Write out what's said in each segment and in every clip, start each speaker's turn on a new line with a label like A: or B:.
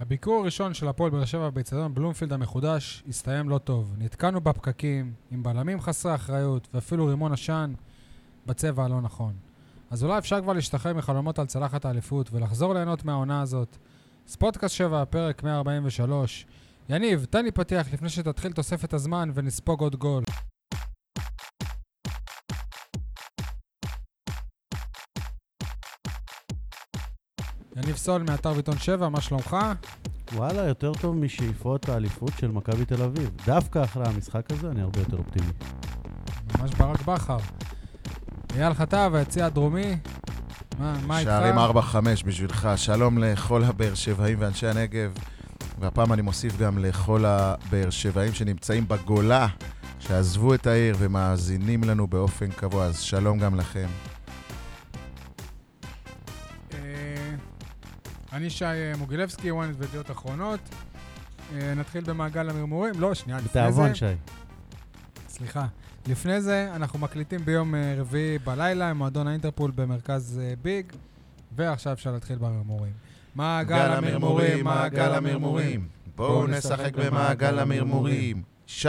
A: הביקור הראשון של הפועל באר שבע באצטדיון בלומפילד המחודש הסתיים לא טוב. נתקענו בפקקים, עם בלמים חסרי אחריות, ואפילו רימון עשן בצבע הלא נכון. אז אולי אפשר כבר להשתחרר מחלומות על צלחת האליפות ולחזור ליהנות מהעונה הזאת. ספודקאסט 7, פרק 143. יניב, תן לי פתיח לפני שתתחיל תוספת הזמן ונספוג עוד גול. יניב סול מאתר ביטון 7, מה שלומך?
B: וואלה, יותר טוב משאיפות האליפות של מכבי תל אביב. דווקא אחרי המשחק הזה אני הרבה יותר אופטימי.
A: ממש ברק בכר. אייל חטב, היציע הדרומי, מה מה איתך?
C: שערים 4-5 בשבילך. שלום לכל הבאר שבעים ואנשי הנגב, והפעם אני מוסיף גם לכל הבאר שבעים שנמצאים בגולה, שעזבו את העיר ומאזינים לנו באופן קבוע, אז שלום גם לכם.
A: אה, אני שי אה, מוגילבסקי, וואנט וידיעות אחרונות. אה, נתחיל במעגל המרמורים. לא, שנייה, לפני זה...
B: בתיאבון, שי.
A: סליחה. לפני זה, אנחנו מקליטים ביום אה, רביעי בלילה עם מועדון האינטרפול במרכז אה, ביג, ועכשיו אפשר להתחיל במרמורים. מעגל המרמורים, מעגל המרמורים.
C: בואו נשחק במעגל המרמורים. שי,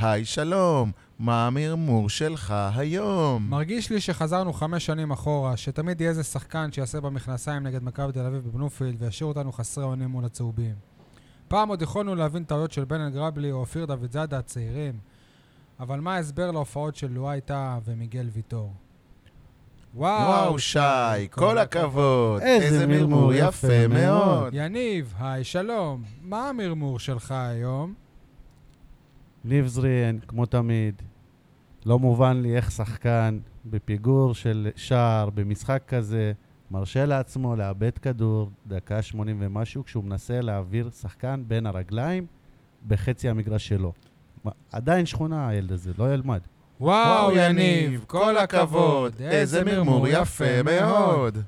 C: היי שלום, מה המרמור שלך היום?
A: מרגיש לי שחזרנו חמש שנים אחורה, שתמיד יהיה איזה שחקן שיעשה במכנסיים נגד מכבי תל אביב בבלומפילד וישאיר אותנו חסרי אונים מול הצהובים. פעם עוד יכולנו להבין טעויות של בן גרבלי או אופיר דוד זאדה הצעירים, אבל מה ההסבר להופעות של לואי טאה ומיגל ויטור?
C: וואו, שי, כל הכבוד.
B: איזה
C: איזה מרמור
B: מרמור
C: יפה
B: יפה
C: מאוד.
B: מאוד.
A: יניב, היי, שלום. מה המרמור שלך היום?
B: ניב זריאן, כמו תמיד, לא מובן לי איך שחקן בפיגור של שער, במשחק כזה, מרשה לעצמו לאבד כדור דקה 80 ומשהו, כשהוא מנסה להעביר שחקן בין הרגליים בחצי המגרש שלו. מה, עדיין שכונה הילד הזה, לא ילמד.
A: וואו, יניב, כל הכבוד.
C: איזה מרמור יפה מאוד.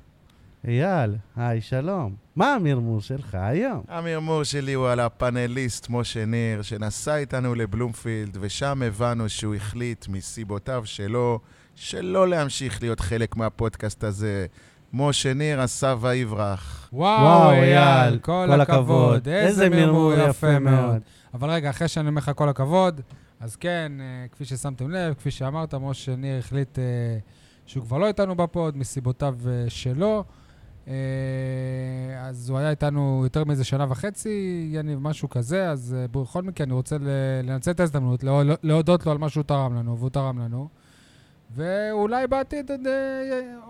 B: אייל, היי, שלום. מה המרמור שלך היום?
C: המרמור שלי הוא על הפאנליסט משה ניר, שנסע איתנו לבלומפילד, ושם הבנו שהוא החליט מסיבותיו שלו, שלא להמשיך להיות חלק מהפודקאסט הזה. משה ניר עשה ויברח.
A: וואו, אה, אייל, כל הכבוד. איזה מרמור יפה מאוד. אבל רגע, אחרי שאני אומר לך כל הכבוד, אז כן, אה, כפי ששמתם לב, כפי שאמרת, משה ניר החליט אה, שהוא כבר לא איתנו בפוד, מסיבותיו אה, שלו. אה, אז הוא היה איתנו יותר מאיזה שנה וחצי, יניב, משהו כזה, אז אה, בכל מקרה אני רוצה ל- לנצל את ההזדמנות, להודות- להודות לו על מה שהוא תרם לנו, והוא תרם לנו. ואולי בעתיד עוד, אה,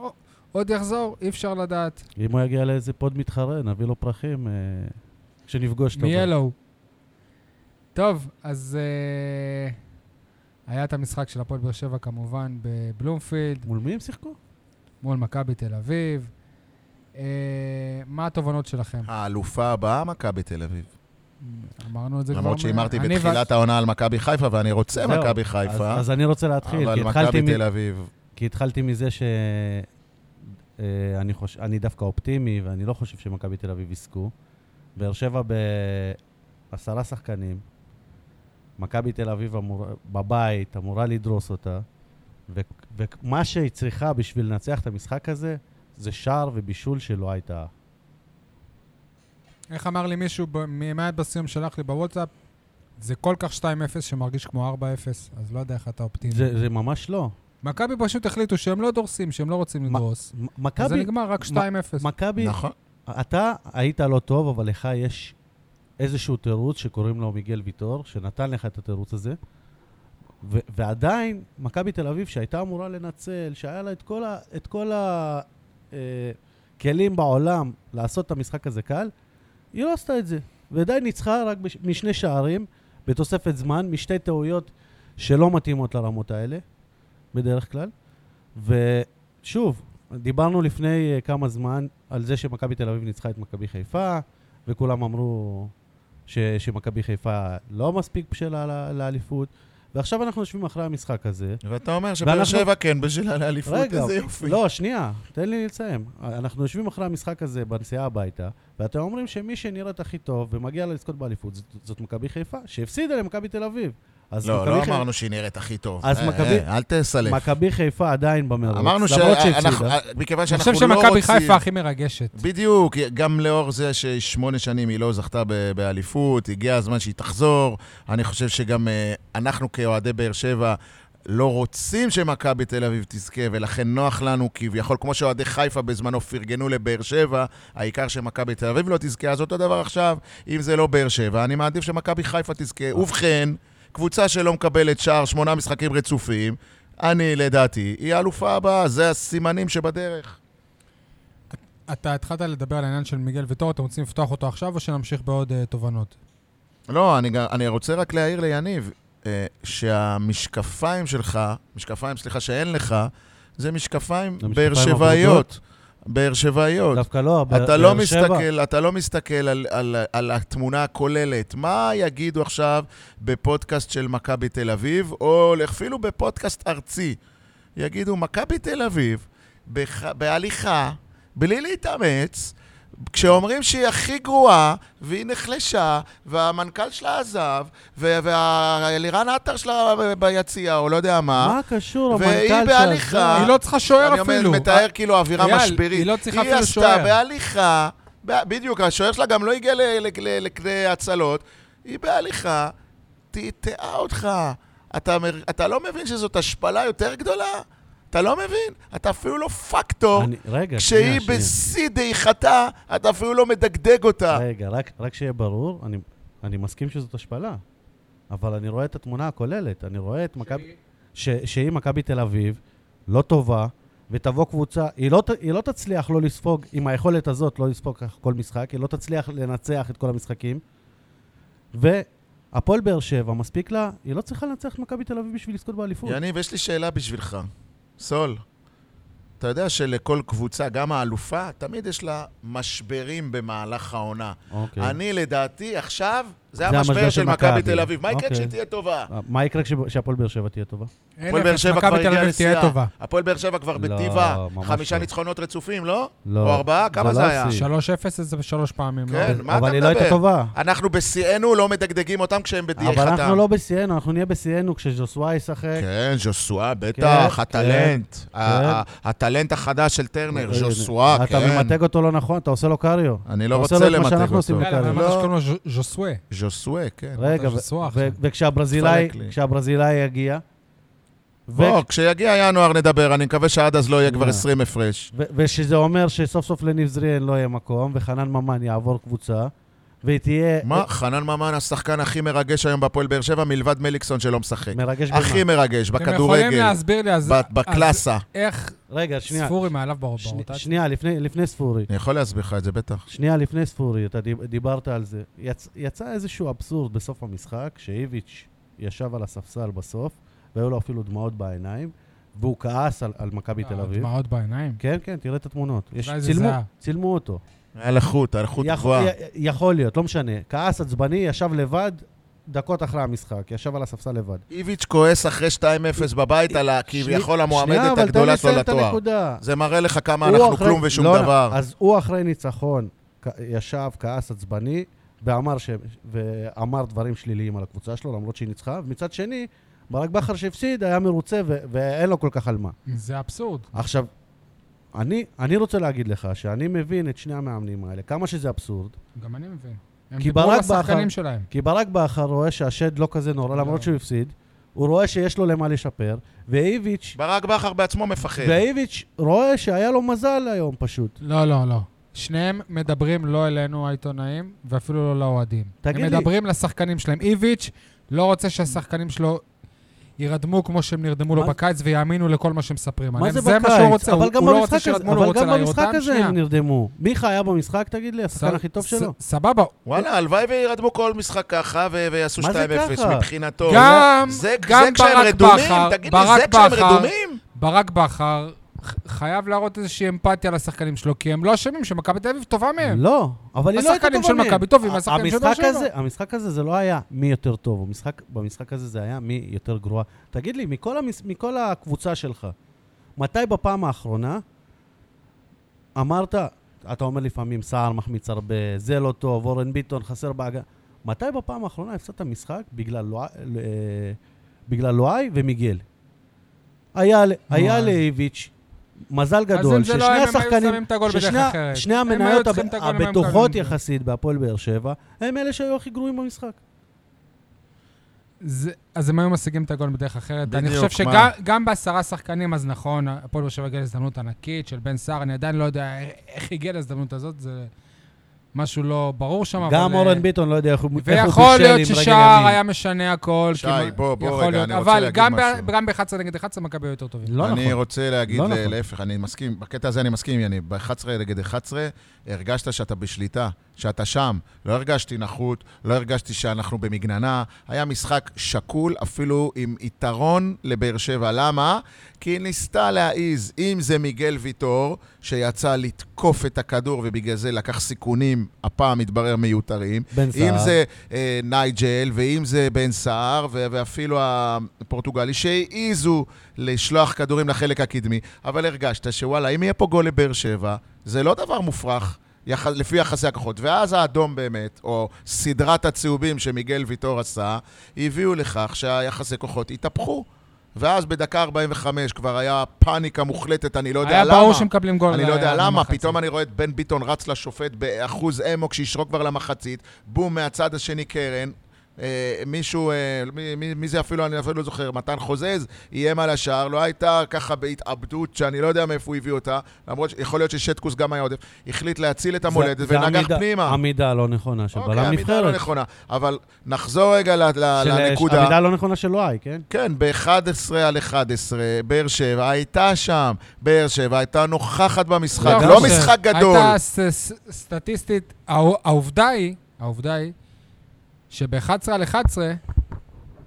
A: אה, עוד יחזור, אי אפשר לדעת.
B: אם הוא יגיע לאיזה פוד מתחרה, נביא לו פרחים אה, כשנפגוש אותו.
A: מיאלו. טוב, אז אה, היה את המשחק של הפועל באר שבע כמובן בבלומפילד,
B: מול מי הם שיחקו?
A: מול מכבי תל אביב. אה, מה התובנות שלכם?
C: האלופה הבאה, מכבי תל אביב.
A: אמרנו את זה כבר...
C: למרות
A: מ-
C: שהימרתי
A: אני
C: בתחילת העונה על מכבי חיפה, ואני רוצה
B: זהו,
C: מכבי
B: אז,
C: חיפה,
B: אז אני רוצה להתחיל, כי
C: אבל
B: התחלתי,
C: מכבי
B: מ...
C: תל אביב...
B: כי התחלתי מזה ש... אה, אני, חוש... אני דווקא אופטימי, ואני לא חושב שמכבי תל אביב יזכו. באר שבע בעשרה שחקנים, מכבי תל אביב אמור... בבית אמורה לדרוס אותה, ו... ומה שהיא צריכה בשביל לנצח את המשחק הזה, זה שער ובישול שלא הייתה.
A: איך אמר לי מישהו, ב- מימד בסיום שלח לי בוואטסאפ, זה כל כך 2-0 שמרגיש כמו 4-0, אז לא יודע איך אתה אופטימי.
B: זה, זה ממש לא.
A: מכבי פשוט החליטו שהם לא דורסים, שהם לא רוצים
B: מה-
A: לדרוס.
B: מ-
A: אז זה
B: מכבי,
A: נגמר רק 2-0.
B: מכבי,
C: נכון.
B: אתה היית לא טוב, אבל לך יש איזשהו תירוץ שקוראים לו מיגל ויטור, שנתן לך את התירוץ הזה. ו- ועדיין, מכבי תל אביב, שהייתה אמורה לנצל, שהיה לה את כל, ה- את כל הכלים בעולם לעשות את המשחק הזה קל, היא לא עשתה את זה. ודי ניצחה רק בש- משני שערים, בתוספת זמן, משתי טעויות שלא מתאימות לרמות האלה, בדרך כלל. ושוב, דיברנו לפני אה, כמה זמן על זה שמכבי תל אביב ניצחה את מכבי חיפה, וכולם אמרו ש, שמכבי חיפה לא מספיק בשלה ל- לאליפות, ועכשיו אנחנו יושבים אחרי המשחק הזה.
C: ואתה אומר שבאר
B: ואנחנו-
C: שבע כן בשלה לאליפות, איזה יופי.
B: לא, שנייה, תן לי לסיים. אנחנו יושבים אחרי המשחק הזה בנסיעה הביתה, ואתם אומרים שמי שנראית הכי טוב ומגיע לה לזכות באליפות זאת, זאת מכבי חיפה, שהפסידה למכבי תל אביב. אז
C: לא,
B: מכבי
C: לא
B: חי-
C: אמרנו שהיא נראית הכי טוב.
B: אז
C: אה,
B: מכבי-
C: אה, אל תסלף.
B: מכבי חיפה עדיין במרוץ.
C: אמרנו
B: למרות
C: שאנחנו,
B: שהפסידה.
C: מכיוון
A: אני חושב
C: שאנחנו לא
A: שמכבי
C: רוצים...
A: חיפה הכי מרגשת.
C: בדיוק, גם לאור זה ששמונה שנים היא לא זכתה ב- באליפות, הגיע הזמן שהיא תחזור. אני חושב שגם אה, אנחנו כאוהדי באר שבע לא רוצים שמכבי תל אביב תזכה, ולכן נוח לנו כביכול, כמו שאוהדי חיפה בזמנו פרגנו לבאר שבע, העיקר שמכבי תל אביב לא תזכה, אז אותו דבר עכשיו, אם זה לא באר שבע, אני מעדיף שמכבי חיפה תזכה. ובכן, קבוצה שלא מקבלת שער שמונה משחקים רצופים, אני, לדעתי, היא האלופה הבאה, זה הסימנים שבדרך.
A: אתה התחלת לדבר על העניין של מיגל ויטור, אתם רוצים לפתוח אותו עכשיו או שנמשיך בעוד אה, תובנות?
C: לא, אני, גם- אני רוצה רק להעיר ליניב, אה, שהמשקפיים שלך, משקפיים, סליחה, שאין לך, זה משקפיים
B: זה משקפיים
C: באר שבעיות. באר שבעיות.
B: דווקא לא, באר-
C: אתה לא,
B: באר שבע-
C: מסתכל, אתה לא מסתכל על, על, על התמונה הכוללת. מה יגידו עכשיו בפודקאסט של מכבי תל אביב, או אפילו בפודקאסט ארצי? יגידו, מכבי תל אביב, בח, בהליכה, בלי להתאמץ, כשאומרים שהיא הכי גרועה, והיא נחלשה, והמנכ"ל שלה עזב, ו- והלירן עטר שלה ב- ביציע, או לא יודע מה,
B: מה קשור
C: והיא
B: המנכ"ל של...
C: בהליכה. אה,
A: היא לא צריכה שוער
C: אני אומר,
A: אפילו. אה,
C: מתאר כאילו אווירה
A: אייל,
C: משברית.
A: היא לא צריכה אפילו
C: היא
A: שוער.
C: עשתה בהליכה, ב- בדיוק, השוער שלה גם לא הגיע ל- ל- ל- לכדי הצלות, היא בהליכה, טעטעה אותך. אתה, מר- אתה לא מבין שזאת השפלה יותר גדולה? אתה לא מבין? אתה אפילו לא פקטור.
B: אני- רגע, שנייה,
C: כשהיא
B: שנייה.
C: בשיא דעיכתה, אתה אפילו לא מדגדג אותה.
B: רגע, רק, רק שיהיה ברור, אני, אני מסכים שזאת השפלה, אבל אני רואה את התמונה הכוללת, אני רואה את מכבי... ש- שהיא מכבי תל אביב, לא טובה, ותבוא קבוצה, היא לא, ת- היא לא תצליח לא לספוג, עם היכולת הזאת לא לספוג כך כל משחק, היא לא תצליח לנצח את כל המשחקים, והפועל באר שבע, מספיק לה, היא לא צריכה לנצח את מכבי תל אביב בשביל לזכות באליפות.
C: יניב, יש לי שאלה בשבילך. סול, אתה יודע שלכל קבוצה, גם האלופה, תמיד יש לה משברים במהלך העונה.
B: אוקיי.
C: אני, לדעתי, עכשיו, זה
B: זה
C: המשבר של מכבי תל אביב. מה
B: אוקיי.
C: יקרה כשהיא תהיה טובה?
B: אה, מה יקרה כש- כשהפועל באר שבע תהיה טובה?
C: הפועל באר שבע כבר
A: מכבי תל
C: הגיעה
A: אביב תהיה
C: לשיאה.
A: טובה.
C: הפועל באר שבע כבר
B: לא,
C: בטיבה.
B: ממש
C: חמישה
B: לא.
C: ניצחונות רצופים, לא?
B: לא.
C: או ארבעה?
B: זה
C: כמה
B: לא
C: זה היה?
B: השיא.
A: 3-0 זה שלוש פעמים, לא?
C: כן, מה
B: אבל
C: אתה
B: היא לא הייתה
C: מדבר?
B: טובה.
C: אנחנו בשיאנו לא מדגדגים אותם כשהם
B: אבל
C: בדעיכתם.
B: אנחנו לא בשיאנו, אנחנו נהיה בשיאנו כשז'וסוואי ישחק. אה,
C: כן, ז'וסואה, בטח,
B: כן, אה,
C: הטלנט. ה- ה- הטלנט החדש של טרנר, ז'וסואה,
B: אתה
C: כן.
B: ממתג אותו לא נכון, אתה עושה לו קריו.
C: אני לא
B: אתה עושה
C: רוצה
B: לו את מה
C: למתג
B: שאנחנו עושים
C: אותו.
B: לו
A: יאללה, כן, אבל
B: קריו.
A: אמרת
C: לא.
A: שקוראים לו ז'- ז'וסווה.
C: ז'וסואה, כן.
B: רגע, ו-
A: ז'וסואה
B: ו-
A: עכשיו.
B: וכשהברזילאי,
C: תפרק לי.
B: כשהברזילאי יגיע, ו-
C: בוא, כשיגיע ינואר נדבר, אני מקווה שעד אז לא יהיה כבר
B: אה.
C: 20 הפרש.
B: ו- ושזה אומר שסוף סוף לניב זריאן לא יהיה מקום, וחנן ממן יעבור קבוצה, והיא תהיה...
C: מה? חנן ממן השחקן הכי מרגש היום בהפועל באר שבע, מלבד מליקסון שלא משחק.
B: מרגש
C: הכי
B: במה.
C: מרגש,
A: אתם יכולים
C: בכדורגל,
A: להסביר לי אז...
C: ב- בקלאסה.
A: אז איך
B: רגע, שנייה.
A: ספורי מעליו ברוב-
B: שני-
A: ברוטציה?
B: שנייה, לפני לפני ספורי.
C: אני יכול להסביר לך את זה, בטח.
B: שנייה לפני ספורי, אתה דיב- דיברת על זה. יצ, יצא איזשהו אבסורד בסוף המשחק, שאיביץ' ישב על הספסל בסוף, והיו לו אפילו דמעות בעיניים, והוא כעס על, על מכבי תל אביב.
A: אה, דמעות בעיניים.
B: כן, כן, תראה את התמונות. יש,
A: אולי זה
B: צילמו,
A: זהה.
B: צילמו אותו.
C: היה לך חוט, היה לך חוט
B: יכול,
C: גבוהה.
B: י- יכול להיות, לא משנה. כעס עצבני, ישב לבד דקות אחרי המשחק, ישב על הספסל לבד.
C: איביץ' כועס אחרי 2-0 בבית על ה- כביכול המועמדת הגדולה שלו
B: שנייה, אבל תן לי לסיים את
C: לתואר.
B: הנקודה.
C: זה מראה לך כמה
B: הוא
C: אנחנו
B: אחרי-
C: כלום ושום
B: לא,
C: דבר.
B: אז הוא אחרי ניצחון כ- ישב, כעס עצבני, ואמר, ש... ואמר דברים שליליים על הקבוצה שלו, למרות שהיא ניצחה, ומצד שני, ברק בכר שהפסיד היה מרוצה ו... ואין לו כל כך על מה.
A: זה אבסורד.
B: עכשיו, אני, אני רוצה להגיד לך שאני מבין את שני המאמנים האלה, כמה שזה אבסורד,
A: גם אני מבין. הם
B: כי
A: דיברו על
B: ברק
A: השחקנים
B: בכר-
A: שלהם.
B: כי ברק בכר רואה שהשד לא כזה נורא,
A: לא.
B: למרות שהוא הפסיד, הוא רואה שיש לו למה לשפר, ואיביץ',
C: ברק בכר בעצמו מפחד.
B: ואיביץ' רואה שהיה לו מזל היום פשוט.
A: לא, לא, לא. שניהם מדברים לא אלינו העיתונאים, ואפילו לא לאוהדים.
B: תגיד
A: הם
B: לי-
A: מדברים לשחקנים שלהם. איביץ' לא רוצה שהשחקנים שלו יירדמו כמו שהם נרדמו לו
B: מה-
A: בקיץ ויאמינו לכל מה שמספרים
B: מה
A: עליהם.
B: זה
A: זה מה שהוא
B: בקיץ?
A: רוצה. הוא
B: אבל גם
A: הוא לא רוצה
B: במשחק הזה,
A: שירדמו לו, הוא
B: אבל
A: רוצה
B: גם
A: להעיר
B: במשחק
A: אותם.
B: הזה
A: שנייה.
B: הם נרדמו. מיכה היה במשחק, תגיד לי, השחקן
A: ס-
B: הכי טוב
A: ס-
B: שלו.
C: לא,
A: סבבה.
C: וואלה, הלוואי וירדמו כל משחק ככה ו- ויעשו
B: מה זה
C: 2-0
B: ככה?
C: מבחינתו.
A: גם-
C: לא. זה-
A: גם
C: זה כשהם
A: ברק
C: רדומים?
A: בכר-
C: תגיד לי,
A: ברק
C: זה כשהם
A: בכר-
C: רדומים?
A: ברק בכר ח- חייב להראות איזושהי אמפתיה לשחקנים שלו, כי הם לא אשמים שמכבי תל אביב טובה מהם.
B: לא, אבל היא לא הייתה
A: השחקנים של
B: טובה מהם.
A: מכבי טובים, השחקנים של באר
B: המשחק
A: שבע.
B: הזה- המשחק הזה זה לא היה מי יותר טוב, המשחק- במשחק הזה זה היה מי יותר גרוע. תגיד לי, מכל המס- מכל הקבוצה שלך, מתי בפעם האחרונה אמרת, אתה אומר לפעמים סער מחמיץ הרבה, זה לא טוב, אורן ביטון חסר בהגנה, מתי בפעם האחרונה הפסדת משחק בגלל לואי- אה, בגלל לואי ומיגל? היה ל- היה
A: אז-
B: לאיביץ' מזל
A: אם
B: גדול,
A: זה
B: ששני
A: לא הם, הם היו
B: השחקנים,
A: שמים את הגול בדרך
B: ששני ה-
A: אחרת.
B: שני
A: הם היו
B: המניות
A: צריכים את הגול, הם היו
B: הבטוחות
A: מקבלים את זה.
B: יחסית בהפועל באר שבע, הם אלה שהיו הכי גרועים במשחק.
A: זה, אז הם היו משיגים את הגול בדרך אחרת. בדיוק, אני
C: בדיוק,
A: חושב שגם
C: מה?
A: גם בעשרה שחקנים, אז נכון, הפועל באר שבע הגיע להזדמנות ענקית של בן סער, אני עדיין לא יודע איך הגיע להזדמנות הזאת, זה משהו לא ברור שם,
B: גם
A: אבל, אה,
B: אורן ביטון לא יודע איך הוא איך הוא בישל עם רגל ימין.
A: ויכול להיות ששער היה משנה הכל.
C: שי,
A: כמעט-
C: בוא, בוא
A: יכול
C: רגע,
A: להיות,
C: אני רוצה
A: אבל
C: להגיד
A: גם ב-
C: משהו.
A: גם ב-11 נגד 11 מכבי היו יותר טובים.
B: לא
C: אני
B: נכון.
C: רוצה להגיד,
B: לא
C: ל-
B: נכון.
C: להפך, אני מסכים, בקטע הזה אני מסכים, יני, ב-11 נגד 11, הרגשת שאתה בשליטה, שאתה שם. לא הרגשתי נחות, לא הרגשתי שאנחנו במגננה. היה משחק שקול, אפילו עם יתרון לבאר שבע. למה? כי היא ניסתה להעיז, אם זה מיגל ויטור, שיצא לתקוף את הכדור ובגלל זה לקח סיכונים, הפעם התברר מיותרים.
B: בן
C: אם
B: סער.
C: זה אה, נייג'ל, ואם זה בן סער, ו- ואפילו הפורטוגלי, שהעיזו לשלוח כדורים לחלק הקדמי, אבל הרגשת שוואלה, אם יהיה פה גול לבאר שבע, זה לא דבר מופרך. יח... לפי יחסי הכוחות. ואז האדום באמת, או סדרת הצהובים שמיגל ויטור עשה, הביאו לכך שהיחסי כוחות התהפכו. ואז בדקה 45 כבר היה פאניקה מוחלטת, אני לא יודע
A: היה
C: למה.
A: ברור שמקבלים גול.
C: אני לא יודע
A: אה,
C: למה,
A: במחצית.
C: פתאום אני רואה את בן ביטון רץ לשופט באחוז אמו כשישרוק כבר למחצית, בום, מהצד השני קרן. אה, מישהו, אה, מי, מי, מי זה אפילו, אני אפילו לא זוכר, מתן חוזז, איים על השער, לא הייתה ככה בהתאבדות שאני לא יודע מאיפה הוא הביא אותה, למרות שיכול להיות ששטקוס גם היה עודף, החליט להציל את המולדת
B: זה- זה
C: ונגח
B: עמידה-
C: פנימה.
B: עמידה לא נכונה של
C: אוקיי,
B: בלם
C: עמידה לא
B: נבחרת.
C: נכונה, אבל נחזור רגע ל- ל-
B: של-
C: לנקודה.
B: עמידה לא נכונה של לואי, כן?
C: כן, ב-11 על 11, באר שבע הייתה שם. באר שבע הייתה נוכחת במשחק,
A: גם
C: לא
A: זה.
C: משחק גדול.
A: הייתה ס- ס- סטטיסטית, הע- העובדה היא, העובדה היא, שב-11 על 11,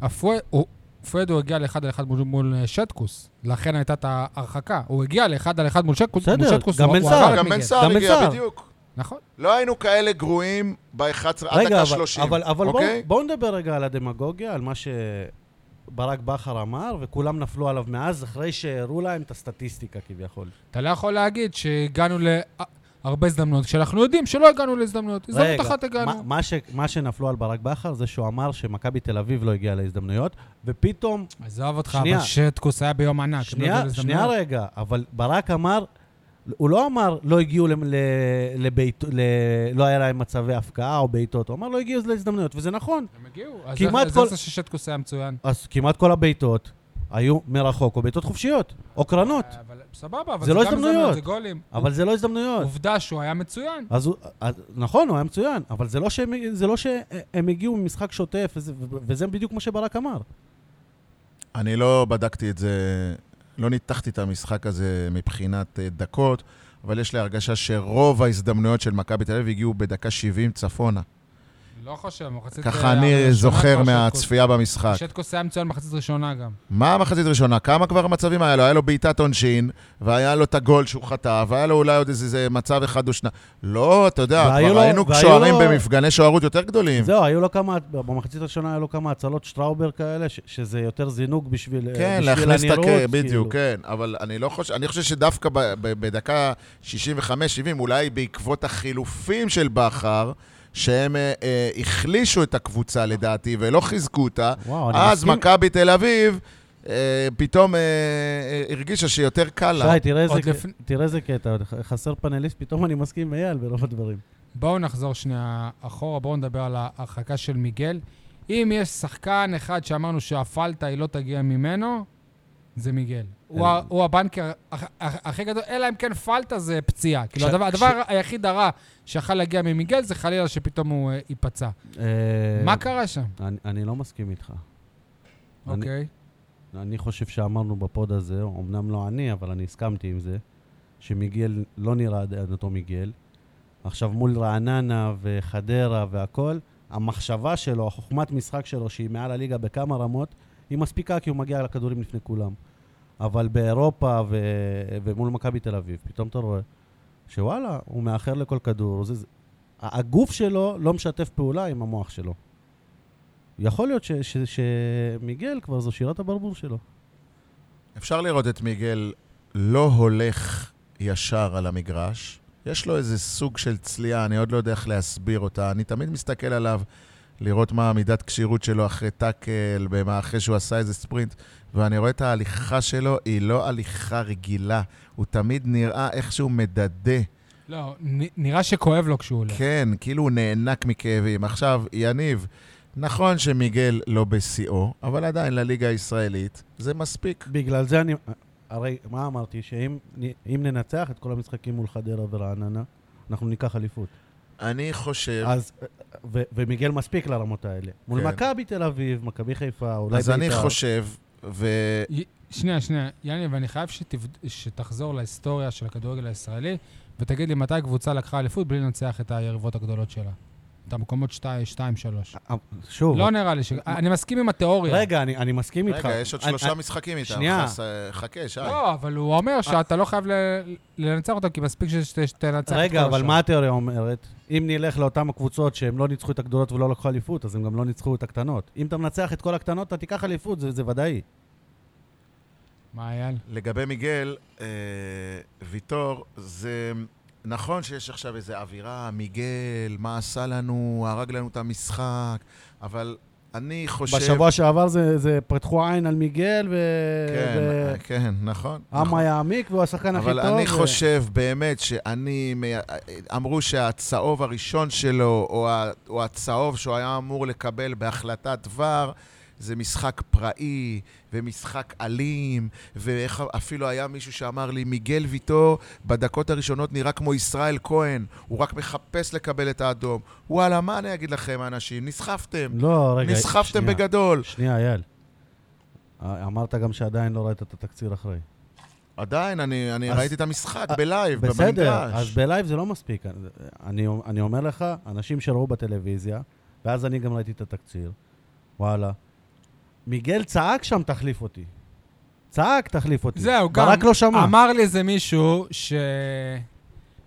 A: הפואד- הוא- פואדו הגיע לאחד על אחד מול- מול אה, שטקוס, לכן הייתה את ההרחקה. הוא הגיע לאחד על אחד מול שטקוס,
B: בסדר,
A: מול שטקוס,
B: גם
A: הוא-
B: בן
A: הוא
B: סער,
A: עבר את
C: לא, גם
A: מיגל.
C: בן סער
B: גם בן
C: הגיע,
B: סער.
C: בדיוק.
A: נכון.
C: לא היינו כאלה גרועים ב-11 עד
B: רגע,
C: דקה
B: אבל-
C: 30.
B: אבל, אבל
C: אוקיי?
B: בואו בוא נדבר רגע על הדמגוגיה, על מה שברק בכר אמר, וכולם נפלו עליו מאז, אחרי שהראו להם את הסטטיסטיקה כביכול.
A: אתה לא יכול להגיד שהגענו להרבה הזדמנויות, כשאנחנו יודעים שלא הגענו להזדמנויות. הזדמנות
B: רגע,
A: אחת
B: מה,
A: הגענו.
B: מה, ש, מה שנפלו על ברק בכר זה שהוא אמר שמכבי תל אביב לא הגיעה להזדמנויות, ופתאום,
A: עזוב אותך,
B: שנייה.
A: אבל שטקוס היה ביום ענק. הם לא הגיעו
B: שנייה,
A: להזדמנויות.
B: שנייה רגע, אבל ברק אמר, הוא לא אמר לא הגיעו ל, ל, לבית, ל, לא היה להם מצבי הפקעה או בעיטות, הוא אמר לא הגיעו להזדמנויות, וזה נכון.
A: הם הגיעו. אז
B: כמעט
A: איך- אז
B: כל-
A: איך זה ששטקוס היה מצוין.
B: אז כמעט כל הבעיטות היו מרחוק, או בעיטות חופשיות, או קרנות.
A: אה, אבל סבבה, אבל
B: זה
A: זה
B: לא
A: גם הזדמנויות,
B: הזדמנויות.
A: זה גולים.
B: אבל זה לא הזדמנויות.
A: עובדה שהוא היה מצוין.
B: אז, הוא- אז נכון, הוא היה מצוין, אבל זה לא שהם, זה לא שהם הגיעו ממשחק שוטף, וזה, וזה בדיוק מה שברק אמר.
C: אני לא בדקתי את זה, לא ניתחתי את המשחק הזה מבחינת אה, דקות, אבל יש לי הרגשה שרוב ההזדמנויות של מכבי תל אביב הגיעו בדקה 70 צפונה.
A: לא חושב, מחצית...
C: ככה
A: הראשונה
C: אני זוכר
A: כבר
C: מהצפייה במשחק.
A: שטקוס- שטקוס היה מצוין מחצית ראשונה גם.
C: מה המחצית הראשונה? כמה כבר מצבים היה לו? היה לו בעיטת עונשין, והיה לו את הגול שהוא חטף, והיה לו אולי עוד איזה, איזה מצב אחד או שניים. לא, אתה יודע,
B: והיו
C: כבר
B: לו-
C: היינו
B: והיו
C: שוערים
B: לו-
C: במפגני שוערות יותר גדולים.
B: זהו, היו לו כמה, במחצית הראשונה היו לו כמה הצלות שטראובר כאלה, ש, שזה יותר זינוק בשביל אה,
C: כן,
B: בשביל
C: להכניס את
B: הנראות,
C: הקר,
B: כאילו.
C: בדיוק, כן. אבל אני לא חושב, אני חושב שדווקא ב- ב- בדקה 65-70, אולי בעקבות החילופים של בכר, שהם אה, אה, החלישו את הקבוצה לדעתי, ולא חיזקו אותה,
B: וואו, אני
C: אז
B: מסכים.
C: מכבי תל אביב אה, פתאום אה, אה, הרגישה שיותר קל לה.
B: שי, תראה איזה,
A: עוד
B: ק-
A: לפני-
B: תראה איזה קטע, ח- חסר פאנליסט, פתאום אני מסכים עם אייל ברוב הדברים.
A: בואו נחזור שנייה אחורה, בואו נדבר על ההרחקה של מיגל. אם יש שחקן אחד שאמרנו שהפלטה היא לא תגיע ממנו, זה מיגל. הוא ה- הוא הבנקר הכ- הכ- הכי גדול, אלא אם כן פלטה זה פציעה. כאילו,
B: כש-
A: הדבר-
B: כש-
A: הדבר היחיד הרע שיכל להגיע ממיגל זה חלילה שפתאום הוא אה, ייפצע.
B: אה,
A: מה קרה שם?
B: אני, אני לא מסכים איתך. אני-
A: אוקיי.
B: אני חושב שאמרנו בפוד הזה, אמנם לא אני, אבל אני הסכמתי עם זה, שמיגל לא נראה עדיין אותו מיגל. עכשיו מול רעננה וחדרה והכל, המחשבה שלו, החוכמת משחק שלו, שהיא מעל הליגה בכמה רמות, היא מספיקה כי הוא מגיע לכדורים לפני כולם. אבל באירופה ו... ומול מכבי תל אביב, פתאום אתה רואה שוואלה, הוא מאחר לכל כדור. זה... זה- ה- הגוף שלו לא משתף פעולה עם המוח שלו. יכול להיות ש- ש- שמיגל כבר זו שירת הברבור שלו.
C: אפשר לראות את מיגל לא הולך ישר על המגרש. יש לו איזה סוג של צליעה, אני עוד לא יודע איך להסביר אותה. אני תמיד מסתכל עליו לראות מה המידת כשירות שלו אחרי טאקל, במה- אחרי שהוא עשה איזה ספרינט, ואני רואה את ההליכה שלו, היא לא הליכה רגילה. הוא תמיד נראה איך שהוא מדדה.
A: לא, נ- נראה שכואב לו כשהוא עולה.
C: כן, כאילו הוא נאנק מכאבים. עכשיו, יניב, נכון שמיגל לא בשיאו, אבל עדיין לליגה הישראלית זה מספיק.
B: בגלל זה אני... הרי מה אמרתי? שאם אם ננצח את כל המשחקים מול חדרה ורעננה, אנחנו ניקח אליפות.
C: אני חושב...
B: אז, ו- ומיגל מספיק לרמות האלה. מול
C: כן.
B: מכבי תל אביב, מכבי חיפה, אולי
C: אז אני חושב, ו...
A: י- שנייה, שנייה. יניב, אני חייב שתבד- שתחזור להיסטוריה של הכדורגל הישראלי, ותגיד לי מתי קבוצה לקחה אליפות בלי לנצח את היריבות הגדולות שלה. את המקומות 2-3.
B: אה, שוב,
A: לא נראה לי ש... אני מסכים עם התיאוריה.
B: רגע, אני, אני מסכים איתך.
C: רגע, יש עוד
B: אני-
C: שלושה
B: אני-
C: משחקים איתם.
B: שנייה.
C: חס- חכה, שי.
A: לא, אבל הוא אומר שאתה לא חייב ל- לנצח אותם, כי מספיק שתנצח את כל
B: רגע, אבל
A: השאר.
B: מה התיאוריה אומרת? אם נלך לאותן הקבוצות שהן לא ניצחו את הגדולות ולא לקחו אליפות, אז הן גם לא ניצחו את הקטנות. אם אתה מנצח את כל הקטנות, אתה תיקח אליפות, זה, זה ודאי.
A: מה, אייל?
C: לגבי מיגל, אה, ויטור, זה נכון שיש עכשיו איזו אווירה, מיגל, מה עשה לנו, הרג לנו את המשחק, אבל אני חושב...
B: בשבוע שעבר זה, זה פתחו עין על מיגל, ו...
C: כן,
B: ו-
C: אה, כן, נכון. נכון.
B: אמה יעמיק והוא השחקן הכי טוב.
C: אבל אני
B: ו-
C: חושב באמת שאני, מי- אמרו שהצהוב הראשון שלו, או, ה, או הצהוב שהוא היה אמור לקבל בהחלטת דבר, זה משחק פראי, ומשחק אלים, ואיך אפילו היה מישהו שאמר לי, מיגל ויטור בדקות הראשונות נראה כמו ישראל כהן, הוא רק מחפש לקבל את האדום. וואלה, מה אני אגיד לכם, אנשים? נסחפתם.
B: לא, רגע.
C: נסחפתם
B: שנייה.
C: בגדול.
B: שנייה, אייל. אה, אמרת גם שעדיין לא ראית את התקציר אחרי.
C: עדיין, אני, אני
B: אז-
C: ראיתי את המשחק
B: אה,
C: בלייב, במגרש.
B: בסדר, אז בלייב זה לא מספיק. אני, אני אומר לך, אנשים שראו בטלוויזיה, ואז אני גם ראיתי את התקציר, וואלה. מיגל צעק שם, תחליף אותי. צעק, תחליף אותי.
A: זהו, גם...
B: ברק לא שמע.
A: אמר לי איזה מישו ש...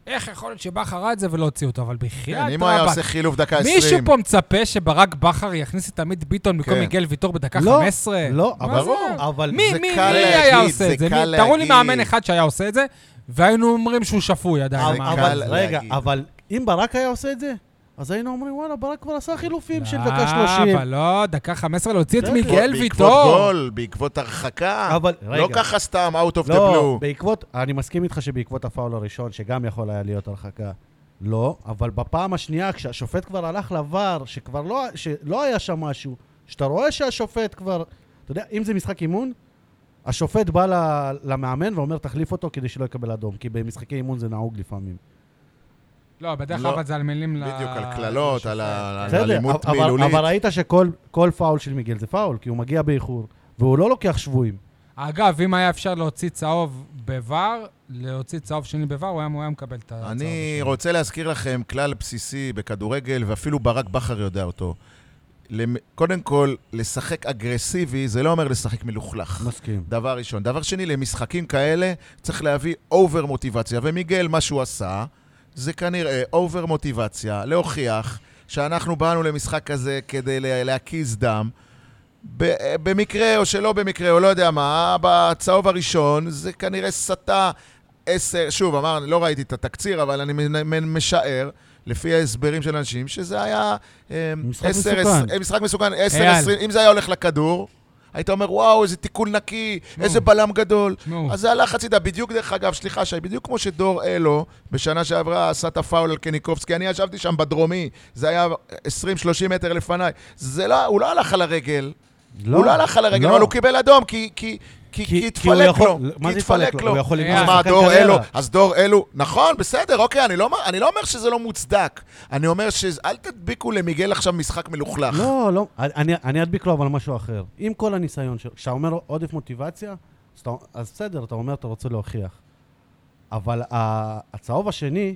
A: איך יכול להיות שבכר ראה את זה ולא הוציא אותו, אבל
C: כן,
A: בחייאת
C: אם הוא היה
A: רבאק.
C: עושה חילוף דקה 20.
A: מישהו פה מצפה שברק בכר יכניס את עמית ביטון במקום
C: כן.
A: מיגל ויטור בדקה
B: לא,
A: 15?
B: לא,
A: מה
B: אבל-
A: זה?
B: אבל...
A: מי,
C: זה
A: מי, מי
C: קל
A: היה
C: להגיד,
A: עושה
C: זה
A: את זה?
C: קל
A: מי- תראו לי
C: להגיד.
A: מאמן אחד שהיה עושה את זה, והיינו אומרים שהוא שפוי עדיין.
B: אבל-
C: זה
A: המאמן.
C: קל
B: אבל, רגע,
C: להגיד.
B: אבל אם ברק היה עושה את זה, אז היינו אומרים, וואלה, ברק כבר עשה חילופים של דקה
A: לא,
B: 30.
A: אבל לא, דקה 15 להוציא את
B: בסדר.
A: מיגל
C: בעקבות
A: ויטור.
C: גול, בעקבות הרחקה.
B: אבל-
C: לא
B: רגע.
C: ככה סתם, out of the
B: לא,
C: blue.
B: בעקבות, אני מסכים איתך שבעקבות הפאול הראשון, שגם יכול היה להיות הרחקה, לא, אבל בפעם השנייה, כשהשופט כבר הלך לבר, שכבר לא, שלא היה שם משהו, שאתה רואה שהשופט כבר, אתה יודע, אם זה משחק אימון, השופט בא ל- למאמן ואומר, תחליף אותו כדי שלא יקבל אדום, כי במשחקי אימון זה נהוג לפעמים.
A: לא, בדרך
C: לא.
A: כלל אבל זה על מילים ל...
C: בדיוק, על קללות, על ה- על
B: בסדר,
C: אלימות
B: אבל-
C: מילולית.
B: אבל ראית שכל כל פאול של מיגל זה פאול, כי הוא מגיע באיחור, והוא לא לוקח שבויים.
A: אגב, אם היה אפשר להוציא צהוב בVAR, להוציא צהוב שני בVAR, הוא היה- הוא היה מקבל את הצהוב
C: אני
A: השני.
C: רוצה להזכיר לכם כלל בסיסי בכדורגל, ואפילו ברק בכר יודע אותו. למ- קודם כל, לשחק אגרסיבי זה לא אומר לשחק מלוכלך.
B: מסכים.
C: דבר ראשון. דבר שני, למשחקים כאלה צריך להביא אובר מוטיבציה. ומיגל, מה שהוא עשה, זה כנראה אובר מוטיבציה להוכיח שאנחנו באנו למשחק כזה כדי לה- להקיז דם. ב- במקרה או שלא במקרה, או לא יודע מה, בצהוב הראשון זה כנראה סטה עשר, שוב, אמר, לא ראיתי את התקציר, אבל אני מנ- מנ- משער, לפי ההסברים של אנשים, שזה היה אה,
B: משחק
C: עשר,
B: מסוכן.
C: עשר- אה, משחק מסוכן, עשר,
A: אייל.
C: עשרים, אם זה היה הולך לכדור, היית אומר, וואו, איזה תיקול נקי,
A: שמעו.
C: איזה בלם גדול.
A: תשמעו,
C: אז זה הלך הצידה, בדיוק דרך אגב, סליחה שי, בדיוק כמו שדור אלו בשנה שעברה עשה את הפאול על קניקובסקי, אני ישבתי שם בדרומי, זה היה 20-30 מטר לפניי. זה לא, הוא לא הלך על הרגל, הוא לא הלך על הרגל, אבל הוא קיבל אדום, כי... כי כי, כי,
B: כי
C: התפלק
B: הוא יכול-
C: לו,
B: מה
C: כי
B: זה התפלק לו? הוא יכול
A: אה,
B: לגמור
C: אז
A: אז
C: מה,
B: שחקן
C: דור
B: קריירה.
C: אלו, אז דור אלו, נכון, בסדר, אוקיי, אני לא, אומר- אני לא אומר שזה לא מוצדק. אני אומר ש... אל תדביקו למיגל עכשיו משחק מלוכלך.
B: לא, לא, אני, אני אדביק לו אבל משהו אחר. עם כל הניסיון, ש- כשאתה אומר עודף מוטיבציה, אז, אתה, אז בסדר, אתה אומר, אתה רוצה להוכיח. אבל ה, הצהוב השני,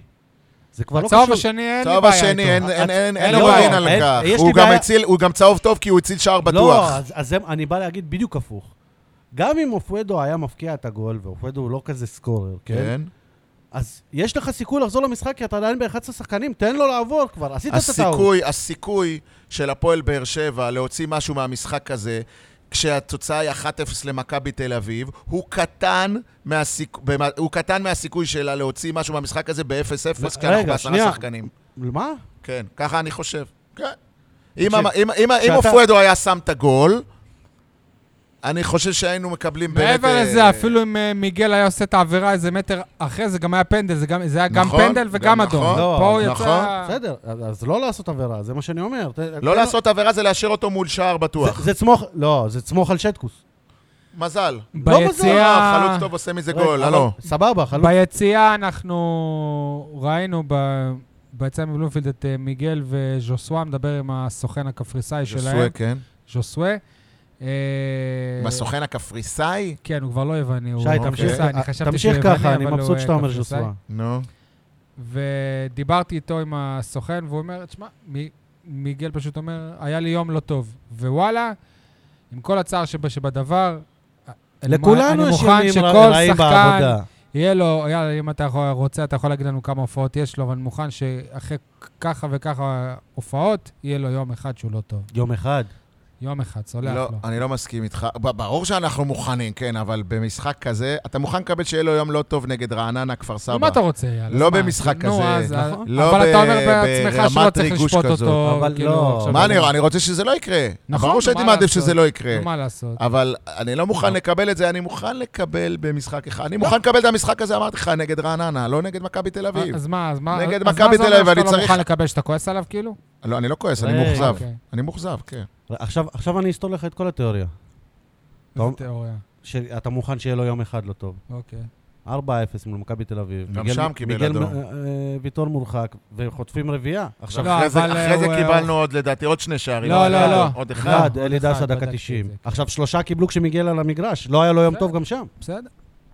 B: זה כבר לא קשור...
A: הצהוב השני אין לי
C: צהוב
A: בעיה
C: השני,
A: איתו.
C: אין- אין-
A: אין
C: אין אין
A: לו
C: עוררין
A: בעיה.
C: על
B: אין-
C: כך.
B: יש לי
C: הוא גם
B: בעיה-
C: הציל, הוא גם צהוב טוב כי הוא הציל שער בטוח.
B: לא, אז, אז זה, אני בא להגיד בדיוק הפוך. גם אם אופואדו היה מפקיע את הגול, ואופואדו הוא לא כזה סקורר, כן?
C: כן.
B: אז יש לך סיכוי לחזור למשחק, כי אתה עדיין ב-11 שחקנים, תן לו לעבור כבר, עשית את הטעות.
C: הסיכוי, הסיכוי של הפועל באר שבע להוציא משהו מהמשחק הזה, כשהתוצאה היא 1-0 למכבי תל אביב, הוא קטן, מהסיכ... במה... הוא קטן מהסיכוי שלה להוציא משהו מהמשחק הזה ב-0-0, כי אנחנו
B: רגע,
C: בעשרה
B: שנייה.
C: שחקנים.
B: מה?
C: כן, ככה אני חושב. כן. אם המ- אם- אם- אם
B: כשאתה-
C: אופואדו היה שם את הגול, אני חושב שהיינו מקבלים באמת...
A: מעבר
C: אה,
A: לזה, אפילו אם אה, מיגל היה עושה את העבירה איזה מטר אחרי, זה גם היה פנדל, זה גם- זה היה גם
C: נכון,
A: פנדל וגם
C: גם
A: אדום.
C: נכון,
A: פה הוא
C: נכון.
A: יצא...
B: בסדר, אז- אז לא לעשות עבירה, זה מה שאני אומר. ת- תן לו-
C: לא לעשות עבירה זה להשאיר אותו מול שער בטוח.
B: זה- זה צמוך, לא, זה צמוך על שטקוס.
C: מזל.
A: ביציאה...
C: אה, חלוץ טוב עושה מזה
B: רגע,
C: גול, אה,
B: אבל-
C: לא. הלו.
B: סבבה, חלוץ.
A: ביציאה אנחנו ראינו ב- ביציאה מבלומפילד את אה, מיגל וז'וסווה מדבר עם הסוכן הקפריסאי שלהם.
C: ז'וסואה, כן.
A: ז'וסווה. אה,
C: עם הסוכן הקפריסאי?
A: כן, הוא כבר לא יווני, הוא
B: שי,
A: קפריסאי,
B: תמשיך
A: אני
B: אה,
A: חשבתי שהוא
B: תמשיך
A: יווני,
B: ככה, אני
A: אבל הוא,
B: מבסוט
A: אה,
B: שאתה אומר
A: קפריסאי.
B: ז'וסווה.
C: נו.
A: ודיברתי איתו עם הסוכן, והוא אומר, תשמע, מ- מיגל פשוט אומר, היה לי יום לא טוב. ווואלה, עם כל הצער שב- שבדבר, אני מ-
B: לכולנו יש
A: אני מוכן
B: ימים
A: שכל
B: רעים
A: שחקן
B: בעבודה.
A: יהיה לו, יאללה, אם אתה יכול, רוצה, אתה יכול להגיד לנו כמה הופעות יש לו, אבל אני מוכן שאחרי ככה וככה הופעות, יהיה לו יום אחד שהוא לא טוב.
B: יום אחד.
A: יום אחד, סולח
C: לא,
A: לו.
C: אני לא מסכים איתך. ב- ברור שאנחנו מוכנים, כן, אבל במשחק כזה, אתה מוכן לקבל שיהיה לו יום לא טוב נגד רעננה, כפר
A: נו,
C: סבא.
A: מה אתה רוצה, יאללה?
C: לא
A: מה,
C: במשחק
A: נו,
C: כזה,
A: אז,
B: נכון.
A: אבל
C: לא
A: אתה אומר
C: ב-
A: בעצמך שלא
C: ברמת
A: צריך
C: ריגוש
A: לשפוט
C: כזאת.
A: אותו.
B: אבל
A: כאילו,
B: לא.
A: עכשיו
C: מה
A: אני-
C: אני, אני רוצה שזה לא יקרה.
A: נכון,
C: ברור
A: מה
C: שהייתי מעדיף
A: לעשות?
C: שזה לא יקרה.
A: נו, מה לעשות?
C: אבל אני לא מוכן לקבל את זה, אני מוכן לקבל במשחק אחד.
A: לא.
C: אני מוכן לקבל את המשחק הזה, אמרתי לך, נגד רעננה, לא נגד מכבי תל אביב.
A: אה, אז מה, אז מה,
C: נגד
A: אז מה
C: מכבי
A: זה
C: תל
A: אומר
C: אביב,
A: שאתה
C: אני
A: לא
C: צריך-
A: מוכן לקבל שאתה כועס עליו, כאילו?
C: לא, אני לא כועס, אני
B: רגע,
C: מאוכזב.
A: אוקיי.
C: אני מאוכזב, כן.
B: עכשיו עכשיו אני אסתור לך את כל התיאוריה.
A: איזה
B: טוב.
A: תיאוריה.
B: שאתה מוכן שיהיה לו יום אחד לא טוב.
A: אוקיי.
B: 4-0 מול מכבי תל אביב.
C: גם
B: מיגל-
C: שם קיבל
B: מיגל,
C: אדום.
B: אה, אה, ויטור מורחק, וחוטפים רביעייה. עכשיו,
C: עכשיו,
A: לא,
C: אחרי זה-
A: אבל,
C: אחרי זה
A: הוא-
C: קיבלנו עוד, לדעתי, עוד שני שערים. אה,
A: לא, לא, לא.
C: עוד אחד.
B: אחד,
A: עוד
B: אלי
A: אחד,
B: דסה
A: בדקתי
B: דקה
A: את
B: 90.
A: זה, כן.
B: עכשיו, שלושה קיבלו כשמיגל על המגרש, לא היה לו יום
A: בסדר.
B: טוב גם שם.
A: בסדר.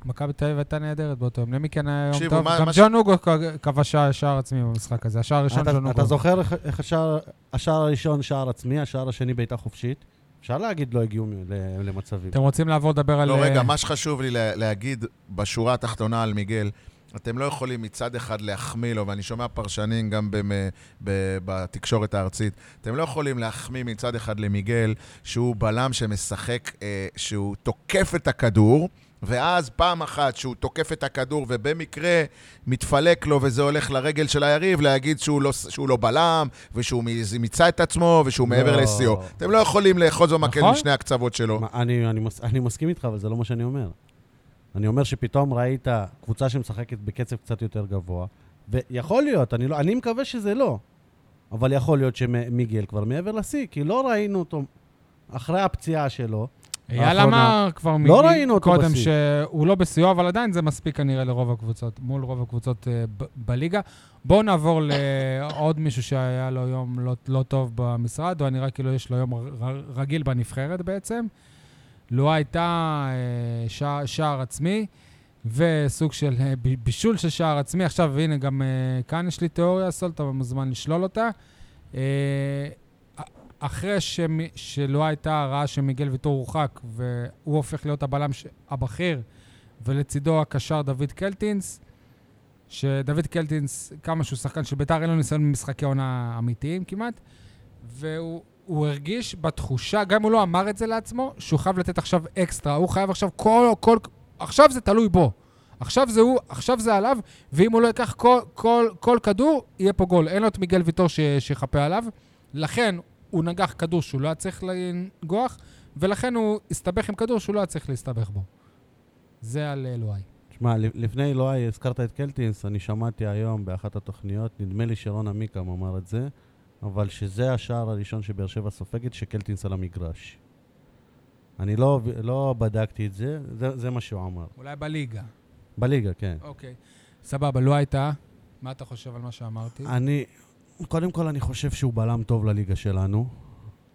A: מכבי תל אביב הייתה נהדרת באותו יום. למי כן היה יום
C: תקשיבו,
A: טוב?
C: מה-
A: גם
C: מה ש-
A: ג'ון אוגו כ- כבש שער- שער עצמי במשחק הזה. השער הראשון
B: אתה-
A: ג'ון אוגו.
B: אתה זוכר איך- איך השער- השער הראשון שער עצמי, השער השני בעיטה חופשית? אפשר להגיד לא הגיעו מ- ל- למצבים.
A: אתם רוצים לעבור לדבר על...
C: לא, רגע,
A: אה,
C: מה שחשוב לי לה- להגיד בשורה התחתונה על מיגל, אתם לא יכולים מצד אחד להחמיא לו, ואני שומע פרשנים גם במ, אה, ב, בתקשורת הארצית, אתם לא יכולים להחמיא מצד אחד למיגל, שהוא בלם שמשחק, אה, שהוא תוקף את הכדור, ואז פעם אחת שהוא תוקף את הכדור ובמקרה מתפלק לו וזה הולך לרגל של היריב, להגיד שהוא לא, שהוא לא בלם, ושהוא מ- מיצה את עצמו, שהוא מעבר
B: לא.
C: לשיאו. אתם לא יכולים לאחוז במקל
A: נכון.
C: משני הקצוות שלו.
B: מה, אני- אני מס- אני מסכים איתך, אבל זה לא מה שאני אומר. אני אומר שפתאום ראית קבוצה שמשחקת בקצב קצת יותר גבוה, ויכול להיות, אני לא- אני מקווה שזה לא, אבל יכול להיות שמיגל כבר מעבר לשיא, כי לא ראינו אותו אחרי הפציעה שלו.
A: אייל
B: האחרונה.
A: אמר כבר
B: לא
A: מ-
B: ראינו אותו
A: קודם
B: בשיא.
A: שהוא לא בשיאו, אבל עדיין זה מספיק כנראה לרוב הקבוצות, מול רוב הקבוצות אה, ב- בליגה. בואו נעבור לעוד מישהו שהיה לו יום לא- לא טוב במשרד, או נראה כאילו יש לו יום ר- ר- רגיל בנבחרת בעצם. לואה הייתה אה, שער- שער עצמי, וסוג של אה, ב- בישול של שער עצמי. עכשיו, הנה, גם אה, כאן יש לי תיאוריה, סול, אתה מוזמן לשלול אותה. אה, אחרי שמ... שלא הייתה הרעה שמיגל ויטור הורחק, והוא הופך להיות הבלם ש... הבכיר, ולצידו הקשר דוד קלטינס, שדוד קלטינס, כמה שהוא שחקן של ביתר, אין לו ניסיון במשחקי עונה אמיתיים כמעט, והוא הוא הרגיש בתחושה, גם הוא לא אמר את זה לעצמו, שהוא חייב לתת עכשיו אקסטרה, הוא חייב עכשיו כל... כל עכשיו זה תלוי בו. עכשיו זה הוא, עכשיו זה עליו, ואם הוא לא ייקח כל, כל, כל כדור, יהיה פה גול. אין לו את מיגל ויטור ש- שיחפה עליו. לכן הוא נגח כדור שהוא לא היה צריך לנגוח, ולכן הוא הסתבך עם כדור שהוא לא היה צריך להסתבך בו. זה על אה, אלוהי.
B: תשמע, לפ- לפני אלוהי הזכרת את קלטינס, אני שמעתי היום באחת התוכניות, נדמה לי שרון עמיקם אמר את זה, אבל שזה השער הראשון שבאר שבע סופגת, שקלטינס על המגרש. אני לא, לא בדקתי את זה, זה, זה מה שהוא אמר.
A: אולי בליגה.
B: בליגה, כן.
A: אוקיי. סבבה, לא הייתה. מה אתה חושב על מה שאמרתי?
B: אני, קודם כל אני חושב שהוא בלם טוב לליגה שלנו,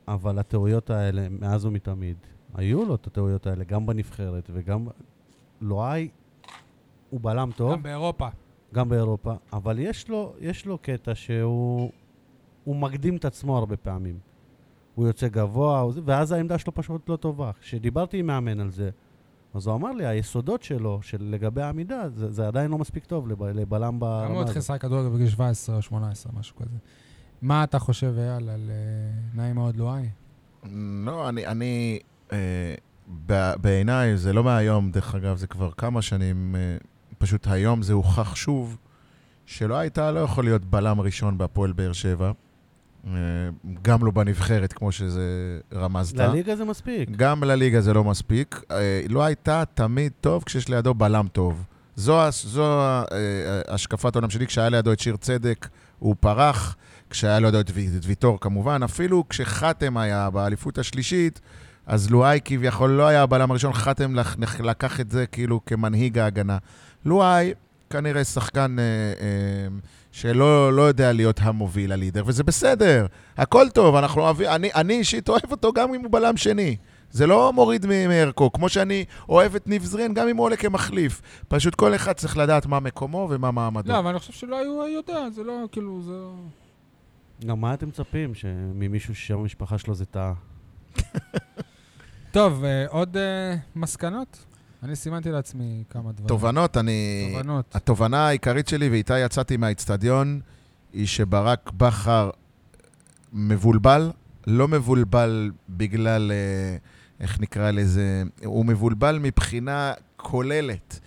B: אבל הטעויות האלה, מאז ומתמיד, היו לו את הטעויות האלה, גם בנבחרת וגם... לואי הוא בלם טוב.
A: גם באירופה.
B: גם באירופה, אבל יש לו, יש לו קטע שהוא הוא מקדים את עצמו הרבה פעמים. הוא יוצא גבוה, הוא זה- ואז העמדה שלו פשוט לא טובה. כשדיברתי עם מאמן על זה, אז הוא אמר לי, היסודות שלו, של לגבי העמידה, זה, זה עדיין לא מספיק טוב לב, לבלם
A: גם הוא
B: ברמה
A: התחיל
B: הזאת.
A: לשחק כדורגל בגיל 17 או 18, משהו כזה. מה אתה חושב, אייל, על אה, נעים מאוד לואי?
C: לא, אני... אני אה, ב- בעיניי, זה לא מהיום, דרך אגב, זה כבר כמה שנים. אה, פשוט היום זה הוכח שוב שלא הייתה, לא יכול להיות בלם ראשון בהפועל באר שבע. אה, גם לא בנבחרת, כמו שזה רמזת.
B: לליגה זה מספיק.
C: גם לליגה זה לא מספיק. אה, לא הייתה תמיד טוב כשיש לידו בלם טוב. זו, ה- זו ה- אה, השקפת העולם שלי, כשהיה לידו את שיר צדק, הוא פרח, כשהיה לידו את וי- את ויטור כמובן, אפילו כשחתם היה באליפות השלישית, אז לואי כביכול לא היה הבלם הראשון, חתם לח- לח- לקח את זה כאילו כמנהיג ההגנה. לואי כנראה שחקן אה, אה, שלא לא יודע להיות המוביל, הלידר, וזה בסדר, הכל טוב, אנחנו אוהבים, אני, אני אישית אוהב אותו גם אם הוא בלם שני. זה לא מוריד מ- מערכו, כמו שאני אוהב את ניב זרין, גם אם הוא עולה כמחליף. פשוט כל אחד צריך לדעת מה מקומו ומה מעמדו.
A: לא, אבל אני חושב שלא היו יודע, זה לא, כאילו, זה...
B: גם מה אתם מצפים? שממישהו ששם המשפחה שלו זה טעה.
A: טוב, אה, עוד אה, מסקנות? אני סימנתי לעצמי כמה דברים.
C: תובנות, אני...
A: תובנות.
C: התובנה העיקרית שלי, ואיתה יצאתי מהאיצטדיון, היא שברק בכר מבולבל, לא מבולבל בגלל, אה, איך נקרא לזה, הוא מבולבל מבחינה כוללת,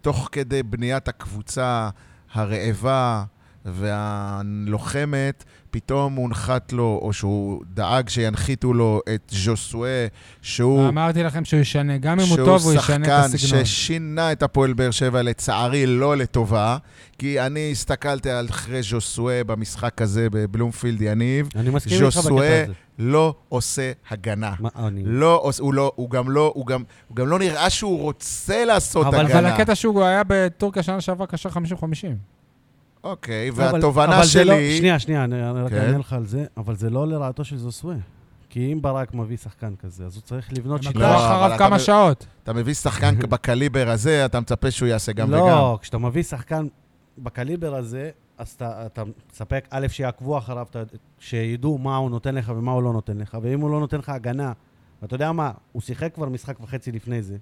C: תוך כדי בניית הקבוצה הרעבה והלוחמת, פתאום הונחת לו, או שהוא דאג שינחיתו לו את ז'וסואה, שהוא...
A: אמרתי לכם שהוא ישנה, גם אם הוא טוב, הוא ישנה את
C: שהוא
A: הסגנון.
C: שחקן ששינה את הפועל באר שבע, לצערי לא לטובה, כי אני הסתכלתי על אחרי ז'וסואה במשחק הזה בבלומפילד, יניב,
B: אני מסכים איתך בקטע
C: ז'וסואה
B: הזה.
C: לא עושה הגנה.
B: מה, אני...
C: לא, עוש- הוא לא, הוא גם לא, הוא גם, הוא גם לא נראה שהוא רוצה לעשות
B: אבל-
C: הגנה.
A: אבל הקטע שהוא היה בטורקיה שנה שעברה קשר 50-50.
C: אוקיי,
B: אבל-
C: והתובנה
B: אבל זה
C: שלי...
B: לא- שנייה, שנייה, אני אני רק
C: כן.
B: אענה לך על זה, אבל זה לא לרעתו של זוסווה. כי אם ברק מביא שחקן כזה, אז הוא צריך לבנות
A: הם
B: שיטה...
A: עקבו
C: לא, אבל
A: אחריו
C: אתה
A: כמה
C: מ-
A: שעות.
C: אתה מביא שחקן בקליבר הזה, אתה מצפה שהוא יעשה גם וגם.
B: לא, כשאתה מביא שחקן בקליבר הזה, אז אתה, אתה מספק, א', שיעקבו אחריו, אתה, שידעו מה הוא נותן לך ומה הוא לא נותן לך, ואם הוא לא נותן לך הגנה, ואתה יודע מה, הוא שיחק כבר משחק וחצי לפני זה,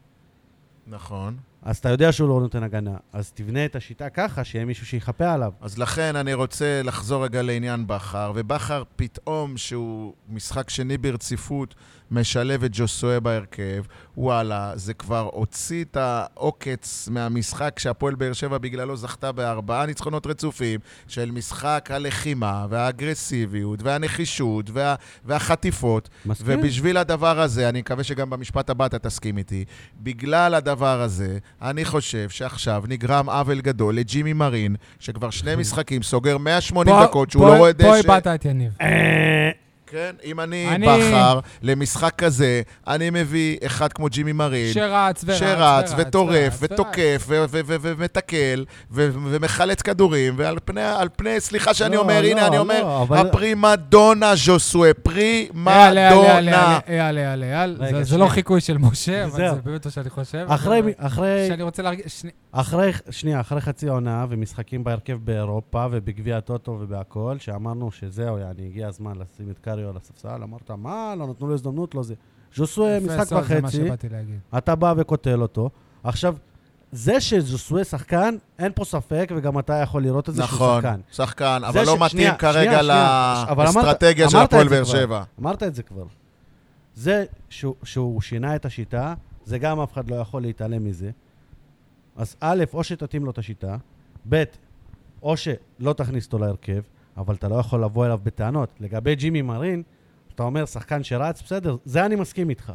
C: נכון.
B: אז אתה יודע שהוא לא נותן הגנה, אז תבנה את השיטה ככה, שיהיה מישהו שיחפה עליו.
C: אז לכן אני רוצה לחזור רגע לעניין בכר, ובכר פתאום, שהוא משחק שני ברציפות, משלב את ג'וסואה בהרכב, וואלה, זה כבר הוציא את העוקץ מהמשחק שהפועל באר שבע בגללו זכתה בארבעה ניצחונות רצופים, של משחק הלחימה, והאגרסיביות, והנחישות, וה, והחטיפות.
A: כן.
B: מסכים?
C: ובשביל הדבר הזה, אני מקווה שגם במשפט הבא אתה תסכים איתי, בגלל הדבר הזה, אני חושב שעכשיו נגרם עוול גדול לג'ימי מרין, שכבר שני משחקים סוגר 180
A: פה-
C: דקות, שהוא
A: פה-
C: לא רואה
A: פה
C: דשא.
A: איבדת את יניב.
B: אה,
C: כן, אם אני,
A: אני-
C: בכר למשחק כזה, אני מביא אחד כמו ג'ימי מרין.
A: שרץ ורץ
C: כן. שרץ
A: ורץ,
C: וטורף
A: ורץ,
C: ותוקף ו- ו- ו- ומתקל ו- ומחלץ כדורים, ועל פני, על פני, סליחה שאני
B: לא,
C: אומר,
B: לא,
C: הנה, אני
B: לא,
C: אומר,
B: אבל-
C: הפרימדונה ז'וסואה, פרימדונה.
A: אייל, אייל, אייל, אייל, אייל, אייל,
B: רגע,
A: זה- זה
B: שנייה.
A: לא חיקוי של משה, אבל
B: זהו.
A: זה באמת מה שאני חושב.
B: אחרי,
A: אבל-
B: אחרי,
A: שאני רוצה להרגיש... שני-
B: אחרי, שנייה, אחרי חצי עונה ומשחקים בהרכב באירופה ובגביע הטוטו ובהכול, שאמרנו שזהו, יעני, הגיע הזמן לשים את קריו על הספסל, אמרת, מה, לא נתנו לו הזדמנות, לא זה. ז'וסווה,
A: יפה,
B: משחק
A: סול, זה מה
B: וחצי,
A: שבאתי להגיד.
B: אתה בא וקוטל אותו. עכשיו, זה שז'וסווה שחקן, אין פה ספק, וגם אתה יכול לראות את זה שהוא
C: נכון,
B: שחקן.
C: שחקן,
B: זה
C: אבל לא
B: ש-
C: מתאים
B: שנייה, שנייה,
C: כרגע
B: שנייה. אבל אמרת-
C: לאסטרטגיה של
B: אמרת את
C: הפועל
B: זה
C: באר
B: כבר.
C: שבע.
B: אמרת את זה כבר. זה שהוא, שהוא שינה את השיטה, זה גם אף אחד לא יכול להתעלם מזה. אז א', או שתתאים לו את השיטה, ב', או שלא תכניס אותו להרכב, אבל אתה לא יכול לבוא אליו בטענות. לגבי ג'ימי מרין, אתה אומר, שחקן שרץ, בסדר, זה אני מסכים איתך.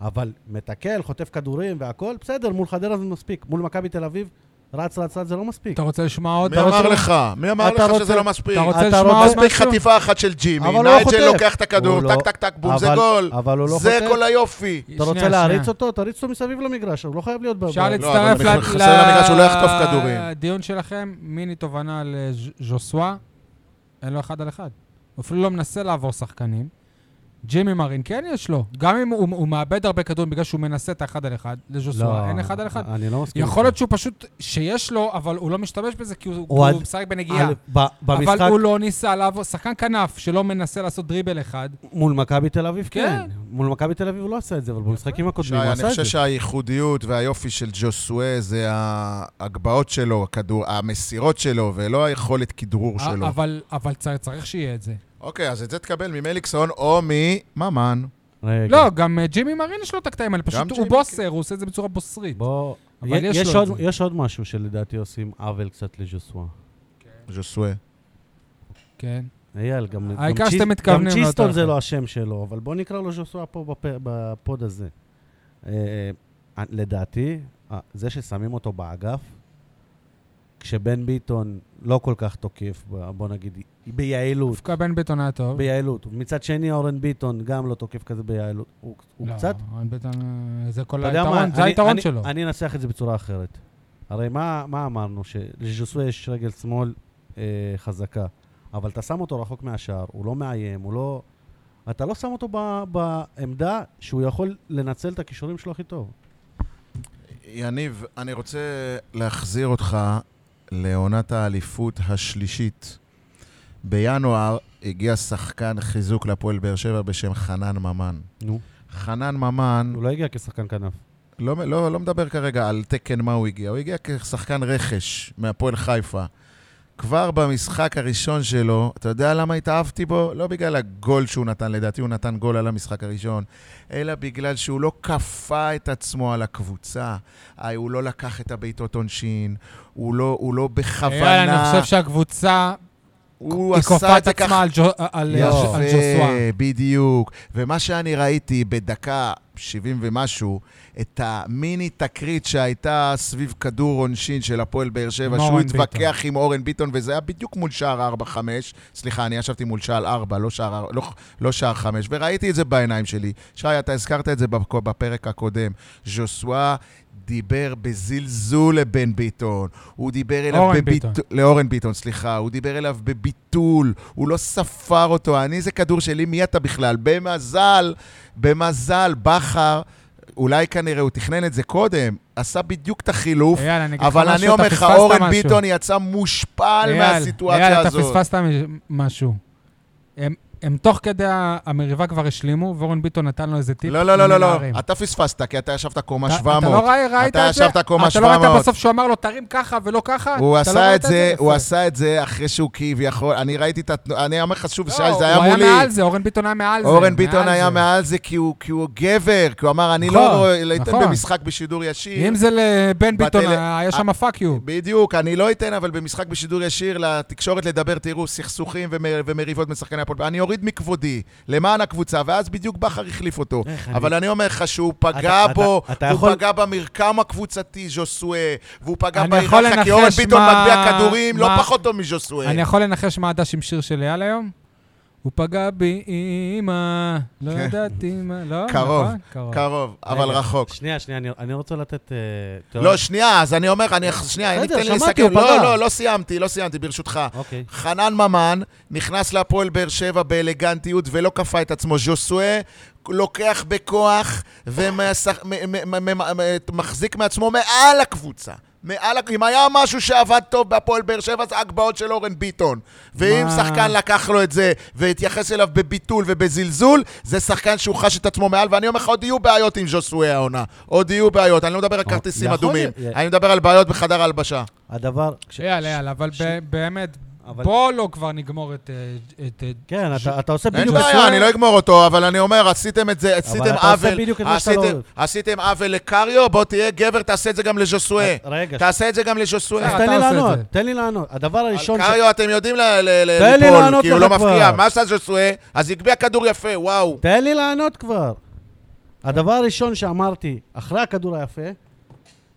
B: אבל מתקל, חוטף כדורים והכול, בסדר, מול חדרה זה מספיק. מול מכבי תל אביב, רץ, רץ, רץ, זה לא מספיק.
A: אתה רוצה לשמוע עוד?
C: מי
A: אתה
C: אמר
A: רוצה-
C: לך? מי אמר
B: לא- אתה
C: לך שזה
B: רוצה-
C: לא מספיק?
A: אתה רוצה לשמוע
B: אתה רוצה-
A: עוד
C: מספיק
A: משהו?
C: חטיפה אחת של ג'ימי,
B: אבל הוא לא
C: נייג'ל
B: חוטף.
C: לוקח את הכדור,
B: הוא לא-
C: טק טק טק בום, זה
B: אבל-
C: גול.
B: אבל הוא לא
C: זה
B: חוטף.
C: כל היופי.
B: אתה רוצה
A: שנייה,
B: להריץ
A: שנייה.
B: אותו? תריץ אותו מסביב למגרש, הוא לא חייב להיות ב...
A: אפשר
B: ב-
A: להצטרף
C: אבל מחסר למגרש, הוא לא יחטוף כדורים.
A: לדיון שלכם, מיני תובנה לז'וסווה, אין לו אחד על אחד. הוא אפילו לא מנסה לעבור שחקנים. ג'ימי מרין, כן יש לו. גם אם הוא הוא מאבד הרבה כדורים בגלל שהוא מנסה את האחד על אחד, לז'וסווה אין אחד על אחד.
B: לא, אני לא מסכים.
A: יכול להיות שהוא פשוט, שיש לו, אבל הוא לא משתמש בזה כי הוא-
B: הוא
A: הוא
B: עד-
A: משחק בנגיעה.
B: במשחק
A: אבל הוא לא ניסה לעבור, שחקן כנף שלא מנסה לעשות דריבל אחד.
B: מול מכבי תל אביב, כן.
A: לא- כן.
B: מול מכבי תל אביב הוא לא עשה את זה, אבל במשחקים
C: שי,
B: הקודמים הוא
C: אני
B: עשה את
C: חושב
B: זה.
C: שהייחודיות והיופי של ג'וסואה זה ההגבהות שלו, הכדור, המסירות שלו, ולא היכולת כדרור שלו.
A: אבל- אבל צריך- צריך שיהיה את זה.
C: אוקיי, אז את זה תקבל ממליקסון או מממן.
B: רגע,
A: לא, גם אה, ג'ימי מרין יש לו את הקטעים האלה, פשוט הוא
C: ג'ימי,
A: בוסר, הוא עושה את זה בצורה בוסרית.
B: בוא...
A: אבל
B: י-
A: יש
B: יש
A: לו
B: עוד-
A: את זה.
B: יש עוד משהו שלדעתי עושים עוול קצת לז'וסווה.
C: ז'וסואה.
A: כן.
B: אייל, גם גם
A: העיקר
B: צ'יס-
A: שאתם מתכוונים
B: גם צ'יסטון
A: לאותו
B: זה
A: אחד.
B: לא השם שלו, אבל בוא נקרא לו ז'וסואה פה בפ- בפוד הזה. אה, אה, לדעתי, אה, זה ששמים אותו באגף, כשבן ביטון לא כל כך תוקף, ב- בוא נגיד, ביעילות.
A: דווקא בן ביטון היה טוב.
B: ביעילות. מצד שני, אורן ביטון גם לא תוקף כזה ביעילות. הוא, הוא
A: לא,
B: קצת...
A: רן ביטון, אה, זה כל
B: אתה יודע
A: היתרון,
B: מה,
A: זה
B: אני-
A: היתרון
B: אני-
A: שלו.
B: אני אנסח את זה בצורה אחרת. הרי מה, מה אמרנו? שלז'וסווה יש רגל שמאל אה, חזקה, אבל אתה שם אותו רחוק מהשער, הוא לא מאיים, הוא לא... אתה לא שם אותו ב, בעמדה שהוא יכול לנצל את הכישורים שלו הכי טוב.
C: יניב, אני רוצה להחזיר אותך לעונת האליפות השלישית. בינואר הגיע שחקן חיזוק לפועל באר שבע בשם חנן ממן.
B: נו.
C: חנן ממן,
B: הוא לא הגיע כשחקן כנף.
C: לא, לא, לא מדבר כרגע על תקן מה הוא הגיע, הוא הגיע כשחקן רכש מהפועל חיפה. כבר במשחק הראשון שלו, אתה יודע למה התאהבתי בו? לא בגלל הגול שהוא נתן, לדעתי הוא נתן גול על המשחק הראשון, אלא בגלל שהוא לא כפה את עצמו על הקבוצה. אה, הוא לא לקח את הבעיטות עונשין, הוא לא, הוא לא
A: אייל, אה, אני
C: בכוונה,
A: חושב שהקבוצה,
C: הוא
A: היא
C: עשה
A: כופה
C: את
A: את
C: זה ככה.
A: עצמה על ג'ו- על- על
B: יפה.
A: ג'וסווה.
C: בדיוק. ומה שאני ראיתי בדקה 70 ומשהו, את המיני תקרית שהייתה סביב כדור עונשין של הפועל באר שבע,
A: עם
C: שהוא
A: אורן
C: התווכח עם אורן ביטון, וזה היה בדיוק מול שער 4-5. סליחה, אני ישבתי מול שער 4, לא שער, אר- לא, לא שער 5, וראיתי את זה בעיניים שלי. שי, אתה הזכרת את זה בפק- בפרק הקודם. ז'וסווה... דיבר בזלזול לבן ביטון, הוא דיבר אליו
A: אורן
C: בביט...
A: ביטון.
C: לאורן ביטון, סליחה. הוא דיבר אליו בביטול, הוא לא ספר אותו. אני, זה כדור שלי, מי אתה בכלל? במזל, במזל, בכר, אולי כנראה הוא תכנן את זה קודם, עשה בדיוק את החילוף,
A: אייל, אני אגיד לך
C: אבל אני
A: משהו, אתה
C: אומר לך,
A: פספסת
C: אורן
A: משהו.
C: ביטון יצא מושפל
A: אייל,
C: מהסיטואציה
A: אייל, אתה
C: הזאת.
A: פספסת מ- משהו. הם- הם תוך כדי ה- המריבה כבר השלימו, ואורן ביטון נתן לו איזה טיפ.
C: לא, לא, לא, לא, לא,
A: לנערים.
C: אתה פספסת, כי אתה ישבת קומה
A: אתה-
C: 700.
A: אתה לא ראה- ראית
C: אתה
A: את זה?
C: ישבת קומה
A: אתה לא
C: 700.
A: ראית בסוף שהוא אמר לו, תרים ככה ולא ככה?
C: הוא
A: אתה לא ראית
C: עשה את זה, הוא
A: יפה.
C: עשה את זה אחרי שהוא כביכול, אני ראיתי את התנועה, אני אומר לך שוב, שי,
A: לא,
C: זה היה מולי.
A: הוא היה מעל זה, אורן ביטון היה מעל זה.
C: אורן ביטון
A: מעל
C: היה
A: זה.
C: מעל זה כי הוא, כי הוא גבר, כי הוא אמר, אני
A: נכון,
C: לא רואה- לא אתן
A: נכון.
C: במשחק בשידור ישיר.
A: אם זה לבן
C: כאילו- בטל- אה,
A: ביטון, אה, היה שם פאק יו.
C: בדיוק, אני לא אתן, אבל במשחק בשידור ישיר לתקשורת לדבר, תראו, סכסוכים ומר, ומריבות משחקני הפועל. אני אוריד מכבודי, למען הקבוצה, ואז בדיוק בכר החליף אותו.
A: אה,
B: איך אני-
C: אבל אני אומר לך שהוא פגע
B: אתה-
C: בו,
B: אתה- אתה
C: הוא
B: יכול-
C: פגע במרקם הקבוצתי, ז'וסואה, והוא פגע
A: אני יכול
C: בהיררכיה, כי אורן
A: לנחש
C: ביטון
A: מה-
C: מטביע כדורים לא
A: מה-
C: פחות טוב מז'וסואה.
A: אני יכול לנחש מה הדש עם שיר של אייל היום? הוא פגע בי אימא, לא
C: כן.
A: ידעתי מה... לא,
C: קרוב,
A: נכון? קרוב.
C: קרוב, אבל
B: רגע,
C: רחוק.
B: שנייה, שנייה, אני, אני רוצה לתת... אה, תיאוריה.
C: לא, שנייה, אז אני אומר, אני... שנייה,
B: בסדר,
C: תן לי
B: שמעתי,
C: לסכם.
B: הוא
C: לא,
B: פגע.
C: לא, לא סיימתי, לא סיימתי, ברשותך.
B: אוקיי.
C: חנן ממן נכנס להפועל באר שבע באלגנטיות ולא כפה את עצמו. ז'וסואה לוקח בכוח ומחזיק מעצמו מעל הקבוצה. מעל, הק- אם היה משהו שעבד טוב בהפועל באר שבע זה הגבהות של אורן ביטון. ואם
A: מה?
C: שחקן לקח לו את זה והתייחס אליו בביטול ובזלזול, זה שחקן שהוא חש את עצמו מעל, ואני אומר לך, עוד יהיו בעיות עם ז'וסואה העונה. עוד יהיו בעיות. אני לא מדבר על כרטיסים
B: יכול
C: אדומים,
B: להיות.
C: אני מדבר על בעיות בחדר ההלבשה.
B: הדבר... כש-
A: אייל, אייל, אבל
B: ש-
A: ב- באמת,
B: אבל-
A: בוא לא כבר נגמור את, אה, את... אה,
B: כן, אתה, אתה עושה
C: אין
B: בדיוק...
C: בעיה,
B: בסדר.
C: אני לא אגמור אותו, אבל אני אומר, עשיתם את זה, עשיתם
B: אתה עושה
C: עוול,
B: בדיוק את מה שאתה לא
C: עשיתם-
B: אוהב.
C: עשיתם עוול לקריו, בוא תהיה גבר, תעשה את זה גם לז'וסואה.
B: רגע,
C: אה, תעשה את זה גם
B: אז
A: אתה
C: לז'וסואה.
B: תן לי
A: עושה את
B: לענות,
A: זה.
B: תן לי לענות. הדבר הראשון ש...
C: קריו, אתם יודעים ל- ל- ל-
B: תן לי
C: ליפול,
B: לענות
C: כי הוא
B: לך
C: לא מפקיע.
B: כבר.
C: מה עשה ז'וסואה? אז הגביה כדור יפה, וואו.
B: תן לי לענות כבר. הדבר הראשון שאמרתי, אחרי הכדור היפה,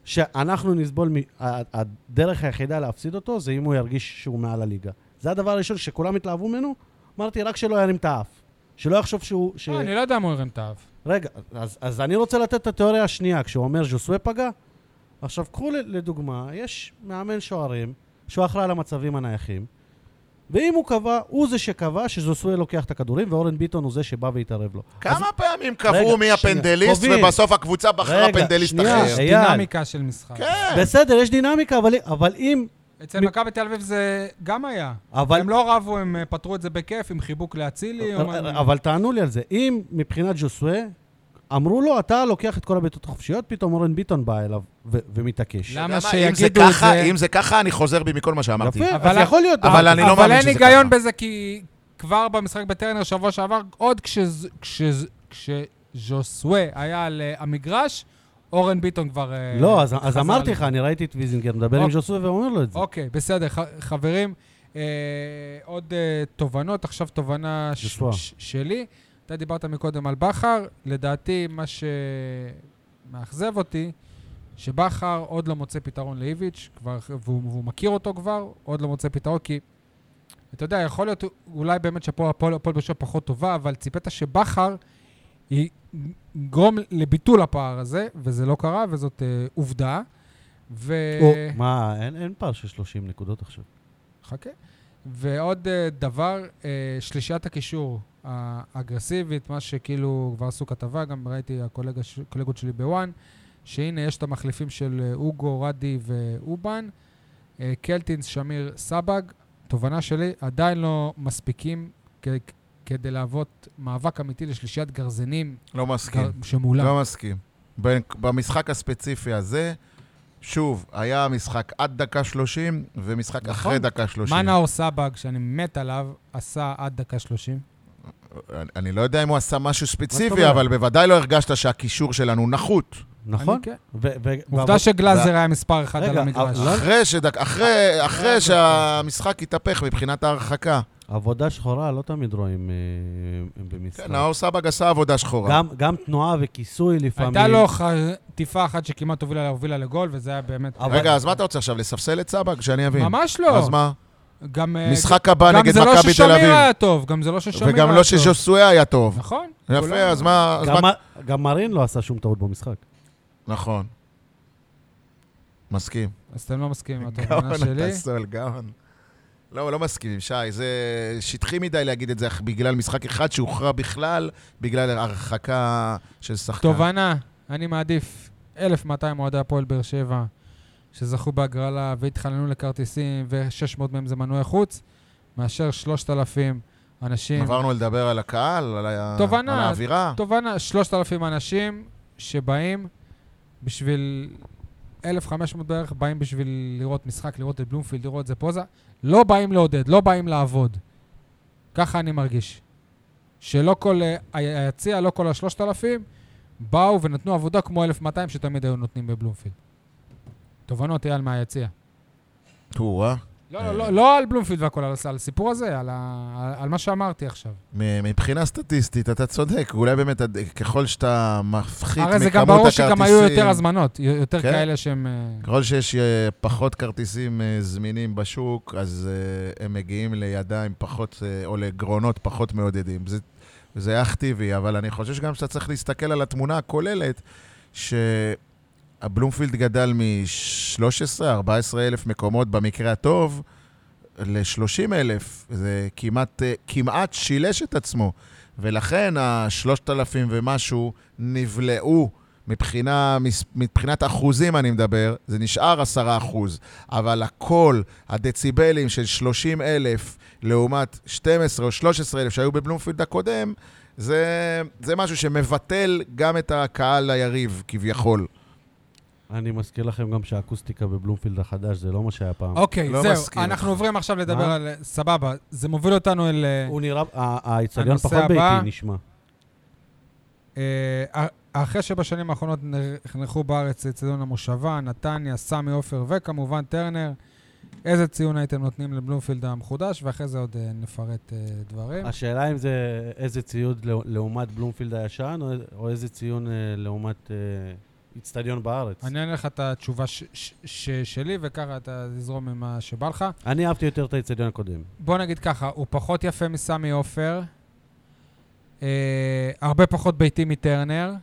B: שאנחנו נסבול, מ... ה- ה- הדרך היחידה להפסיד אותו זה אם הוא ירגיש שהוא מעל הליגה. זה הדבר הראשון שכולם התלהבו ממנו, אמרתי רק שלא ירים את האף. שלא יחשוב שהוא... ש...
C: אה,
A: לא, אני לא יודע אם הוא הרים את האף.
B: רגע, אז, אז אני רוצה לתת את התיאוריה השנייה, כשהוא אומר ז'וסווה פגע. עכשיו, קחו ל- לדוגמה, יש מאמן שוערים שהוא אחראי על המצבים הנייחים, ואם הוא קבע, הוא זה שקבע שז'וסווה לוקח את הכדורים, ואורן ביטון הוא זה שבא והתערב לו. אז-
C: כמה פעמים
B: רגע,
C: קבעו מי
B: שנייה.
C: הפנדליסט,
B: קובעים.
C: ובסוף הקבוצה בחרה
B: רגע,
C: פנדליסט
B: שנייה.
C: אחר.
B: אייל.
A: דינמיקה של משחק.
C: כן.
B: בסדר, יש דינמיקה, אבל, אבל אם...
A: אצל מכבי תל אביב זה גם היה.
B: אבל,
A: הם לא רבו, הם אה, פתרו את זה בכיף, עם חיבוק לאצילי. או מה-
B: אבל תענו לי על זה. אם מבחינת ג'וסווה, אמרו לו, אתה לוקח את כל הבעיטות החופשיות, פתאום אורן ביטון בא אליו ו- ומתעקש.
A: למה
C: למה, כן. אם זה
A: שיגידו את
C: ככה-
A: זה-
C: אם זה ככה, אני חוזר בי מכל מה שאמרתי.
B: יפה,
A: אבל-
B: אז יכול להיות. אה,
C: אבל אני לא
A: אבל
C: מאמין
A: אין
C: שזה
A: היגיון
C: ככה.
A: בזה, כי כבר במשחק בטרנר שבוע שעבר, עוד כשז- כשז- כשז'וסווה היה על אה, המגרש, אורן ביטון כבר... אה,
B: לא, אז, אז
A: חזר
B: אמרתי
A: לזה.
B: לך, אני ראיתי את ויזינגר מדבר עם
A: אוקיי.
B: ז'וסווה ואומר לו את זה.
A: אוקיי, בסדר, ח- חברים. אה, אה, עוד אה, תובנות, עכשיו תובנה ש-
B: ישוע.
A: ש- שלי. אתה דיברת מקודם על בכר, לדעתי מה שמאכזב אותי, שבכר עוד לא מוצא פתרון לאיביץ', כבר, והוא, והוא מכיר אותו כבר, עוד לא מוצא פתרון, כי אתה יודע, יכול להיות אולי באמת שפה הפועל הפועל באר שבע פחות טובה, אבל ציפית שבכר י- יגרום לביטול הפער הזה, וזה לא קרה, וזאת אה, עובדה. ו...
B: או, מה, אין- אין פער של 30 נקודות עכשיו.
A: חכה. ועוד אה, דבר, אה, שלישיית הקישור האגרסיבית, מה שכאילו כבר עשו כתבה, גם ראיתי הקולגה ש- הקולגות שלי בוואן, שהנה יש את המחליפים של אה, אוגו, רדי ואובן, אה, קלטינס, שמיר, סבג. תובנה שלי, עדיין לא מספיקים כ- כ- כדי להוות מאבק אמיתי לשלישיית גרזינים
C: לא מסכים.
A: גר- שמולה.
C: לא מסכים. בין- במשחק הספציפי הזה, שוב, היה משחק עד דקה 30 ומשחק
A: נכון.
C: אחרי דקה 30.
A: מה נאור סבג, שאני מת עליו, עשה עד דקה 30?
C: אני- אני לא יודע אם הוא עשה משהו ספציפי,
B: אומרת?
C: אבל בוודאי לא הרגשת שהקישור שלנו נחות.
B: נכון?
A: אני כן.
B: ו- ו-
A: עובדה
B: אבל-
A: שגלאזר היה מספר אחד
B: רגע,
A: על המגרש.
B: אבל-
C: אחרי, שדק, אחרי,
A: אה,
C: אחרי שהמשחק התהפך מבחינת ההרחקה.
A: כן,
B: עבודה שחורה לא תמיד רואים אה, במשחק.
A: לא,
C: כן, נאור סבג עשה עבודה שחורה.
B: גם- גם תנועה וכיסוי לפעמים.
A: הייתה לו חטיפה אחת שכמעט הובילה הובילה לגול, וזה היה באמת...
B: אבל-
C: רגע, אז מה אתה רוצה עכשיו, לספסל את סבג? שאני אבין.
A: ממש לא.
C: אז מה?
A: גם... אה,
C: משחק הבא
A: גם
C: נגד
A: זה לא
C: מכבי תל
A: ששמיר
C: אביב.
A: היה טוב, גם זה לא ששמיר היה טוב.
C: וגם לא שז'וסואה היה טוב.
A: נכון.
C: יפה,
A: כולם-
C: אז מה... אז
B: גם
C: מה-
B: מ- גם מרין לא עשה שום טעות במשחק.
C: נכון. מסכים.
A: אז אתם לא מסכימים עם התובנה
C: גאון
A: שלי.
C: אתה סול, גאון. לא, לא מסכימים, שי. זה שטחי מדי להגיד את זה בגלל משחק אחד שהוכרע בכלל, בגלל הרחקה של שחקן.
A: תובנה, אני מעדיף 1,200 אוהדי הפועל באר שבע שזכו בהגרלה והתחננו לכרטיסים, ו-600 מהם זה מנועי חוץ, מאשר 3,000 אנשים.
C: עברנו לדבר על הקהל, על ה-
A: תובנה.
C: על האווירה.
A: תובנה, 3,000 אנשים שבאים בשביל... 1,500 בערך באים בשביל לראות משחק, לראות את בלומפילד, לראות את זה פוזה. לא באים לעודד, לא באים לעבוד. ככה אני מרגיש. שלא כל... אה, ה- היציע, לא כל השלושת אלפים, באו ונתנו עבודה כמו 1,200 שתמיד היו נותנים בבלומפילד. תובנות, אייל, מהיציע.
C: טורה.
A: לא, לא,
C: אה.
A: לא, לא על בלומפילד והכל, על, על הסיפור הזה, על, ה, על מה שאמרתי עכשיו.
C: מ- מבחינה סטטיסטית, אתה צודק. אולי באמת, עד- ככל שאתה מפחית מכמות
A: הרי
C: הכרטיסים...
A: זה גם ברור שגם היו יותר הזמנות, י- יותר
C: כן.
A: כאלה שהם... אה,
C: ככל שיש אה, פחות כרטיסים אה, זמינים בשוק, אז אה, הם מגיעים לידיים פחות, אה, או לגרונות פחות מעודדים. זה, זה אך טבעי, אבל אני חושב שגם שאתה צריך להסתכל על התמונה הכוללת, שהבלומפילד גדל מ-13-14 אלף מקומות במקרה הטוב ל-30 אלף. זה כמעט, אה, כמעט שילש את עצמו. ולכן ה-3,000 ומשהו נבלעו. מבחינה, מס- מבחינת אחוזים אני מדבר, זה נשאר 10 אחוז, אבל הכל, הדציבלים של 30 אלף לעומת 12 או 13 אלף שהיו בבלומפילד הקודם, זה, זה משהו שמבטל גם את הקהל היריב, כביכול.
B: אני מזכיר לכם גם שהאקוסטיקה בבלומפילד החדש זה לא מה שהיה פעם.
A: אוקיי,
C: לא מסכים
A: זהו,
C: איתך.
A: אנחנו עוברים עכשיו לדבר
B: מה?
A: על... אה, סבבה, זה מוביל אותנו אל... אה,
B: הוא נראה, ה- האיצטדיון
A: הנושא
B: פחות
A: הבא-
B: ביתי נשמע.
A: אה, אחרי שבשנים האחרונות נחנכו בארץ אצטדיון המושבה, נתניה, סמי עופר וכמובן טרנר, איזה ציון הייתם נותנים לבלומפילד המחודש, ואחרי זה עוד אה, נפרט אה, דברים.
B: השאלה אם זה איזה ציוד לא- לעומת בלומפילד הישן, או- או איזה ציון אה, לעומת אה, איצטדיון בארץ.
A: אני אענה לך את התשובה ש- ש- ש- שלי, וככה אתה תזרום עם מה שבא לך.
B: אני אהבתי יותר את האיצטדיון הקודם.
A: בוא נגיד ככה, הוא פחות יפה מסמי עופר, אה, הרבה פחות ביתי מטרנר,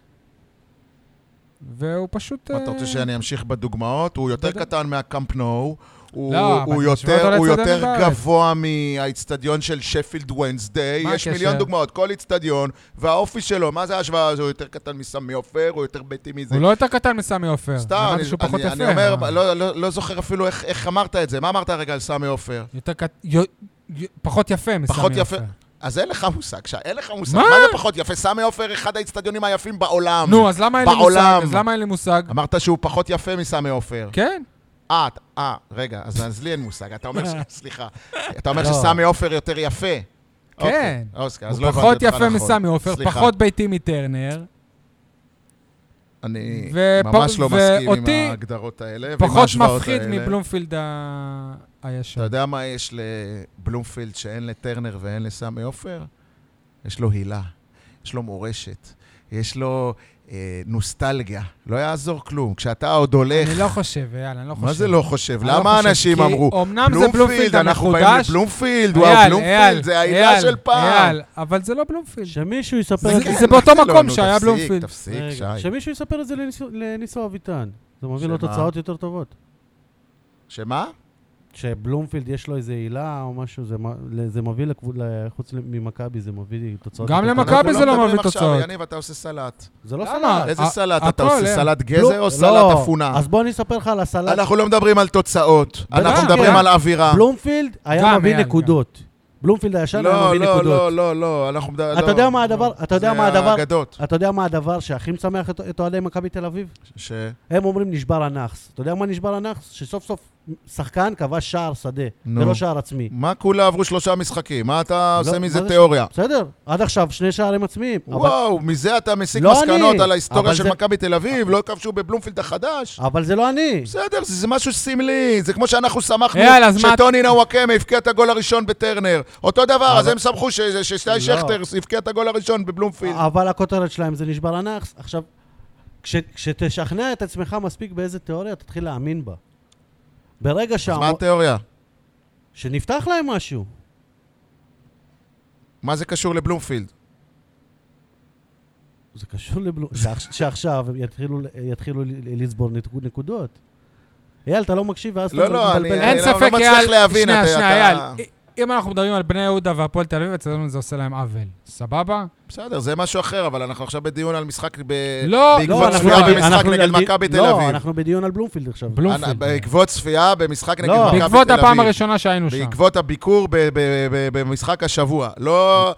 A: והוא פשוט...
C: מה, אתה רוצה
A: אה,
C: שאני אמשיך בדוגמאות? הוא יותר
A: בטח.
C: קטן מהקאמפ נו, הוא,
A: לא, אבל
C: הוא
A: אתה משווה
C: יותר,
A: אותו
C: הוא
A: לאצטדיון
C: יותר
A: בארץ.
C: גבוה מהאיצטדיון של שפילד ווינסדיי,
A: מה
C: יש
A: הקשר?
C: מיליון דוגמאות, כל איצטדיון, והאופי שלו, מה זה ההשוואה הזו? הוא יותר קטן מסמי עופר, הוא יותר ביתי מזה.
A: הוא לא יותר קטן מסמי עופר.
C: סתם,
A: אמרתי
C: אני,
A: שהוא פחות יפה.
C: אני, אני אומר,
A: אבל-
C: לא, לא, לא זוכר אפילו איך, איך אמרת את זה. מה אמרת הרגע על סמי עופר?
A: יותר קט... י... י... פחות יפה מסמי
C: פחות יפה.
A: עופר.
C: אז אין לך מושג, שי, אין לך מושג.
A: מה?
C: מה, זה פחות יפה? סמי עופר, אחד האיצטדיונים היפים בעולם.
A: נו, אז למה אין לי מושג?
C: אמ- בעולם. אמ-
A: אז למה אין לי מושג?
C: אמרת שהוא פחות יפה מסמי עופר.
A: כן.
C: אה, אתה- אה, רגע, אז אז לי אין מושג. אתה אומר ש... סליחה. אתה אומר
B: לא.
C: שסמי עופר יותר יפה. אוקיי, אוסקר, אז
A: כן. הוא
C: לא הבנתי
A: פחות
C: אותך
A: יפה
C: נכון.
A: מסמי עופר,
C: סליחה.
A: פחות ביתי מטרנר.
C: אני
A: ופ-
C: ממש לא מסכים עם
A: ואותי
C: ההגדרות האלה ועם
A: פחות
C: ההשוואות
A: מפחיד
C: האלה.
A: מבלומפילד ה- הישן.
C: אתה יודע מה יש לבלומפילד שאין לטרנר ואין לסמי עופר? יש לו הילה, יש לו מורשת, יש לו אה, נוסטלגיה. לא יעזור כלום. כשאתה עוד הולך...
A: אני לא חושב, יאללה, אני לא חושב.
C: מה זה לא חושב?
A: אני לא
C: למה
A: חושב,
C: אנשים
A: כי
C: אמרו,
A: אמנם זה בלומפילד
C: אנחנו באים
A: המחודש.
C: לבלומפילד, וואו, בלומפילד, זה העילה
A: אייל,
C: של פעם.
A: אייל, אבל זה לא בלומפילד.
B: שמישהו יספר
A: זה
B: את
A: כן,
B: זה.
A: זה באותו
C: מה
A: מקום
C: נו,
A: שהיה
C: תפסיק,
A: בלומפילד.
C: תפסיק,
B: רגע,
C: שי.
B: שמישהו יספר את זה לניסו- לניסו אביטן. זה מביא לו
C: שמה?
B: תוצאות יותר טובות.
C: שמה?
B: שבלומפילד יש לו איזה עילה או משהו, זה מ- זה מביא לקבוצה, חוץ ממכבי, זה מביא תוצאות.
A: גם
B: יותר
A: למכבי
B: טובות.
C: אנחנו
A: זה לא
C: מדברים
A: מביא
C: עכשיו,
A: תוצאות.
C: יניב, אתה עושה סלט.
B: זה לא
A: למה?
B: סלט.
C: איזה
A: ה-
C: סלט אתה
A: הכל,
C: עושה?
A: אה.
C: סלט
B: בלו-
C: גזר או
B: לא,
C: סלט אפונה?
B: אז בוא אני אספר לך על הסלט.
C: אנחנו לא מדברים על תוצאות, אנחנו
B: בטח,
C: מדברים
B: כן.
C: על אווירה.
B: בלומפילד היה
A: גם,
B: מביא
A: אייל,
B: נקודות. בלומפילד הישן היה
C: לא,
B: מביא
C: לא,
B: נקודות.
C: לא, לא, לא, אנחנו מדברים...
B: אתה יודע מה הדבר, אתה יודע מה
C: זה
B: הדבר,
C: האגדות.
B: אתה יודע מה הדבר שהכי משמח את- את אוהדי מכבי תל אביב?
C: ש...
B: הם אומרים נשבר הנאחס. אתה יודע מה נשבר הנאחס? שסוף סוף שחקן כבש שער שדה,
C: נו.
B: ולא שער עצמי.
C: מה כולה עברו שלושה משחקים? מה אתה
B: לא,
C: עושה מזה
B: מה זה-
C: תיאוריה?
B: בסדר, עד עכשיו שני שערים עצמיים. אבל-
C: וואו, מזה אתה מסיק
B: לא
C: מסקנות
B: אני,
C: על ההיסטוריה
B: אבל
C: של
B: זה-
C: מכבי תל אביב? לא כבשו בבלומפילד החדש?
B: אבל זה לא אני.
C: בסדר, זה זה משהו סמלי, זה כמו שאנחנו שמחנו
A: יאללה, אז מה-
C: שטוני נוואקמה הבקיע את הגול הראשון בטרנר. אותו דבר, אז הם שמחו ש- ש-
B: לא. אה,
C: ששי שכטר הבקיע את הגול הראשון בבלומפילד.
B: אבל הכותרת שלהם זה נשבר הנאחס. עכשיו, כש- כשתשכנע את עצמך מספיק באיזה תיאוריה, תתחיל להאמין בה. ברגע
C: אז מה
B: שהמ-
C: התיאוריה?
B: שנפתח להם משהו.
C: מה זה קשור לבלומפילד?
B: זה קשור לבלו... שעכ- שעכשיו הם יתחילו, יתחילו ל- לצבור נק- נקודות. אייל, אתה לא מקשיב ואז
C: לא,
B: אתה
C: לא,
B: מבלבל.
C: אני
A: אין
C: לא-
A: ספק,
C: לא מצליח
A: אייל,
C: להבין,
A: שנייה,
C: אתה-
A: שנייה,
C: אתה-
A: אייל, אם אנחנו מדברים על בני יהודה והפועל תל אביב, אצלנו זה עושה להם עוול. סבבה?
C: בסדר, זה משהו אחר, אבל אנחנו עכשיו בדיון על משחק ב...
A: לא,
C: בעקבות
B: אנחנו-
C: צפייה
B: אנחנו-
C: במשחק
B: אנחנו-
C: נגד
B: אנחנו-
C: מכבי תל
B: לא,
C: אביב.
B: אנחנו בדיון על בלומפילד עכשיו.
C: אנ-
A: בלומפילד.
C: בעקבות צפייה במשחק נגד
B: לא.
C: מכבי תל אביב.
A: בעקבות הפעם הראשונה שהיינו שם.
C: בעקבות הביקור ב- ב- ב- במשחק השבוע. לא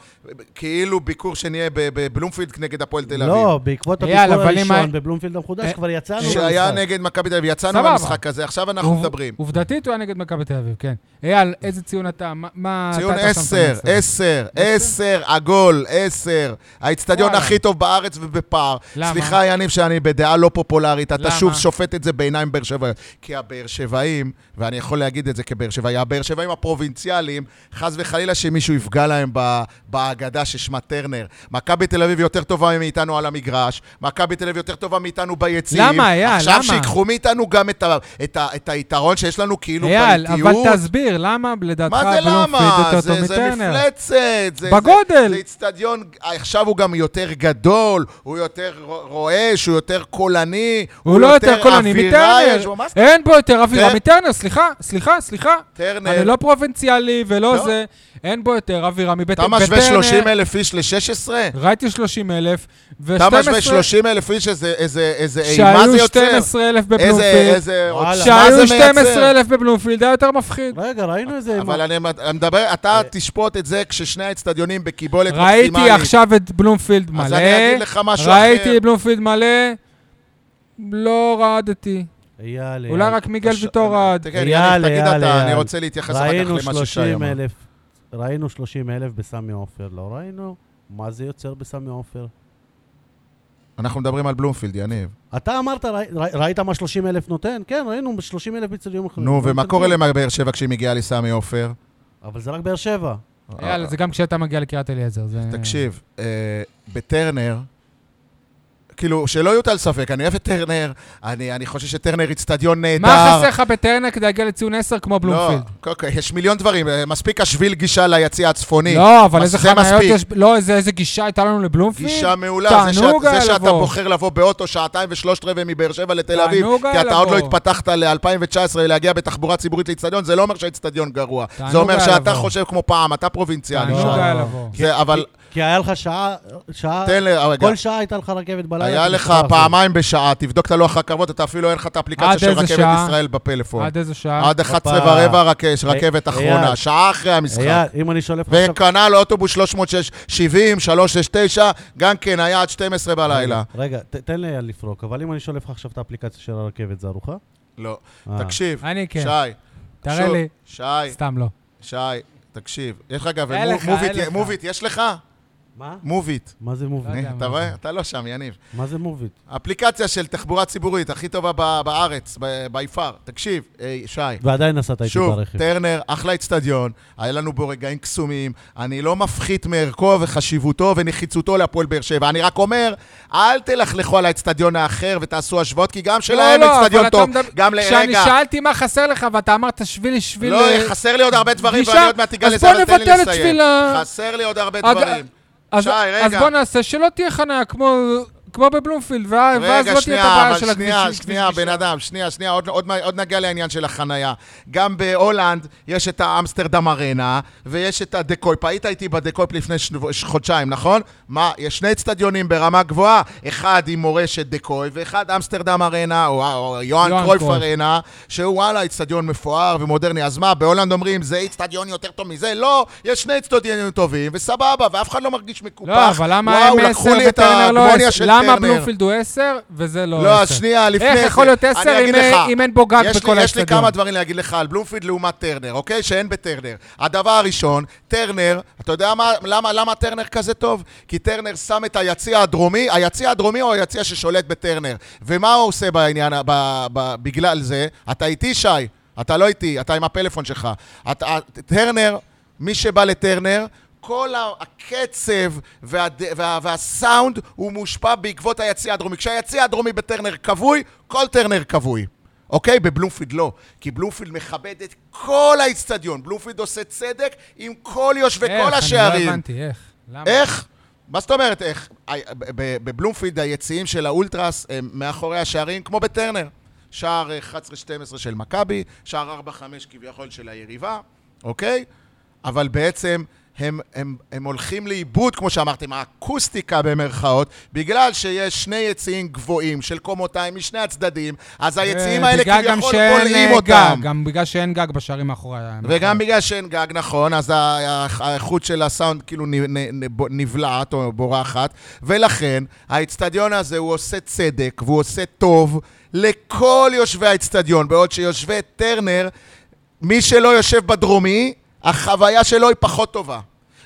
C: כאילו ביקור שנהיה ב- בבלומפילד נגד הפועל תל אביב.
B: לא, בעקבות
A: אייל,
B: הביקור
A: אבל אם
B: הראשון
A: ה-
B: בבלומפילד המחודש
A: אה,
B: כבר יצאנו
C: שהיה
B: מהמשחק.
C: נגד מכבי תל אביב, יצאנו
A: סבבה.
C: מהמשחק הזה, עכשיו אנחנו
A: עוב-
C: מדברים.
A: עובדתית הוא היה נגד מכבי תל אביב, כן. אייל, איזה ציון אתה? מה- מה...
C: ציון
A: אתה- אתה שם את
C: 10,
A: המסר?
C: 10, 10, עגול, 10. האיצטדיון
A: וואלה.
C: הכי טוב בארץ ובפער.
A: למה?
C: סליחה, יניב, שאני בדעה לא פופולרית, אתה
A: למה?
C: שוב שופט את זה בעיניים באר שבעיות. כי הבאר שבעים, ואני יכול להגיד את זה כבאר שבעי, הבאר שבעים הפרובינציאליים, חס וחלילה שמישהו יפגע להם ב- בהגדה ששמה טרנר. מכבי תל אביב יותר טובה מאיתנו על המגרש, מכבי תל אביב יותר טובה מאיתנו ביציעים.
A: למה, אייל?
C: עכשיו
A: למה?
C: שיקחו מאיתנו גם את, ה- את, ה- את היתרון שיש לנו כאילו
A: אייל, אבל
C: באיטיות.
A: תסביר, למה לדעתך
C: מה זה
A: בלומפילד
C: למה?
A: יותר טוב
C: זה, זה
A: מטרנר?
C: מפלצת. זה, זה,
A: בגודל.
C: זה איצטדיון, עכשיו הוא גם יותר גדול, הוא יותר ר- רועש, הוא יותר קולני.
A: הוא לא יותר קולני
C: אווירה יש
A: מטרנר.
C: בו, מה זה?
A: אין בו יותר אווירה
C: טר-
A: מטרנר, סליחה, סליחה, סליחה.
C: טרנר,
A: אני לא פרובינציאלי ולא
C: לא.
A: זה. אין בו יותר אווירה מבית...
C: אתה משווה
A: וטרנר-
C: 30 אלף איש ל-16?
A: ראיתי 30 אלף, ו-12...
C: אתה משווה 30 אלף איש, איזה- איזה איזה אימה זה
A: שהיו
C: יוצר?
A: 12 אלף
C: איזה,
A: בבלומפילד.
C: איזה,
B: וואלה.
C: מה זה
A: שהיו
C: מייצר?
A: 12 אלף בבלומפילד, היה יותר מפחיד.
B: רגע, ראינו איזה...
C: אבל אני אני מדבר,
B: אה.
C: אתה תשפוט את זה כששני האצטדיונים בקיבולת מקסימלית.
A: ראיתי עכשיו את בלומפילד מלא.
C: אז אני אגיד לך משהו
A: ראיתי
C: אחר.
A: את בלומפילד מלא, לא רעדתי.
B: אייל, אייל.
A: אולי רק מיגל
C: הש-
A: ויטור רעד.
C: תגיד,
B: אייל,
C: יניב, תגיד
B: אייל,
C: אתה, אני
B: אייל.
C: רוצה להתייחס אחר כך
B: ראינו
C: למה ששי
B: 30
C: אמר.
B: אלף, ראינו 30 אלף בסמי עופר, לא ראינו מה זה יוצר בסמי עופר.
C: אנחנו מדברים על בלומפילד, יניב.
A: כן,
B: אתה אמרת, ראי- ראי- ראית מה 30 אלף נותן? כן, ראינו 30 אלף בצדיונים
A: כן,
B: אחרים.
C: נו,
B: לא
C: ומה
B: נותן
C: קורה
B: כלום.
C: לבאר שבע כשהיא מגיעה לסמי עופר?
B: אבל זה רק באר שבע.
A: אה, יאללה, זה גם כשאתה מגיע לקריית אליעזר. זה-
C: תקשיב, אה, בטרנר, כאילו, שלא יוטל ספק, אני אוהב את טרנר, אני אני חושב שטרנר איצטדיון נהדר.
A: מה חסר לך בטרנר כדי להגיע לציון 10 כמו בלומפילד?
C: לא, אוקיי, יש מיליון דברים, אה, מספיק השביל גישה ליציע הצפוני.
A: לא, אבל איזה
C: אז זה
A: חניות
C: מספיק.
A: יש... לא, איזה איזה גישה הייתה לנו לבלומפילד? לא,
C: גישה מעולה, זה, שאת,
A: תענוג היה
C: זה שאתה
A: לבוא.
C: בוחר לבוא באוטו שעתיים ושלושת רבעי מבאר שבע לתל אביב,
A: תענוג
C: כי
A: היה
C: אתה עוד לא
A: לבוא.
C: התפתחת ל-2019 להגיע בתחבורה ציבורית לאיצטדיון, זה לא אומר שהאיצטדיון גרוע.
A: תענוג
C: זה אומר
A: היה
C: שאתה
A: לבוא.
C: חושב כמו פעם, אתה פרובינציאלי.
A: תענוג
C: שי.
A: היה לא לבוא.
C: זה, אבל
B: כן, כי- כי היה לך שעה, שעה,
C: תן לי, רגע,
B: כל שעה הייתה לך רכבת בלילה.
C: היה
B: אתה
C: לך
B: מסתובב.
C: פעמיים בשעה, תבדוק את הלוח רכבות, אתה אפילו אין לך את האפליקציה
A: עד
C: של
A: איזה
C: רכבת
A: שעה?
C: ישראל בפלאפון.
A: עד איזה שעה?
C: עד 11
B: הופה.
C: ורבע רק יש רכבת
B: אה,
C: אחרונה,
B: אייל.
C: שעה אחרי המשחק.
B: אייל, אם אני שולף לך עכשיו...
C: וכנ"ל אוטובוס 370, 369, גם כן היה עד 12 בלילה.
B: רגע, ת- תן לי לפרוק, אבל אם אני שולף לך עכשיו את האפליקציה של הרכבת, זה ארוחה?
C: לא.
B: אה.
C: תקשיב,
A: אני כן.
C: שי.
A: תראה
C: שוב,
A: לי.
C: שי,
A: סתם לא.
C: שי, תקשיב. יש לך גם
A: אין לך,
C: מוביט,
A: אין לך. לא
C: מוביט, יש לך?
B: מה?
C: מוביט.
B: מה זה מוביט?
A: יודע
C: אתה
A: מה
C: רואה?
A: זה.
C: אתה לא שם, יניב.
B: מה זה מוביט?
C: אפליקציה של תחבורה ציבורית, הכי טובה ב- בארץ, by far. תקשיב, אה, שי.
B: ועדיין נסעת איתי
C: שוב,
B: לא ברכב.
C: טרנר, אחלה אצטדיון, היה לנו בו רגעים קסומים, אני לא מפחית מערכו וחשיבותו ונחיצותו להפועל באר שבע. אני רק אומר, אל תלכלכו על האצטדיון האחר ותעשו השוואות, כי גם שלהם
A: לא, לא,
C: אצטדיון
A: אבל
C: טוב.
A: אתה מדבר-
C: גם
A: כשאני
C: לרגע,
A: שאלתי מה חסר לך, ואתה אמרת שביל שביל...
C: לא,
A: אה,
C: חסר לי עוד הרבה דברים,
A: גישה?
C: ואני עוד מעט אגע
A: אז
C: לזה,
A: בוא
C: אבל תן לי
A: נבטל את
C: לסיים.
A: שביל ה-
C: חסר לי עוד הרבה
A: אג-
C: דברים.
A: אז,
C: שי, רגע.
A: אז בוא נעשה שלא תהיה חניה כמו, כמו בבלומפילד, ואז ואז לא תהיה את הבעיה של הכביש.
C: רגע, שנייה, אבל
A: כביש
C: שנייה, שנייה,
A: גישה.
C: בן אדם, שנייה, שנייה, עוד, לא, עוד, עוד נגיע לעניין של החנייה. גם בהולנד יש את האמסטרדם ארנה, ויש את הדקויפ. היית איתי בדקויפ לפני שנב... ש... חודשיים, נכון? מה, יש שני אצטדיונים ברמה גבוהה, אחד עם מורשת דקויפ, ואחד אמסטרדם ארנה, או, או יוהאן
A: יוהאן
C: קרויף
A: קרויף.
C: ארנה, שהוא וואלה, אצטדיון מפואר ומודרני. אז מה, בהולנד אומרים, זה אצטדיון יותר טוב מזה? לא, יש שני אצטדיונים טובים, וסבבה, ואף אחד לא מרגיש מקופח.
A: לא, אבל למה
C: וואו,
A: הם
C: לקחו
A: 10
C: לי את
A: וטרנר לא
C: ההגמוניה
A: 10?
C: של
A: למה
C: טרנר.
A: בלומפילד הוא 10 וזה לא 10?
C: לא, אז שנייה, לפני
A: איך
C: זה.
A: יכול להיות 10
C: אני
A: אם
C: אגיד
A: אין-
C: לך,
A: אם אין בו גג
C: יש לי-
A: בכל
C: יש לי
A: האצטדיון?
C: כמה דברים להגיד לך על בלומפילד לעומת טרנר, אוקיי? שאין בטרנר. הדבר הראשון, טרנר, אתה יודע מה, למה, למה טרנר כזה טוב? כי טרנר שם את היציע הדרומי, היציע הדרומי הוא היציע ששולט בטרנר. ומה הוא עושה בעניין, ה- ב, ב, בגלל זה? אתה איתי, שי? אתה לא איתי, אתה עם הפלאפון שלך. אתה, אה, טרנר, מי שבא לטרנר, כל ה- הקצב וה, וה, והסאונד הוא מושפע בעקבות היציע הדרומי. כשהיציע הדרומי בטרנר כבוי, כל טרנר כבוי. אוקיי? בבלומפילד לא. כי בלומפילד מכבד את כל האיצטדיון. בלומפילד עושה צדק עם כל יושבי
A: איך?
C: כל השערים.
A: אני לא הבנתי, איך? למה?
C: איך? מה זאת אומרת איך? הי- ב- ב- בבלומפילד היציעים של האולטרס הם מאחורי השערים כמו בטרנר. שער אה, 11-12 של מכבי, שער 4-5 כביכול של היריבה, אוקיי? אבל בעצם הם, הם, הם הולכים לאיבוד, כמו שאמרתם, האקוסטיקה במרכאות, בגלל שיש שני יציעים גבוהים של קומותיים משני הצדדים, אז היציעים האלה
A: בגלל אה, גם
C: כביכול
A: שאין,
C: בולעים
A: אה,
C: אותם.
A: גג, גם בגלל שאין גג בשערים מאחורי.
C: וגם בגלל שאין גג, נכון, אז ה- ה- האיכות של הסאונד כאילו נ- נ- נ- ב- נבלעת או בורחת, ולכן האיצטדיון הזה הוא עושה צדק והוא עושה טוב לכל יושבי האיצטדיון, בעוד שיושבי טרנר, מי שלא יושב בדרומי, החוויה שלו היא פחות טובה.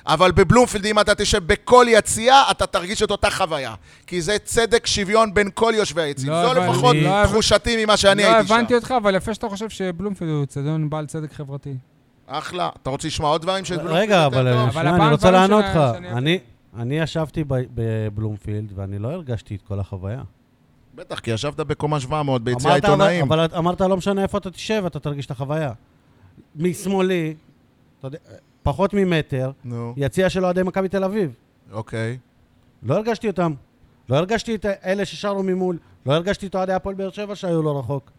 C: אבל בבלומפילד, אם אתה תשב בכל יציאה, אתה תרגיש את אותה חוויה. כי זה צדק שוויון בין כל יושבי היציאים.
A: לא,
C: זו
A: אבל
C: לפחות
A: אני- לא,
C: תחושתי ממה שאני
A: לא
C: הייתי שם.
A: הבנתי אותך, אבל יפה שאתה חושב שבלומפילד הוא אצטדיון בעל צדק חברתי.
C: אחלה. אתה רוצה לשמוע עוד דברים של בלומפילד?
B: רגע,
C: יותר טוב?
B: אבל
A: אבל
B: שנייה,
A: הפעם
B: אני רוצה
A: דברים
B: לענות
A: שאני-
B: לך.
A: שאני-
B: אני- אני ישבתי ב- בבלומפילד, ואני לא הרגשתי את כל החוויה.
C: בטח, כי ישבת בקומה 700 ביציע
B: אמרת, אבל-
C: העיתונאים.
B: אבל אמרת, לא משנה איפה אתה תשב, אתה תרגיש את החוויה. משמאלי, אתה יודע, פחות ממטר,
C: נו,
B: יציע של אוהדי מכבי תל אביב.
C: אוקיי.
B: לא הרגשתי אותם. לא הרגשתי את אלה ששרו ממול. לא הרגשתי את אוהדי הפועל באר שבע שהיו לא רחוק.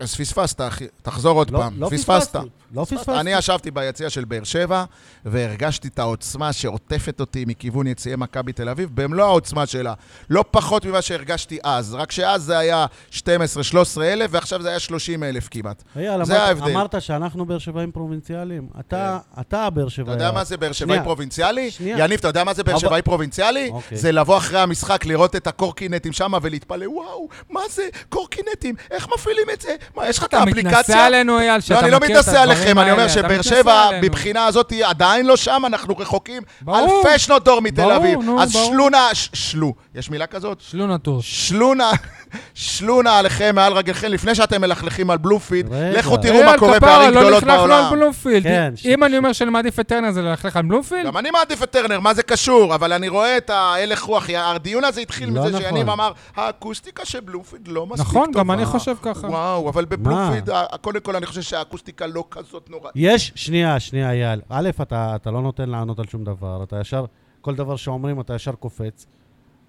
C: אז פספסת, אחי. תחזור עוד
B: לא-
C: פעם.
B: לא
C: פספסת.
B: פספסתי, לא פספסתי.
C: אני ישבתי ביציע של באר שבע, והרגשתי את העוצמה שעוטפת אותי מכיוון יציעי מכבי תל אביב, במלוא העוצמה שלה. לא פחות ממה שהרגשתי אז, רק שאז זה היה 12-13 אלף, ועכשיו זה היה 30 אלף כמעט.
B: אייל,
C: זה
B: אמרת-
C: ההבדל. כן.
B: אמרת שאנחנו באר שבעים פרובינציאליים. אתה, אתה הבאר
C: אתה
B: שבעי.
A: אה,
C: יודע מה זה באר שבעי
B: שנייה.
C: פרובינציאלי?
B: שנייה.
C: יניב, אתה יודע מה זה באר
B: אבל-
C: שבעי פרובינציאלי?
B: אוקיי.
C: זה לבוא אחרי המשחק, לראות את הקורקינטים שם ולהתפלא, וואו, מה זה קורקינטים? איך מפעילים את זה? מה, יש לך את
A: אתה מתנשא
C: האפליקציה?
A: עלינו, אייל,
C: לא,
A: שאתה
C: אני
A: מכיר את
C: לא
A: הדברים האלה.
C: מתנשא עליכם, אני אומר
A: אתה
C: שבאר
A: מתנשא
C: שבע,
A: עלינו.
C: מבחינה הזאת, היא עדיין לא שם, אנחנו רחוקים
A: ברור.
C: אלפי שנות דור מתל
A: ברור,
C: אביב.
A: נו,
C: אז
A: ברור.
C: שלונה, ש- שלו, יש מילה כזאת?
A: שלו נטור.
C: שלונה, שלונה עליכם מעל רגליכם, לפני שאתם מלכלכים על בלומפיד,
B: רגע.
C: לכו תראו מה קורה בערים
A: לא
C: גדולות
A: נפלח לא על
C: בעולם.
A: בלומפילד.
B: כן, שנייה.
A: אם אני אומר שאני מעדיף את טרנר, זה ללכלך על בלומפילד?
C: גם אני מעדיף את טרנר, מה זה קשור? אבל אני רואה את ההלך רוח, הדיון הזה התחיל
B: לא
C: מזה
B: נכון.
C: שיניב אמר, האקוסטיקה של בלומפיד לא מספיק טובה.
A: נכון, גם אני חושב ככה.
C: וואו, אבל בבלומפיד, ה- קודם כל אני חושב שהאקוסטיקה לא כזאת נוראית.
B: יש, שנייה, שנייה, אייל. א', אתה, אתה לא נותן לענות על שום דבר, אתה ישר, כל דבר שאומרים אתה ישר קופץ.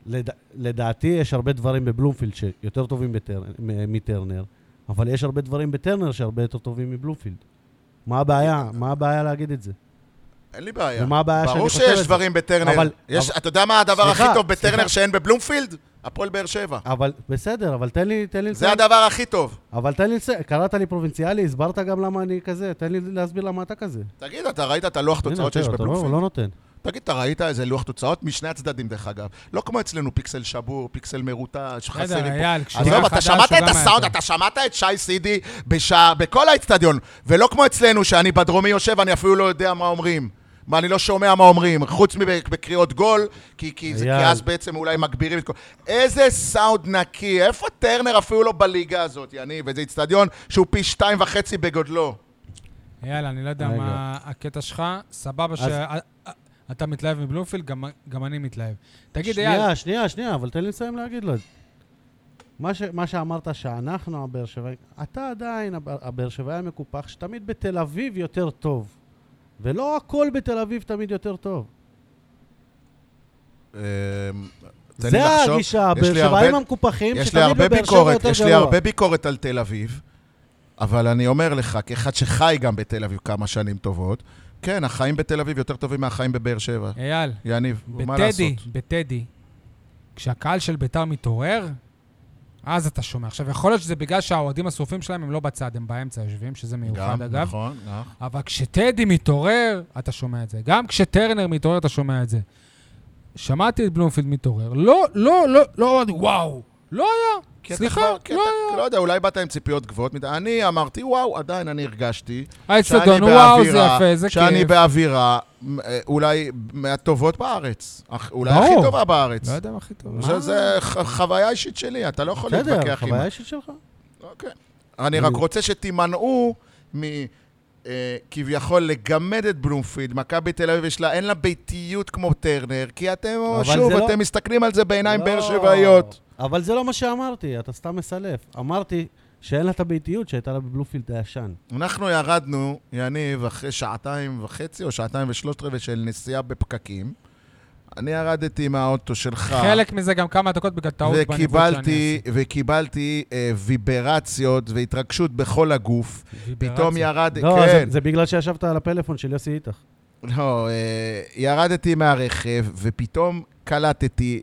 B: לד, לדעתי יש הרבה דברים בבלומפילד שיותר טובים בטר, מ- מטרנר, אבל יש הרבה דברים בטרנר שהרבה יותר טובים מבלומפילד. מה הבעיה? מה הבעיה להגיד את זה?
C: אין לי בעיה.
B: ומה הבעיה
C: ברור
B: שאני חושב
C: שיש
B: את זה?
C: דברים בטרנר.
B: אבל-
C: יש-
B: אבל-
C: אתה יודע מה הדבר הכי
B: סליחה,
C: טוב בטרנר
B: סליחה. אה,
C: שאין בבלומפילד? הפועל באר שבע.
B: אבל בסדר, אבל תן לי, תן לי
C: זה הדבר הכי טוב.
B: אבל תן לי לסיים. קראת לי פרובינציאלי, הסברת גם למה אני כזה, תן לי להסביר למה אתה כזה.
C: תגיד, אתה ראית את הלוח
B: הנה,
C: תוצאות
B: אתה-
C: שיש
B: אתה לא-
C: בבלומפילד?
B: הוא לא נותן.
C: תגיד, אתה ראית איזה לוח תוצאות? משני הצדדים, דרך אגב. לא כמו אצלנו, פיקסל שבור, פיקסל מרוטש,
A: בסדר,
C: חסרים
A: אייל,
C: פה.
A: כשהוא
C: עזוב,
A: היה
C: אתה
A: חדש,
C: שמעת
A: הוא
C: את
A: גם היה
C: הסאונד,
A: טוב.
C: אתה שמעת את שי סידי בשעה- בכל האצטדיון, ולא כמו אצלנו, שאני בדרומי יושב, אני אפילו לא יודע מה אומרים. מה, אני לא שומע מה אומרים, חוץ מבקריאות גול, כי, כי, זה, כי
B: אייל.
C: אז בעצם אולי מגבירים את כל... איזה סאונד נקי, איפה טרנר אפילו לא בליגה הזאת, יניב? וזה איצטדיון שהוא פי שתיים וחצי בגודלו.
A: יאללה, אני לא יודע
B: רגע.
A: מה הקטע שלך. סבבה שאתה מתלהב מבלומפילד, גם- גם אני מתלהב. תגיד, אייל,
B: שנייה, שנייה, שנייה, אבל תן לי לסיים להגיד לו את זה. מה, ש, מה שאמרת שאנחנו הבאר שבעים, אתה עדיין הב- הבאר שבעי המקופח, שתמיד בתל אביב יותר טוב. ולא הכל בתל אביב תמיד יותר טוב.
C: אמ, תן לי
B: זה
C: לחשוב.
B: הגישה,
C: יש לי
B: הבאר
C: הרבה-
B: שבעים המקופחים,
C: יש לי
B: שתמיד
C: הרבה
B: בבאר שבע
C: ביקורת,
B: יותר
C: יש לי
B: גרוע.
C: הרבה ביקורת על תל אביב, אבל אני אומר לך, כאחד שחי גם בתל אביב כמה שנים טובות, כן, החיים בתל אביב יותר טובים מהחיים בבאר שבע.
A: אייל,
C: יניב, מה לעשות?
A: בטדי, בטדי, כשהקהל של ביתר מתעורר, אז אתה שומע. עכשיו, יכול להיות שזה בגלל שהאוהדים השרופים שלהם הם לא בצד, הם באמצע יושבים, שזה מיוחד
C: גם,
A: אגב.
C: נכון, נכון.
A: אבל כשטדי מתעורר, אתה שומע את זה. גם כשטרנר מתעורר, אתה שומע את זה. שמעתי את בלומפילד מתעורר. לא, לא, לא, לא אמרתי, וואו, לא
C: כי
A: היה.
C: אתה
A: סליחה,
C: כבר- כי
A: לא
C: אתה- לא יודע, אולי באת עם ציפיות גבוהות מדי. אני אמרתי, וואו, עדיין אני הרגשתי.
A: היה. האצטדיון,
C: שאני
A: וואו, זה
C: באווירה-
A: יפה, זה
C: שאני
A: כיף.
C: באווירה אה, אולי מהטובות בארץ. אך- אולי הכי
A: ברור.
C: טובה בארץ.
A: לא יודע מה הכי טוב.
C: זה- זה ח- חוויה אישית שלי, אתה לא יכול
B: בסדר,
C: להתווכח עם
B: חוויה אישית שלך.
C: אוקיי. אני רק רוצה שתימנעו מ... אה, כביכול לגמד את בלומפילד, מכבי תל אביב יש לה, אין לה ביתיות כמו טרנר, כי אתם,
B: אבל
C: שוב,
B: זה לא-
C: אתם מסתכלים על זה בעיניים
B: לא.
C: באר שבעיות.
B: אבל זה לא מה שאמרתי, אתה סתם מסלף. אמרתי שאין לה את הביתיות שהייתה לה בבלופילד הישן.
C: אנחנו ירדנו, יניב, אחרי שעתיים וחצי או שעתיים ושלושת רבעי של נסיעה בפקקים. אני ירדתי מהאוטו שלך.
A: חלק מזה גם כמה דקות בגלל טעות בניווט שאני
C: וקיבלתי,
A: עשיתי.
C: וקיבלתי אה, ויברציות והתרגשות בכל הגוף. פתאום
A: ויברציה.
C: ירד...
B: לא,
C: כן.
B: זה, זה בגלל שישבת על הפלאפון של יוסי איתך.
C: לא, אה, ירדתי מהרכב, ופתאום קלטתי,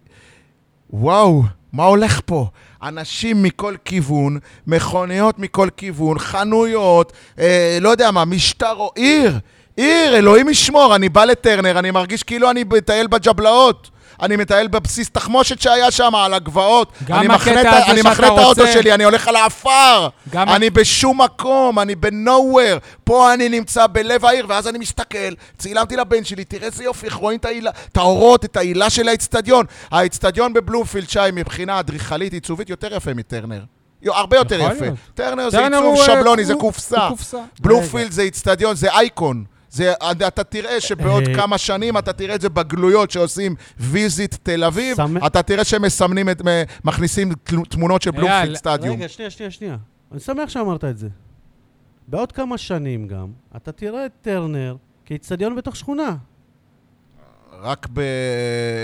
C: וואו, מה הולך פה? אנשים מכל כיוון, מכוניות מכל כיוון, חנויות, אה, לא יודע מה, משטר או עיר, עיר, אלוהים ישמור, אני בא לטרנר, אני מרגיש כאילו אני מטייל בג'בלאות. אני מטייל בבסיס תחמושת שהיה שם, על הגבעות.
A: גם
C: אני מחנה את
A: הקטע
C: ה-
A: הזה
C: אני
A: שאתה
C: מחנה את האוטו
A: רוצה-
C: שלי, אני הולך על העפר.
A: גם-
C: אני בשום מקום, אני ב-nowhere. פה אני נמצא בלב העיר, ואז אני מסתכל, צילמתי לבן שלי, תראה איזה יופי, איך רואים את ההילה- את האורות, את ההילה של האצטדיון. האצטדיון בבלומפילד, שי, מבחינה אדריכלית, עיצובית, יותר יפה מטרנר. יו, הרבה יותר
A: יכול
C: יפה.
A: להיות.
C: טרנר זה
A: טרנר
C: עיצוב
A: הוא, אה,
C: שבלוני, זה
A: הוא-
C: קופסה.
A: הוא קופסה.
C: בלומפילד זה אצטדיון, זה אייקון. זה, אתה תראה שבעוד
B: אה,
C: כמה שנים אתה תראה את זה בגלויות שעושים ויזיט תל אביב,
B: שמח-
C: אתה תראה שמסמנים את, מכניסים תל- תמונות של
A: אייל,
C: בלומפילד סטדיום.
B: רגע, שנייה, שנייה, שנייה. אני שמח שאמרת את זה. בעוד כמה שנים גם, אתה תראה את טרנר כאיצטדיון בתוך שכונה.
C: רק ב-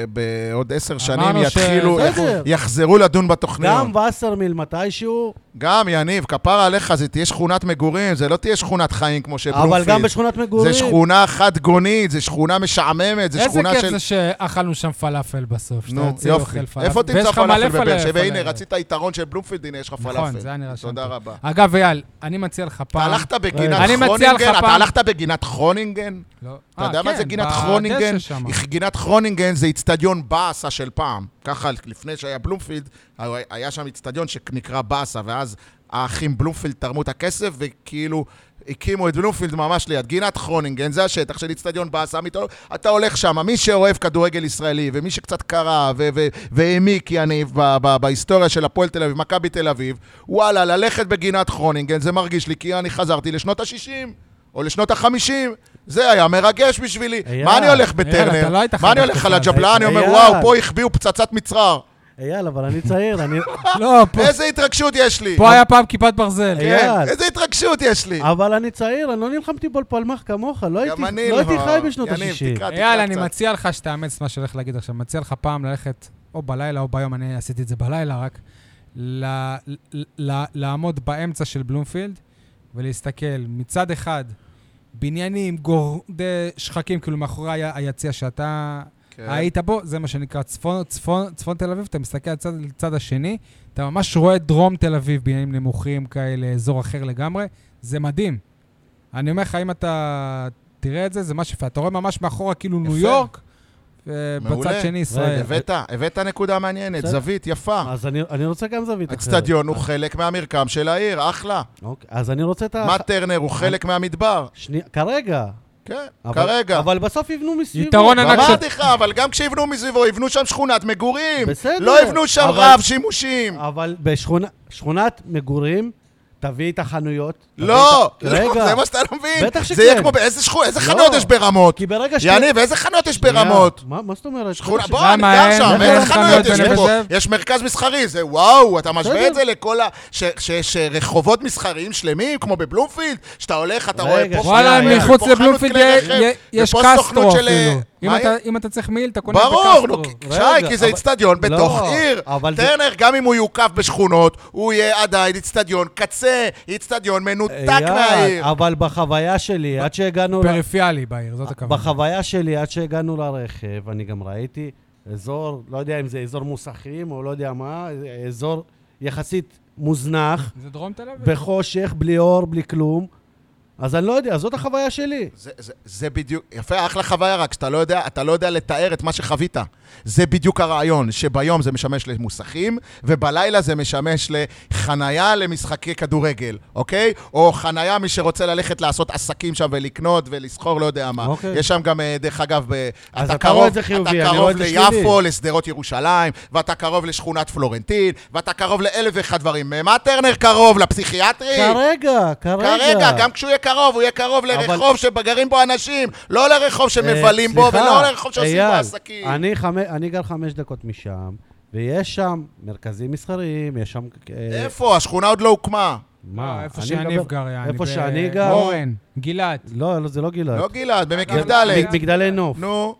C: בעוד עשר שנים
A: אמרנו ש-
C: יתחילו,
B: בסדר.
C: יחזרו לדון בתוכניות.
B: גם וסרמיל מתישהו,
C: גם, יניב, כפרה עליך, זה תהיה שכונת מגורים, זה לא תהיה שכונת חיים כמו
B: אבל
C: שבלומפילד.
B: גם בשכונת מגורים.
C: זה שכונה חד גונית, זה שכונה משעממת, זה
A: איזה
C: שכונה
A: כיף
C: של...
A: זה שאכלנו שם פלאפל בסוף. שאתה
C: נו,
A: יוצא
C: יופי.
A: ואוכל פלאפל.
C: איפה
A: ויש
C: תמצא
A: לך
C: פלאפל
A: מלא
C: בבאר שבע? הנה,
A: פלאפל.
C: רצית יתרון של בלומפילד, הנה, יש לך פלאפל.
A: נכון, זה היה נראה שם
C: תודה
A: טוב.
C: רבה.
A: אגב, אייל, אני מציע לך
C: אתה
A: פעם...
C: הלכת בגינת
A: אני מציע לך
C: חונינגן? אתה
A: פעם-
C: הלכת בגינת חונינגן?
A: לא.
C: אתה
A: אה,
C: יודע מה
A: כן,
C: זה גינת
A: בדשא
C: חרונינגן?
A: שם.
C: גינת חרונינגן זה איצטדיון באסה של פעם. ככה, לפני שהיה בלומפילד, היה שם איצטדיון שנקרא באסה, ואז האחים בלומפילד תרמו את הכסף, וכאילו הקימו את בלומפילד ממש ליד. גינת חרונינגן זה השטח של איצטדיון באסה. מת- אתה הולך שם, מי שאוהב כדורגל ישראלי, ומי שקצת קרא, ו- ו- והעמיק, יניב, ב- ב- בהיסטוריה של הפועל תל אביב, מכבי תל אביב, וואלה, ללכת בגינת חרונינגן זה מרגיש לי כי אני חזרתי לשנות ה-60. או לשנות החמישים, זה היה מרגש בשבילי.
B: אייל,
C: מה אני הולך
A: אייל,
C: בטרנר?
A: אתה לא היית
C: מה
A: חדש
C: אני הולך על
A: בכלל,
C: הג'בלאה? אני אומר,
B: אייל.
C: וואו, פה החביאו פצצת מצרר.
B: אייל, אבל אני צעיר, אני...
A: לא, פה-
C: איזה התרגשות יש לי.
A: פה היה פעם כיפת ברזל.
B: אייל, אה,
C: כן, איזה התרגשות יש לי.
B: אבל אני צעיר, אני לא נלחמתי בפלמח כמוך, לא הייתי
C: גם אני
B: לא
C: לא.
B: הייתי חי בשנות
C: יניב,
B: ה-60.
C: תקרא,
A: אייל,
C: תקרא
A: אני
C: קצת.
A: מציע לך שתאמץ את מה שהולך להגיד עכשיו. מציע לך פעם ללכת או בלילה או ביום, אני עשיתי את זה בלילה רק, ל- ל- ל- לעמוד באמצע של בלומפילד ולהסתכל מצד אחד, בניינים, גורדי שחקים, כאילו מאחורי היה- היציע שאתה
C: כן.
A: היית בו, זה מה שנקרא צפון, צפון, צפון תל אביב, אתה מסתכל לצד, לצד השני, אתה ממש רואה את דרום תל אביב, בניינים נמוכים כאלה, אזור אחר לגמרי, זה מדהים. אני אומר לך, אם אתה תראה את זה, זה משהו יפה. אתה רואה ממש מאחורה כאילו ניו
C: יפה.
A: יורק, ובצד
C: מעולה.
A: שני ישראל.
C: הבאת, הבאת נקודה מעניינת,
B: בסדר.
C: זווית יפה.
B: אז אני- אני רוצה גם זווית אחרת.
C: האצטדיון הוא חלק מהמרקם של העיר, אחלה.
B: אוקיי, אז אני רוצה את ה...
C: מה טרנר הוא חלק מהמדבר.
B: שנייה, כרגע.
C: כן,
B: אבל-
C: כרגע. לא
B: אבל בסוף יבנו מסביבו.
A: יתרון ענק
C: אמרתי לך, אבל גם כשיבנו מסביבו, יבנו שם שכונת מגורים.
B: בסדר,
C: לא יבנו שם
B: אבל-
C: רב שימושים.
B: אבל בשכונת מגורים, תביא את החנויות. תביא
C: לא,
B: את ה-
C: לא,
B: רגע.
C: זה מה שאתה לא מבין.
B: בטח
C: זה יהיה
B: שכן.
C: כמו, באיזה שכונה, איזה
B: לא.
C: חנות יש ברמות?
B: כי ברגע ש...
C: יניב, איזה חנות יש ברמות?
B: מה מה זאת אומרת?
C: שכונה,
B: ש-
C: בוא, אני
A: למה
C: גר
A: אין?
C: שם,
B: למה
C: איזה
B: אין
C: חנויות
B: חנויות
C: יש
B: בנווה
C: פה?
A: זאב?
C: יש מרכז מסחרי, זה וואו, אתה משווה
B: בסדר.
C: את זה לכל ה... ש- ש- ש- שרחובות מסחריים שלמים, כמו בבלומפילד, שאתה הולך, אתה רואה
B: רגע,
C: פה...
B: שנייה,
A: וואלה,
C: חנויות,
B: רגע.
A: מחוץ
C: פה חנות
A: לבלומפילד
C: כלי
A: יהיה-
C: רכב,
A: יהיה- יש
C: ופה
A: קסטרו
C: סוכנות של, אה,
A: אפילו. אם
C: מה
A: אתה-
C: יהיה?
A: אם אתה צריך מעיל, אתה קונה בקסטרו.
C: ברור, נו, כי-
B: רגע,
C: שי, כי זה
B: אבל-
C: איצטדיון בתוך
B: לא,
C: עיר.
B: אבל זה-
C: טרנר, גם אם הוא יוקף בשכונות, הוא יהיה עדיין איצטדיון קצה, איצטדיון מנותק
B: אייל,
C: מהעיר.
B: אבל בחוויה שלי, עד שהגענו... ל-
A: פריפיאלי בעיר,
B: אה,
A: זאת הכוונה.
B: בחוויה שלי, עד שהגענו לרכב, אני גם ראיתי אזור, לא יודע אם זה אזור מוסכים או לא יודע מה, אזור יחסית מוזנח,
A: זה דרום תל אביב.
B: בחושך, בלי אור, בלי כלום. אז אני לא יודע, זאת החוויה שלי.
C: זה, זה, זה בדיוק, יפה, אחלה חוויה רק, שאתה לא, יודע, אתה לא יודע לתאר את מה שחווית. זה בדיוק הרעיון, שביום זה משמש למוסכים, ובלילה זה משמש לחנייה למשחקי כדורגל, אוקיי? או חנייה, מי שרוצה ללכת לעשות עסקים שם ולקנות ולסחור, לא יודע מה.
B: אוקיי.
C: יש שם גם, אה, דרך אגב, ב-
B: אז אתה רואה את זה חיובי, אני
C: אתה
B: רואה
C: קרוב
B: את זה שלילי.
C: ליפו, לשדרות ירושלים, ואתה קרוב לשכונת פלורנטין, ואתה קרוב לאלף ואחד דברים. אה, מה טרנר קרוב? לפסיכיאטרי?
B: כרגע, כרגע.
C: אה, כרגע, גם כשהוא יהיה קרוב, הוא יהיה קרוב לרחוב שגרים בו אנשים, לא לרחוב שמבלים
B: אה,
C: בו,
B: סליחה,
C: ולא לרחוב שעושים בו
B: אייל,
C: עסקים.
B: אני, חמ... אני גר חמש דקות משם, ויש שם מרכזים מסחריים, יש שם... אה,
C: איפה? השכונה עוד לא הוקמה.
A: מה, איפה
B: אני
A: שאני
B: מדבר-
A: גר, יעני.
B: איפה
A: ב- לא,
B: שאני גר?
A: אורן, גילת.
B: לא, לא, זה לא גילת.
C: לא גלעד, במקיף
A: גלעד.
C: ד'.
B: מג- מגדלי נוף,
C: נו,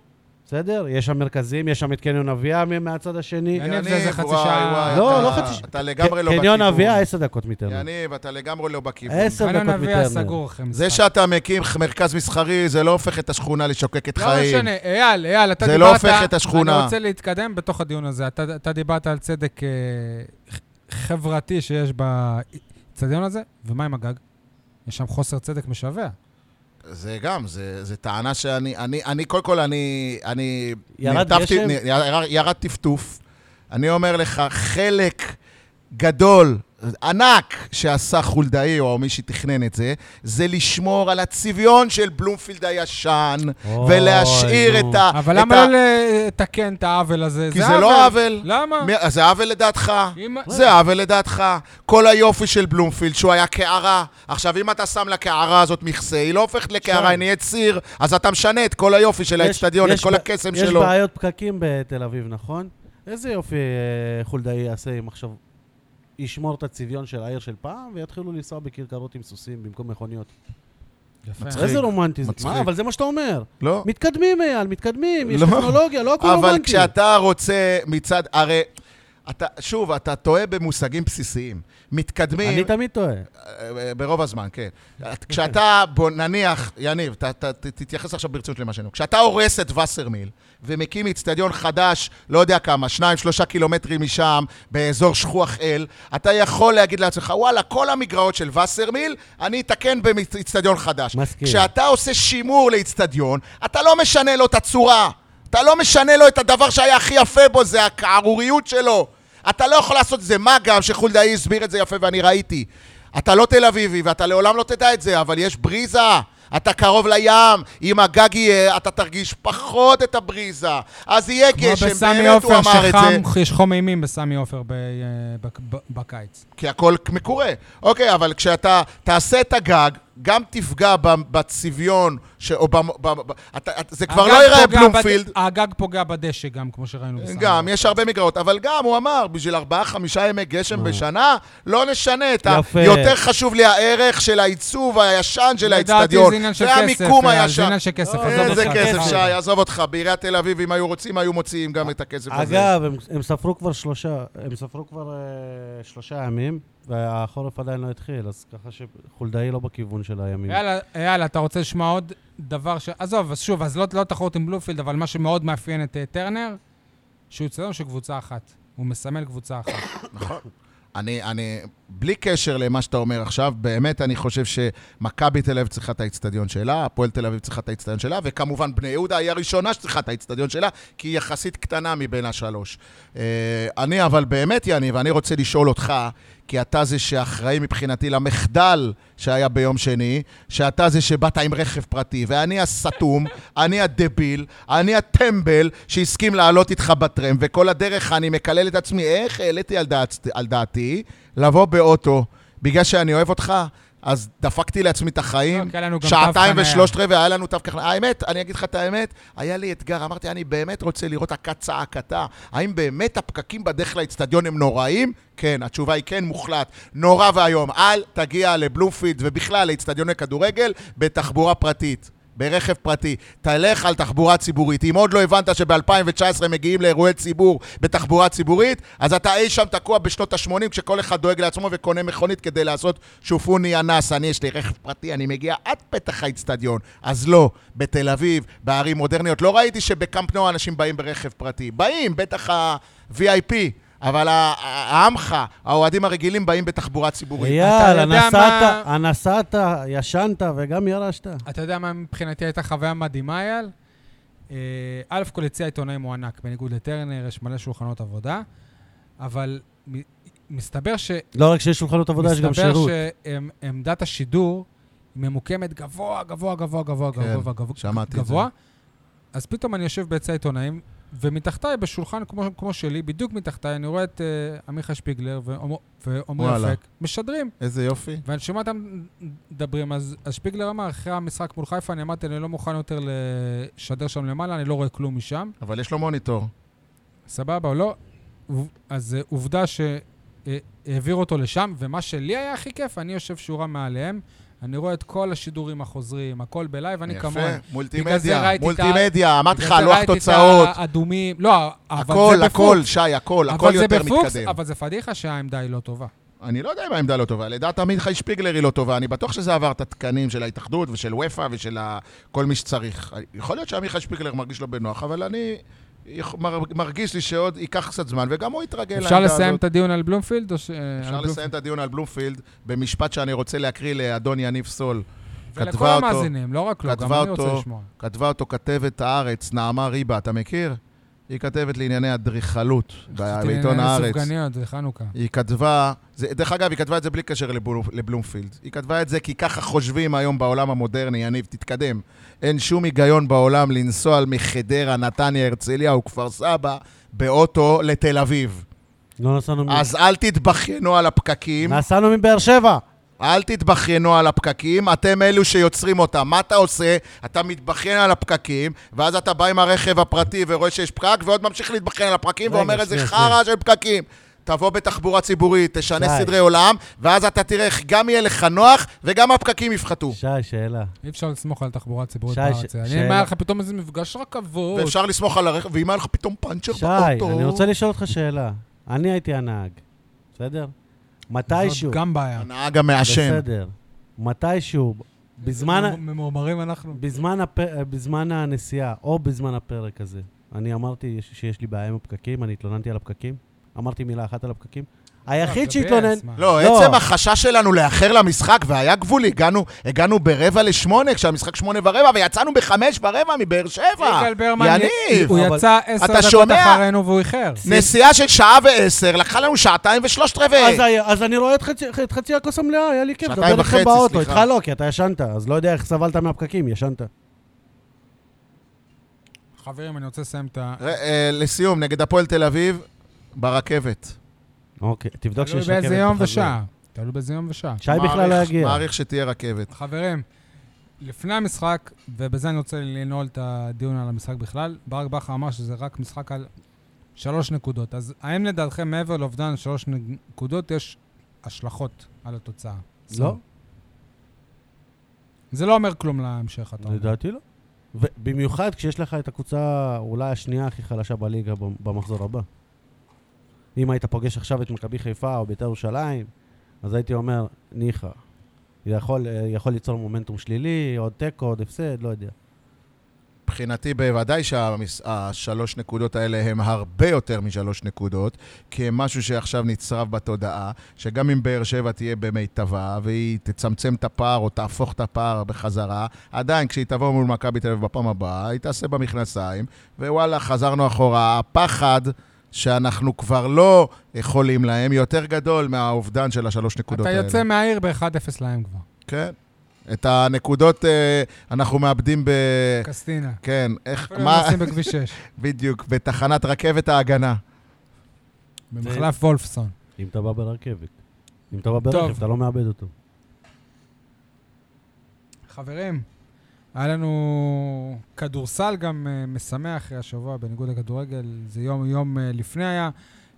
B: בסדר? יש שם מרכזים, יש שם את קניון אביה מ- מהצד השני.
A: יניב, זה איזה
C: יניב,
A: חצי
C: וואי
A: שעה.
C: וואי.
B: לא,
C: אתה-
B: לא חצי שעה.
C: אתה לגמרי לא
B: ק-
C: בכיוון.
B: קניון אביה, עשר דקות מטרנר.
C: יניב, אתה לגמרי לא בכיוון.
B: עשר דקות
A: חנן
B: מטרנר.
A: אביה סגור אחרי משחק.
C: זה שאתה מקים מרכז מסחרי, זה לא הופך את השכונה לשוקקת
A: לא
C: חיים.
A: משנה, אייל, אייל, אתה
C: זה
A: דיברת...
C: לא הופך את השכונה.
A: אני רוצה להתקדם בתוך הדיון הזה. אתה, אתה דיברת על צדק אה, ח- חברתי שיש באצטדיון הזה, ומה עם הגג? יש שם חוסר צדק משווע.
C: זה גם, זה, זה טענה שאני, אני, אני, קודם כל, אני, אני,
B: ירד גשם?
C: נ, ירד, ירד טפטוף. אני אומר לך, חלק גדול, ענק, שעשה חולדאי, או מי שתכנן את זה, זה לשמור על הצביון של בלומפילד הישן,
B: אוי,
C: ולהשאיר
B: נו.
C: את ה...
A: אבל
C: אה, את
A: למה
C: ה-
A: לא לתקן את העוול הזה?
C: כי זה לא עוול.
A: למה?
C: מי- אז זה עוול לדעתך.
A: אם-
C: זה עוול לדעתך. כל היופי של בלומפילד, שהוא היה קערה. עכשיו, אם אתה שם לקערה הזאת מכסה, היא לא הופכת לקערה,
B: שי.
C: היא נהיית סיר, אז אתה משנה את כל היופי של
B: כן. יש-
C: האצטדיון, את
B: יש
C: כל
B: ב-
C: הקסם
B: יש
C: שלו.
B: בעיות פקקים בתל אביב, נכון? איזה יופי אה, חולדאי יעשה אם עכשיו ישמור את הצביון של העיר של פעם, ויתחילו לנסוע בכרכרות עם סוסים במקום מכוניות.
A: יפה.
C: מצחיק.
B: איזה רומנטי זה.
C: מצחיק.
B: מה, אבל זה מה שאתה אומר.
C: לא.
B: מתקדמים, אייל, מתקדמים, יש
C: לא.
B: טכנולוגיה, לא הכול
C: אבל
B: רומנטי.
C: כשאתה רוצה מצד... הרי... אתה, שוב, אתה טועה במושגים בסיסיים. מתקדמים...
B: אני תמיד טועה.
C: אה, ברוב הזמן, כן. את- כשאתה, בוא נניח, יניב, ת, ת, ת, תתייחס עכשיו ברצינות למה שאני אומר. כשאתה הורס את וסרמיל ומקים אצטדיון חדש, לא יודע כמה, שניים, שלושה קילומטרים משם, באזור שכוח אל, אתה יכול להגיד לעצמך, וואלה, כל המגרעות של וסרמיל, אני אתקן באצטדיון חדש.
B: מסכים.
C: כשאתה עושה שימור לאצטדיון, אתה לא משנה לו את הצורה. אתה לא משנה לו את הדבר שהיה הכי יפה בו, זה הקערוריות שלו. אתה לא יכול לעשות את זה, מה גם שחולדאי הסביר את זה יפה ואני ראיתי. אתה לא תל אביבי ואתה לעולם לא תדע את זה, אבל יש בריזה. אתה קרוב לים, אם הגג יהיה, אתה תרגיש פחות את הבריזה. אז יהיה
A: כמו
C: גשם,
A: בסמי
C: באמת הוא
A: עופר,
C: אמר את זה.
A: שחם, יש חום אימים בסמי עופר ב- אה, בק- ב- בקיץ.
C: כי הכל מקורה. אוקיי, אבל כשאתה תעשה את הגג, גם תפגע ב- בצביון, ש... או ב... ב... ב... אתה... אתה- זה כבר
A: הגג
C: לא ייראה
A: פוגע בד-
C: בלומפילד.
A: הגג פוגע בדשא גם, כמו שראינו בסמי
C: גם,
A: עופר.
C: יש הרבה מגרעות, אבל גם, הוא אמר, בשביל ארבעה-חמישה ימי גשם בשנה, לא נשנה את ה...
B: יפה.
C: יותר חשוב לי הערך של העיצוב הישן של
A: לדעתי
C: האצטדיון.
A: זה עניין של
C: זה
A: כסף,
C: המיקום
A: אייל, זה
C: הישן.
A: עניין של כסף,
B: לא,
A: עזוב
C: איזה
A: אותך, אה.
C: כסף,
A: עזוב.
C: שי, עזוב אותך. בעיריית תל אביב, אם היו רוצים, היו מוציאים גם את הכסף הזה.
B: אגב, הם- הם ספרו כבר שלושה, הם ספרו כבר אה, שלושה ימים, והחורף עדיין לא התחיל, אז ככה שחולדאי לא בכיוון של הימים.
A: יאללה, יאללה, אתה רוצה לשמוע עוד דבר ש... עזוב, אז שוב, אז לא, לא תחרות עם בלופילד, אבל מה שמאוד מאפיין את אה, טרנר, שהוא אצטדיון של קבוצה אחת. הוא מסמל קבוצה אחת.
C: נכון. אני, אני, בלי קשר למה שאתה אומר עכשיו, באמת אני חושב שמכבי תל אביב צריכה את האיצטדיון שלה, הפועל תל אביב צריכה את האיצטדיון שלה, וכמובן בני יהודה היא הראשונה שצריכה את האיצטדיון שלה, כי היא יחסית קטנה מבין השלוש. אה, אני אבל באמת, יניב, אני רוצה לשאול אותך, כי אתה זה שאחראי מבחינתי למחדל שהיה ביום שני, שאתה זה שבאת עם רכב פרטי, ואני הסתום, אני הדביל, אני הטמבל שהסכים לעלות איתך בטרם, וכל הדרך אני מקלל את עצמי, איך העליתי על, דעת, על דעתי לבוא באוטו, בגלל שאני אוהב אותך? אז דפקתי לעצמי את החיים,
A: לא, כי היה לנו גם תו
C: כן. שעתיים
A: חניה.
C: ושלושת רבעי, היה לנו תו ככה. האמת, אני אגיד לך את האמת, היה לי אתגר, אמרתי, אני באמת רוצה לראות הכת צעקתה. האם באמת הפקקים בדרך לאצטדיון הם נוראים? כן, התשובה היא כן, מוחלט. נורא ואיום. אל תגיע לבלומפילד ובכלל לאצטדיוני כדורגל בתחבורה פרטית. ברכב פרטי, תלך על תחבורה ציבורית. אם עוד לא הבנת שב-2019 מגיעים לאירועי ציבור בתחבורה ציבורית, אז אתה אי שם תקוע בשנות ה-80 כשכל אחד דואג לעצמו וקונה מכונית כדי לעשות שופוני אנס. אני, יש לי רכב פרטי, אני מגיע עד פתח האצטדיון. אז לא, בתל אביב, בערים מודרניות, לא ראיתי שבקמפנאו אנשים באים ברכב פרטי. באים, בטח ה-VIP. אבל ה- ה- העמך, האוהדים הרגילים באים בתחבורה ציבורית.
B: אייל,
A: יודע
B: הנסעת, הנסעת, ישנת וגם ירשת.
A: אתה יודע מה מבחינתי הייתה חוויה מדהימה, אייל? אה, א' כל יציא העיתונאים הוא ענק, בניגוד לטרנר, יש מלא שולחנות עבודה, אבל מ- מסתבר ש...
B: לא רק שיש שולחנות עבודה, יש גם שירות.
A: מסתבר שעמדת השידור ממוקמת גבוה, גבוה, גבוה, גבוה,
C: כן,
A: גבוה, גבוה,
C: שמעתי את זה.
A: גבוה. אז פתאום אני יושב בעצי העיתונאים, ומתחתיי, בשולחן כמו, כמו שלי, בדיוק מתחתיי, אני רואה את אה, עמיחה שפיגלר ועומר- ועומרי
C: וואלה.
A: אפק משדרים.
C: איזה יופי.
A: ואני שומע אותם מדברים, אז, אז שפיגלר אמר, אחרי המשחק מול חיפה, אני אמרתי, אני לא מוכן יותר לשדר שם למעלה, אני לא רואה כלום משם.
C: אבל יש לו מוניטור.
A: סבבה או לא? עוב- אז אה, עובדה שהעביר אותו לשם, ומה שלי היה הכי כיף, אני יושב שורה מעליהם, אני רואה את כל השידורים החוזרים, הכל בלייב, אני כמוהם.
C: יפה,
A: בגלל זה
C: מולטימדיה,
A: ראיתי את ה-
C: מולטימדיה, אמרתי לך,
A: בגלל זה
C: לוח
A: ראיתי את
C: תוצאות,
A: האדומים, לא, אבל
C: הכל,
A: זה
C: הכל,
A: בפוקס.
C: שי, הכל, הכל
A: אבל זה
C: יותר
A: בפוקס,
C: מתקדם.
A: אבל זה פדיחה שהעמדה היא לא טובה.
C: אני לא יודע אם העמדה לא טובה, לדעת עמית חי שפיגלר היא לא טובה, אני בטוח שזה עבר את התקנים של ההתאחדות ושל וופא ושל ה- כל מי שצריך. יכול להיות שעמית חי שפיגלר מרגיש לא בנוח, אבל אני יכ- מר- מרגיש לי שעוד ייקח קצת זמן, וגם הוא יתרגל לעמדה הזאת.
A: אפשר לסיים את הדיון על בלומפילד? או ש- אה, על
C: אפשר
A: בלומפילד?
C: לסיים את הדיון על בלומפילד במשפט שאני רוצה להקריא לאדון יניב סול.
A: ולכל
C: כתבה אותו-
A: המאזינים, לא רק לו, גם
C: כתבה
A: אני רוצה
C: אותו-
A: לשמוע.
C: כתבה אותו כתבת הארץ, נעמה ריבה, אתה מכיר? היא כתבת לענייני אדריכלות בעיתון הארץ.
A: סופגניות, זה חנוכה.
C: היא כתבה, זה, דרך אגב, היא כתבה את זה בלי קשר לבלו, לבלומפילד. היא כתבה את זה כי ככה חושבים היום בעולם המודרני, יניב, תתקדם. אין שום היגיון בעולם לנסוע מחדרה, נתניה, הרצליה וכפר סבא באוטו לתל אביב.
B: לא נסענו מ...
C: אז אל תתבכיינו על הפקקים.
B: נסענו מבאר שבע.
C: אל תתבכיינו על הפקקים, אתם אלו שיוצרים אותם. מה אתה עושה? אתה מתבכיין על הפקקים, ואז אתה בא עם הרכב הפרטי ורואה שיש פקק, ועוד ממשיך להתבכיין על הפקקים
B: רגע,
C: ואומר
B: שנייה,
C: איזה
B: שנייה.
C: חרא של פקקים. תבוא בתחבורה ציבורית, תשנה
B: די.
C: סדרי עולם, ואז אתה תראה איך גם יהיה לך נוח וגם הפקקים יפחתו.
B: שי, שאלה.
A: אי אפשר לסמוך על תחבורה ציבורית
B: שי,
A: בארץ.
B: ש-
A: אני
B: שאלה.
A: אומר לך פתאום איזה מפגש רכבות.
C: ואפשר לסמוך על הרכב, ואם היה לך פתאום פאנצ'ר
B: שי,
C: באוטו...
B: אני רוצה לשאול אותך שאלה. אני הייתי הנהג, בסדר? מתישהו,
A: זאת גם בעיה.
C: הנהג המעשן.
B: בסדר. מתישהו, בזמן... ה-
A: ממורמרים אנחנו.
B: בזמן, הפ... בזמן הנסיעה, או בזמן הפרק הזה, אני אמרתי יש- שיש לי בעיה עם הפקקים, אני התלוננתי על הפקקים, אמרתי מילה אחת על הפקקים.
A: אה,
B: היחיד שהתלונן...
C: לא,
B: לא.
C: עצם החשש שלנו לאחר למשחק, והיה גבול, הגענו, הגענו ברבע לשמונה, כשהמשחק שמונה ורבע, ויצאנו בחמש ורבע מבאר שבע.
A: יגאל ברמן,
C: אה, יניב,
A: הוא
B: אבל-
A: יצא עשר
C: אתה
A: דקות
C: שומע?
A: אחרינו והוא איחר.
C: נסיעה של שעה ועשר, לקחה לנו שעתיים ושלושת רבעי.
B: אז, היה, אז אני רואה את חצי, את חצי הכוס המלאה, היה לי כיף
C: שעתיים
B: לדבר איתך
C: וחצי,
B: באוטו.
C: סליחה.
B: איתך לא, כי אתה ישנת, אז לא יודע איך סבלת מהפקקים, ישנת.
A: חברים, אני רוצה לסיים את ה...
C: ר- אה, לסיום, נגד הפועל תל אביב, ברכבת.
B: אוקיי, תבדוק
A: תלוי
B: שיש רכבת
A: באיזה יום
B: בחזרה.
A: ושעה. תלוי באיזה יום ושעה.
B: שי בכלל לא
C: מעריך-
B: יגיע.
C: מעריך שתהיה רכבת.
A: חברים, לפני המשחק, ובזה אני רוצה לנעול את הדיון על המשחק בכלל, ברק בכר אמר שזה רק משחק על שלוש נקודות. אז האם לדעתכם מעבר לאובדן שלוש נקודות יש השלכות על התוצאה?
B: לא,
A: זה לא אומר כלום להמשך, אתה אומר.
B: לדעתי לא. ובמיוחד כשיש לך את הקבוצה אולי השנייה הכי חלשה בליגה במ- במחזור הבא. אם היית פוגש עכשיו את מכבי חיפה או בית"ר ירושלים, אז הייתי אומר, ניחא. זה יכול, אה, יכול ליצור מומנטום שלילי, עוד תיקו, עוד הפסד, לא יודע.
C: מבחינתי בוודאי שהשלוש נקודות האלה הם הרבה יותר משלוש נקודות, כי הם משהו שעכשיו נצרב בתודעה, שגם אם באר שבע תהיה במיטבה, והיא תצמצם את הפער או תהפוך את הפער בחזרה, עדיין כשהיא תבוא מול מכבי תל אביב בפעם הבאה, היא תעשה במכנסיים, ווואלה, חזרנו אחורה. הפחד שאנחנו כבר לא יכולים להם, יותר גדול מהאובדן של השלוש נקודות
A: אתה
C: האלה.
A: יוצא מהעיר ב-1-0 להם כבר.
C: כן. את הנקודות אה, אנחנו מאבדים ב...
A: קסטינה.
C: כן, איך,
A: אפילו הם
C: מה,
A: נוסעים בכביש 6,
C: בדיוק, בתחנת רכבת ההגנה.
A: במחלף וולפסון.
B: אם אתה בא ברכבת. אם אתה בא ברכב,
A: טוב.
B: אתה לא מאבד אותו.
A: חברים, היה לנו כדורסל גם אה, משמח אחרי השבוע, בניגוד לכדורגל, זה יום, יום אה, לפני היה.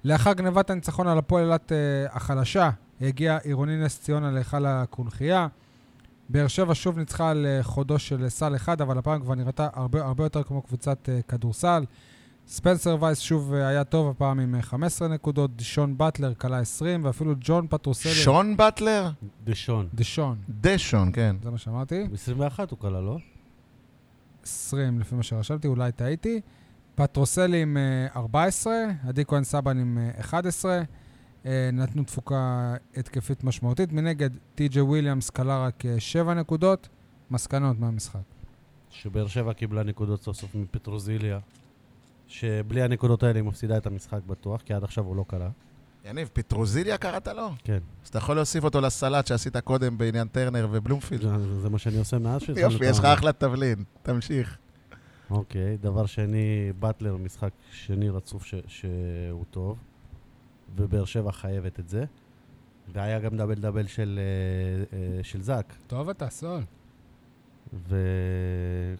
A: לאחר גנבת הניצחון על הפועל אילת אה, החלשה, הגיע עירוני נס ציונה להיכל הקונכייה. באר שבע שוב ניצחה על אה, חודו של סל אחד, אבל הפעם כבר נראתה הרבה, הרבה יותר כמו קבוצת אה, כדורסל. ספנסר וייס שוב אה, היה טוב הפעם עם אה, 15 נקודות, שון באטלר כלה 20, ואפילו ג'ון פטרוסלי...
C: שון באטלר?
B: דשון.
A: דשון,
C: דשון, כן.
A: זה מה שאמרתי.
B: 21 הוא כלל, לא?
A: 20 לפי מה שרשמתי, אולי טעיתי. פטרוסל עם אה, 14, עדי כהן סבן עם אה, 11. אה, נתנו תפוקה התקפית משמעותית. מנגד, טי.ג'י וויליאמס כלה רק 7 נקודות. מסקנות מהמשחק.
B: שבאר שבע קיבלה נקודות סוף סוף מפטרוזיליה, שבלי הנקודות האלה היא מפסידה את המשחק בטוח, כי עד עכשיו הוא לא כלה.
C: יניב, פטרוזיליה קראת לו?
B: כן.
C: אז אתה יכול להוסיף אותו לסלט שעשית קודם בעניין טרנר ובלומפילד.
B: זה, לא זה מה שאני עושה מאז שהתחלנו את
C: יופי, יש לך
B: העונה.
C: אחלה תבלין, תמשיך.
B: אוקיי, דבר שני, באטלר משחק שני רצוף ש- שהוא טוב, ובאר שבע חייבת את זה. והיה גם דאבל דאבל של, אה, אה, של זאק.
A: טוב אתה, סול.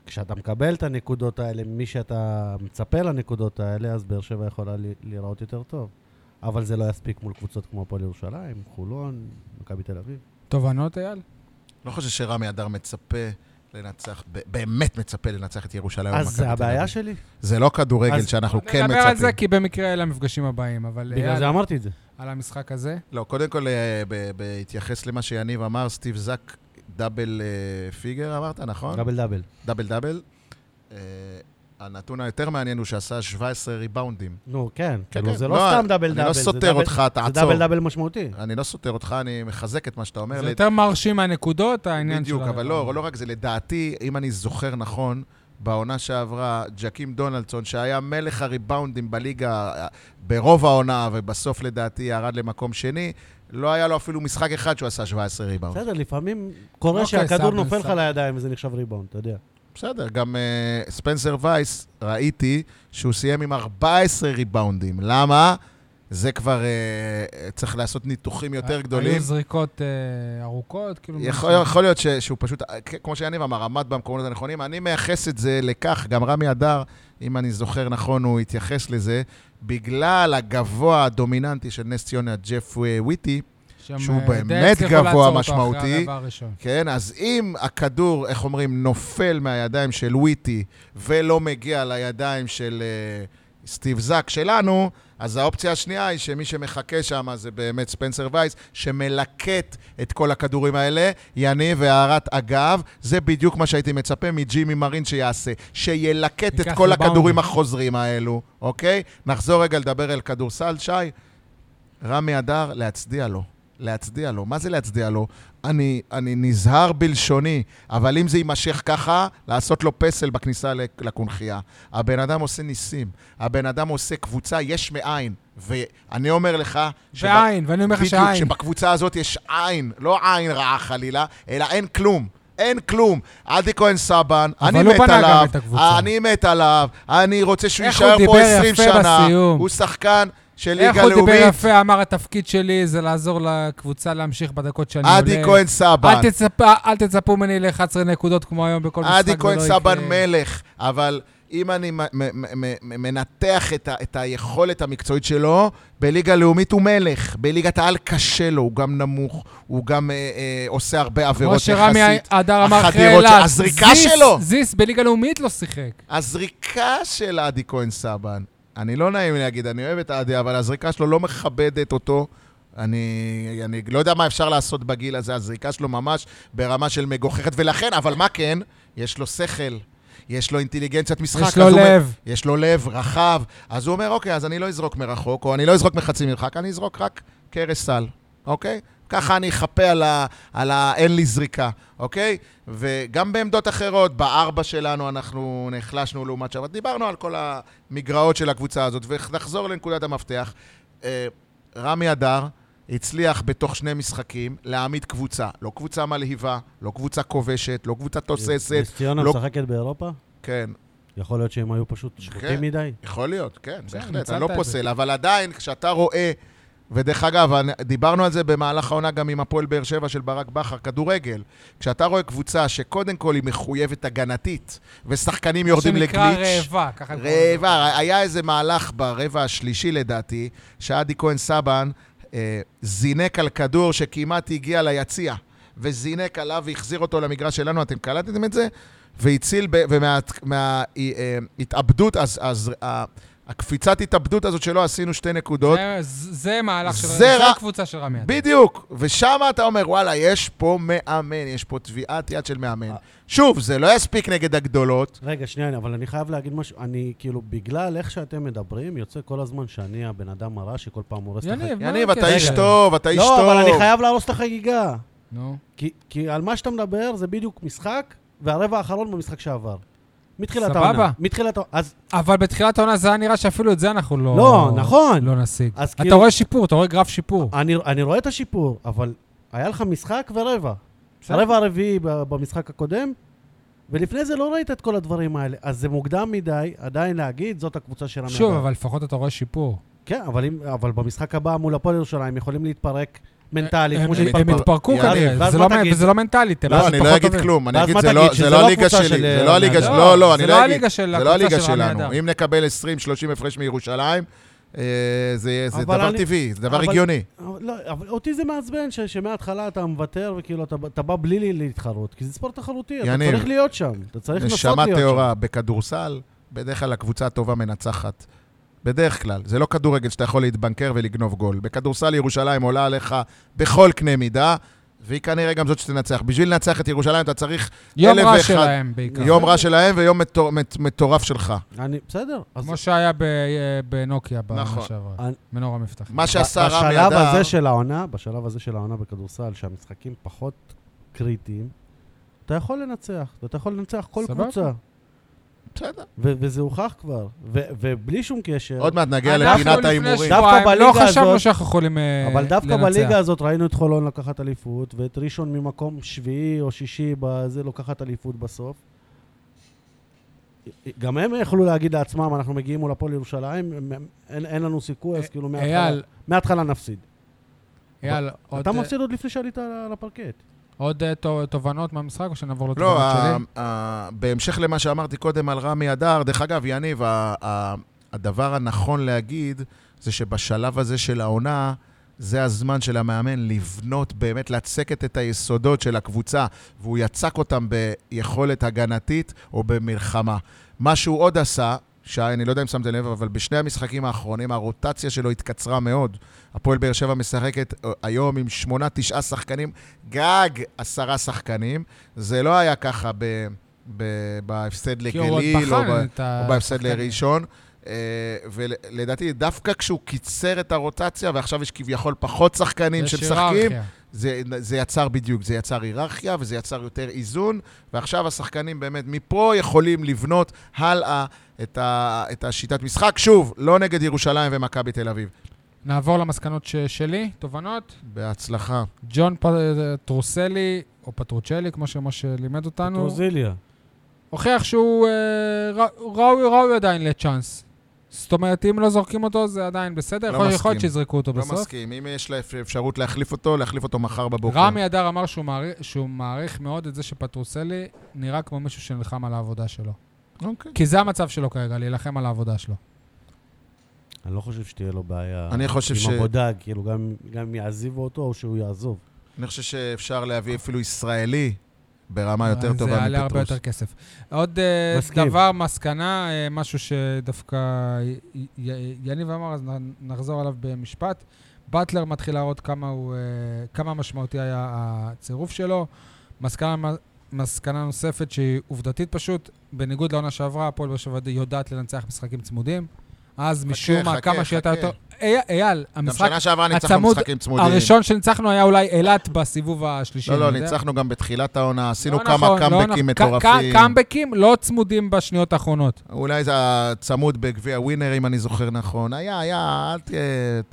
B: וכשאתה מקבל את הנקודות האלה ממי שאתה מצפה לנקודות האלה, אז באר שבע יכולה ל- להיראות יותר טוב. אבל זה לא יספיק מול קבוצות כמו הפועל ירושלים, חולון, מכבי תל אביב.
A: תובנות, אייל?
C: לא חושב שרמי אדר מצפה לנצח, ב- באמת מצפה לנצח את ירושלים.
B: אז
C: ומכבי
B: זה
C: אה, תל
B: הבעיה
C: אביב.
B: שלי.
C: זה לא כדורגל
B: אז-
C: שאנחנו כן
A: נדבר על זה
C: מצפים.
A: כי במקרה אלה המפגשים הבאים, אבל
B: בגלל זה
A: אייל,
B: אמרתי את זה.
A: על המשחק הזה.
C: לא, קודם כל, אה, ב- בהתייחס למה שיניב אמר, סטיב זק דאבל אה, פיגר אמרת, נכון?
B: דאבל דאבל.
C: דאבל דאבל. אה, הנתון היותר מעניין הוא שעשה 17 ריבאונדים.
B: נו, כן. כאילו,
C: כן.
B: זה לא
C: לא,
B: סתם דאבל דאבל.
C: אני לא
B: זה
C: סותר
B: דאבל-
C: אותך,
B: זה
C: תעצור.
B: דאבל דאבל משמעותי.
C: אני לא סותר אותך, אני מחזק את מה שאתה אומר.
A: זה
C: לי-
A: יותר מרשים מהנקודות, העניין של...
C: בדיוק, אבל לא,
A: הרבע.
C: לא רק זה, לדעתי, אם אני זוכר נכון, בעונה שעברה, ג'קים דונלדסון, שהיה מלך הריבאונדים בליגה אה, ברוב העונה, ובסוף לדעתי ירד למקום שני, לא היה לו אפילו משחק אחד שהוא עשה 17 ריבאונד.
B: בסדר, לפעמים קורה
A: אוקיי,
B: שהכדור
A: סבבה,
B: נופל לך
A: סבבה.
B: לידיים וזה נחשב ריבאונד, אתה יודע.
C: בסדר, גם uh, ספנסר וייס, ראיתי שהוא סיים עם 14 ריבאונדים. למה? זה כבר uh, צריך לעשות ניתוחים יותר גדולים.
A: אה, היו זריקות אה, ארוכות, כאילו...
C: יכול, יכול להיות ש, שהוא פשוט, אה, כמו שיניב אמר, עמד במקומות הנכונים. אני מייחס את זה לכך, גם רמי אדר, אם אני זוכר נכון, הוא התייחס לזה, בגלל הגבוה הדומיננטי של נס ציונה, ג'ף אה, וויטי,
A: שהם,
C: שהוא
A: אה, די
C: באמת
A: הצליחו
C: גבוה,
A: לעצור אותו
C: משמעותי.
A: אחרי הרבע הראשון.
C: כן? אז אם הכדור, איך אומרים, נופל מהידיים של וויטי ולא מגיע לידיים של אה, סטיב זאק שלנו, אז האופציה השנייה היא שמי שמחכה שם זה באמת ספנסר וייס, שמלקט את כל הכדורים האלה. יניב והערת אגב, זה בדיוק מה שהייתי מצפה מג'ימי מרין שיעשה, שילקט את
A: ייקח
C: כל
A: ריבאונד.
C: הכדורים החוזרים האלו, אוקיי? נחזור רגע לדבר על כדורסל, שי. רמי אדר, להצדיע לו. להצדיע לו. מה זה להצדיע לו? אני, אני נזהר בלשוני, אבל אם זה יימשך ככה, לעשות לו פסל בכניסה לק- לקונכייה. הבן אדם עושה ניסים, הבן אדם עושה קבוצה יש מאין, ואני אומר לך... שבא-
A: ועין, ואני אומר לך
C: בדיוק,
A: שעין.
C: שבקבוצה הזאת יש עין, לא עין רעה חלילה, אלא אין כלום. אין כלום. עדי כהן סבן,
A: אבל
C: אני
A: הוא
C: מת
A: בנה גם
C: עליו,
A: את הקבוצה.
C: אני מת עליו, אני רוצה שהוא
A: איך הוא
C: יישאר פה
A: דיבר
C: 20
A: יפה
C: שנה.
A: בסיום.
C: הוא שחקן של
A: איך
C: ליגה
A: הוא דיבר
C: לאומית.
A: יפה, אמר, התפקיד שלי זה לעזור לקבוצה להמשיך בדקות שאני עולה.
C: עדי כהן סבן.
A: אל תצפ- אל תצפו ממני ל-11 נקודות כמו היום בכל משחק.
C: עדי
A: זה
C: כהן
A: לא
C: סבן
A: יקרה.
C: מלך, אבל אם אני מ- מ- מ- מ- מנתח את, ה- את היכולת המקצועית שלו, בליגה לאומית הוא מלך. בליגת העל קשה לו, הוא גם נמוך, הוא גם אה, אה, עושה הרבה
A: כמו
C: עבירות
A: שרמי
C: יחסית.
A: אדר אמר אחרי
C: החדירות של-
A: אילת,
C: הזריקה
A: זיס-
C: שלו.
A: זיס בליגה לאומית לא שיחק.
C: הזריקה של עדי כהן סבן, אני לא נעים לי להגיד, אני אוהב את עדי, אבל הזריקה שלו לא מכבדת אותו. אני, אני לא יודע מה אפשר לעשות בגיל הזה, הזריקה שלו ממש ברמה של מגוחכת, ולכן, אבל מה כן? יש לו שכל, יש לו אינטליגנציית משחק.
A: יש לו
C: אז הוא אומר-
A: לב.
C: יש לו לב רחב, אז הוא אומר, אוקיי, אז אני לא אזרוק מרחוק, או אני לא אזרוק מחצי מרחק, אני אזרוק רק קרש סל, אוקיי? ככה אני אחפה על ה... על ה... אין לי זריקה, אוקיי? וגם בעמדות אחרות, בארבע שלנו אנחנו נחלשנו לעומת שם. דיברנו על כל המגרעות של הקבוצה הזאת, ונחזור לנקודת המפתח. אה, רמי אדר הצליח בתוך שני משחקים להעמיד קבוצה. לא קבוצה מלהיבה, לא קבוצה כובשת, לא קבוצה תוססת.
B: נס ציונה
C: לא-
B: משחקת באירופה?
C: כן,
B: יכול להיות שהם היו פשוט שחוטים מדי?
C: יכול להיות, כן,
A: אוקיי. בסדר,
C: בהחלט,
A: ניצלת
C: אני לא
A: את זה.
C: פוסל, אבל עדיין, כשאתה רואה, ודרך אגב, אני- דיברנו על זה במהלך העונה גם עם הפועל באר שבע של ברק בכר, כדורגל, כשאתה רואה קבוצה שקודם כל היא מחויבת הגנתית, ושחקנים יורדים
A: שנקרא
C: לגליץ',
A: רעבה, ככה קוראים לזה.
C: רעבה, היה איזה מהלך ברבע השלישי לדעתי, שעדי כהן סבן אה, זינק על כדור שכמעט הגיע ליציע, וזינק עליו והחזיר אותו למגרש שלנו, אתם קלטתם את זה? והציל, ומההתאבדות, אה, אז, אז ה- הקפיצת התאבדות הזאת שלו עשינו שתי נקודות.
A: זה- זה מהלך של...
C: זה
A: זה
C: רע-
A: קבוצה של רמי. אדם.
C: בדיוק, ושם אתה אומר, וואלה, יש פה מאמן, יש פה טביעת יד של
B: אה.
C: מאמן. שוב, זה לא יספיק נגד הגדולות.
B: רגע, שנייה, אבל אני חייב להגיד משהו. אני, כאילו, בגלל איך שאתם מדברים, יוצא כל הזמן שאני הבן אדם הרע שכל פעם הורס את החגיגה.
A: יניב, מה
C: יניב, אתה
A: הקטע?
C: איש טוב, אתה איש טוב.
B: לא, אבל אני חייב להרוס את החגיגה.
A: נו.
B: כי- כי על מה שאתה מדבר זה בדיוק משחק, והרבע האחרון במשחק שעבר. מתחילת
A: סבבה.
B: העונה. מתחילת העונה. אז
A: אבל בתחילת העונה זה היה נראה שאפילו את זה אנחנו לא...
B: לא, נכון.
A: לא נשיג.
B: אז
A: אתה
B: כאילו-
A: רואה שיפור, אתה רואה גרף
C: אה,
A: שיפור.
B: אני, אני רואה את השיפור, אבל היה לך משחק ורבע. הרבע הרביעי ב- במשחק הקודם, ולפני זה לא ראית את כל הדברים האלה. אז זה מוקדם מדי עדיין להגיד, זאת הקבוצה של המדע.
A: שוב, אבל לפחות אתה רואה שיפור.
B: כן, אבל, אם, אבל במשחק הבא מול הפועל ירושלים יכולים להתפרק מנטלית,
A: הם-
B: כמו
A: הם- הם
B: שהתפרקו.
A: התפרקו
C: יאללה,
A: כנראה,
B: ואז
A: זה
B: מה
A: לא מ-
B: תגיד?
A: וזה לא מנטלית. הם
C: לא,
A: פשוט
C: אני
A: פחות
C: לא אגיד
A: טובים.
C: כלום, אני
B: ואז
C: אגיד,
B: מה
C: זה
B: תגיד,
C: לא-
B: שזה
C: זה
B: לא
C: לא הליגה
B: הקבוצה
C: שלי,
B: של,
C: זה לא הליגה
B: אה,
C: שלי,
A: לא,
C: לא, לא,
A: זה
C: אני
A: לא
C: לא אגיד,
A: הליגה של
C: זה לא
A: הקבוצה
C: הליגה
A: של רמי
C: שלנו.
A: אדם.
C: אם נקבל 20-30 הפרש מירושלים, אה, זה זה
B: אבל
C: דבר
B: אני-
C: טבעי, זה דבר
B: אבל-
C: הגיוני.
B: אבל, לא, אבל אותי זה מעצבן ש, שמההתחלה אתה מוותר, וכאילו אתה, אתה בא בלי לי להתחרות, כי זה ספורט תחרותי, אתה
C: יניב,
B: צריך להיות שם, אתה צריך לנסות
C: נשמה
B: להיות שם.
C: טהורה בכדורסל, בדרך כלל הקבוצה הטובה מנצחת. בדרך כלל. זה לא כדורגל שאתה יכול להתבנקר ולגנוב גול. בכדורסל ירושלים עולה עליך בכל קנה מידה, והיא כנראה גם זאת שתנצח. בשביל לנצח את ירושלים אתה צריך
A: יום
C: אלף
A: רע
C: ואחד-
A: שלהם בעיקר.
C: יום רע שלהם ויום מטור- מט- מטורף שלך.
B: אני, בסדר. אז
A: כמו שהיה ב- אה, בנוקיה
C: נכון.
A: בעונה שעברה.
B: אני-
A: מנור המבטחים.
C: מה שעשה רמי אדר...
B: בשלב הזה של העונה, בשלב הזה של העונה בכדורסל, שהמשחקים פחות קריטיים, אתה יכול לנצח, ואתה יכול לנצח כל
A: סבבה.
B: קבוצה,
C: בסדר.
B: ו- וזה הוכח כבר, ו- ובלי שום קשר,
C: עוד מעט נגיע
A: אנחנו
C: לפינת
A: לפני
C: ההימורים.
B: דווקא
A: שבועיים לא
B: בליגה
A: חשבנו
B: הזאת-
A: שאנחנו יכולים אה, לנצח.
B: אבל דווקא בליגה הזאת ראינו את חולון לקחת אליפות, ואת ראשון ממקום שביעי או שישי בזה לוקחת אליפות בסוף. גם הם יכלו להגיד לעצמם, אנחנו מגיעים מול הפועל ירושלים, הם- הם- אין, אין לנו סיכוי, אז כאילו מההתחלה-
A: אה, אייל,
B: מההתחלה נפסיד.
A: אייל, עוד,
B: אתה
A: אה,
B: מפסיד עוד לפני שעלית על על הפרקט.
A: עוד אה, תו- תובנות מהמשחק או שנעבור
C: לא,
A: לתובנות
C: ה-
A: שלי?
C: ה- בהמשך למה שאמרתי קודם על רמי אדר, דרך אגב, יניב, ה- ה- הדבר הנכון להגיד זה שבשלב הזה של העונה, זה הזמן של המאמן לבנות, באמת לצקת את היסודות של הקבוצה, והוא יצק אותם ביכולת הגנתית או במלחמה. מה שהוא עוד עשה, שאני לא יודע אם שמתם לב, אבל בשני המשחקים האחרונים הרוטציה שלו התקצרה מאוד. הפועל באר שבע משחקת אה, היום עם שמונה, תשעה שחקנים, גג עשרה שחקנים. זה לא היה ככה ב, ב, בהפסד
A: כי הוא עוד
C: לגליל אה, או, ב,
A: בחן את ה-
C: או בהפסד
A: השחקנים.
C: לראשון. אה, ולדעתי, דווקא כשהוא קיצר את הרוטציה, ועכשיו יש כביכול פחות שחקנים
A: יש
C: שמשחקים,
A: היררכיה.
C: זה, זה יצר בדיוק, זה יצר היררכיה וזה יצר יותר איזון, ועכשיו השחקנים באמת מפה יכולים לבנות הלאה את, ה, את השיטת משחק. שוב, לא נגד ירושלים ומכבי תל אביב.
A: נעבור למסקנות ש- שלי, תובנות.
C: בהצלחה.
A: ג'ון פ- אה, טרוסלי, או פטרוצ'לי, כמו שמשה לימד אותנו,
B: טרוזיליה.
A: הוכיח שהוא אה, ר- ראוי ראוי עדיין לצ'אנס. זאת אומרת, אם לא זורקים אותו, זה עדיין בסדר.
C: לא
A: יכול יכול
C: מסכים.
A: להיות שיזרקו אותו
C: לא
A: בסוף.
C: מסכים. אם יש לה אפ- אפשרות להחליף אותו, להחליף אותו מחר בבוקר.
A: רמי אדר אמר שהוא מעריך- שהוא מעריך מאוד את זה שפטרוסלי נראה כמו מישהו שנלחם על העבודה שלו.
C: אוקיי.
A: כי זה המצב שלו כרגע, להילחם על העבודה שלו.
B: אני לא חושב שתהיה לו בעיה
C: אני חושב
B: עם
C: ש-
B: עבודה, כאילו, גם, גם אם יעזיבו אותו או שהוא יעזוב.
C: אני חושב שאפשר להביא אפילו ישראלי ברמה יותר
A: אבל
C: טובה
A: אה, זה יעלה הרבה
C: מפטרוס.
A: יותר כסף. עוד אה,
B: מסכים.
A: דבר, מסקנה, אה, משהו שדווקא י- י- יניב אמר, אז נ- נחזור עליו במשפט. באטלר מתחיל להראות כמה, הוא, אה, כמה משמעותי היה הצירוף שלו. מסקנה, מסקנה נוספת שהיא עובדתית פשוט, בניגוד לעונה שעברה, הפועל באר שבע יודעת לנצח משחקים צמודים. אז משום מה,
C: חכה,
A: כמה שיותר
C: חכה.
A: יותר... אי- אייל,
C: גם
A: המשחק
C: שנה שעברה ניצחנו
A: הצמוד-
C: משחקים צמודים.
A: הראשון שניצחנו היה אולי אילת בסיבוב השלישי.
C: לא,
A: אני
C: לא,
A: יודע.
C: ניצחנו גם בתחילת העונה, עשינו
A: לא
C: כמה
A: נכון, לא
C: קאמבקים
A: נכון. ק-
C: מטורפים.
A: ק- קאמבקים לא צמודים בשניות האחרונות.
C: אולי זה הצמוד בגביע ווינר, אם אני זוכר נכון. היה, היה, אל ת-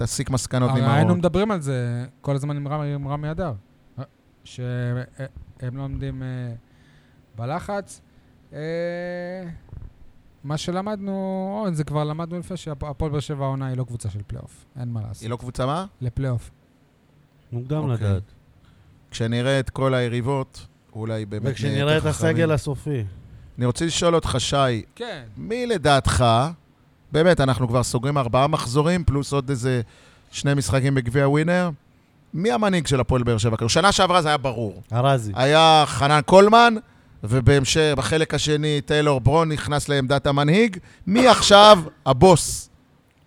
C: תסיק מסקנות
A: הרי
C: ממרון.
A: היינו מדברים על זה כל הזמן עם רמי- עם רמי אדר, שהם לא עומדים אה, בלחץ. אה, מה שלמדנו, או, זה כבר למדנו לפני שהפועל באר שבע העונה היא לא קבוצה של פלייאוף, אין מה לעשות.
C: היא לא קבוצה מה?
A: לפלייאוף.
B: מוקדם
C: אוקיי.
B: לדעת.
C: כשנראה את כל היריבות, אולי באמת... אה, נהיה
B: וכשנראה את
C: יותר חכמים.
B: הסגל הסופי.
C: אני רוצה לשאול אותך, שי,
A: כן.
C: מי לדעתך, באמת, אנחנו כבר סוגרים ארבעה מחזורים, פלוס עוד איזה שני משחקים בגביע ווינר, מי המנהיג של הפועל באר שבע? כאילו, שנה שעברה זה היה ברור.
B: ארזי.
C: היה חנן קולמן, ובהמשך, בחלק השני, טיילור ברון נכנס לעמדת המנהיג. מי עכשיו הבוס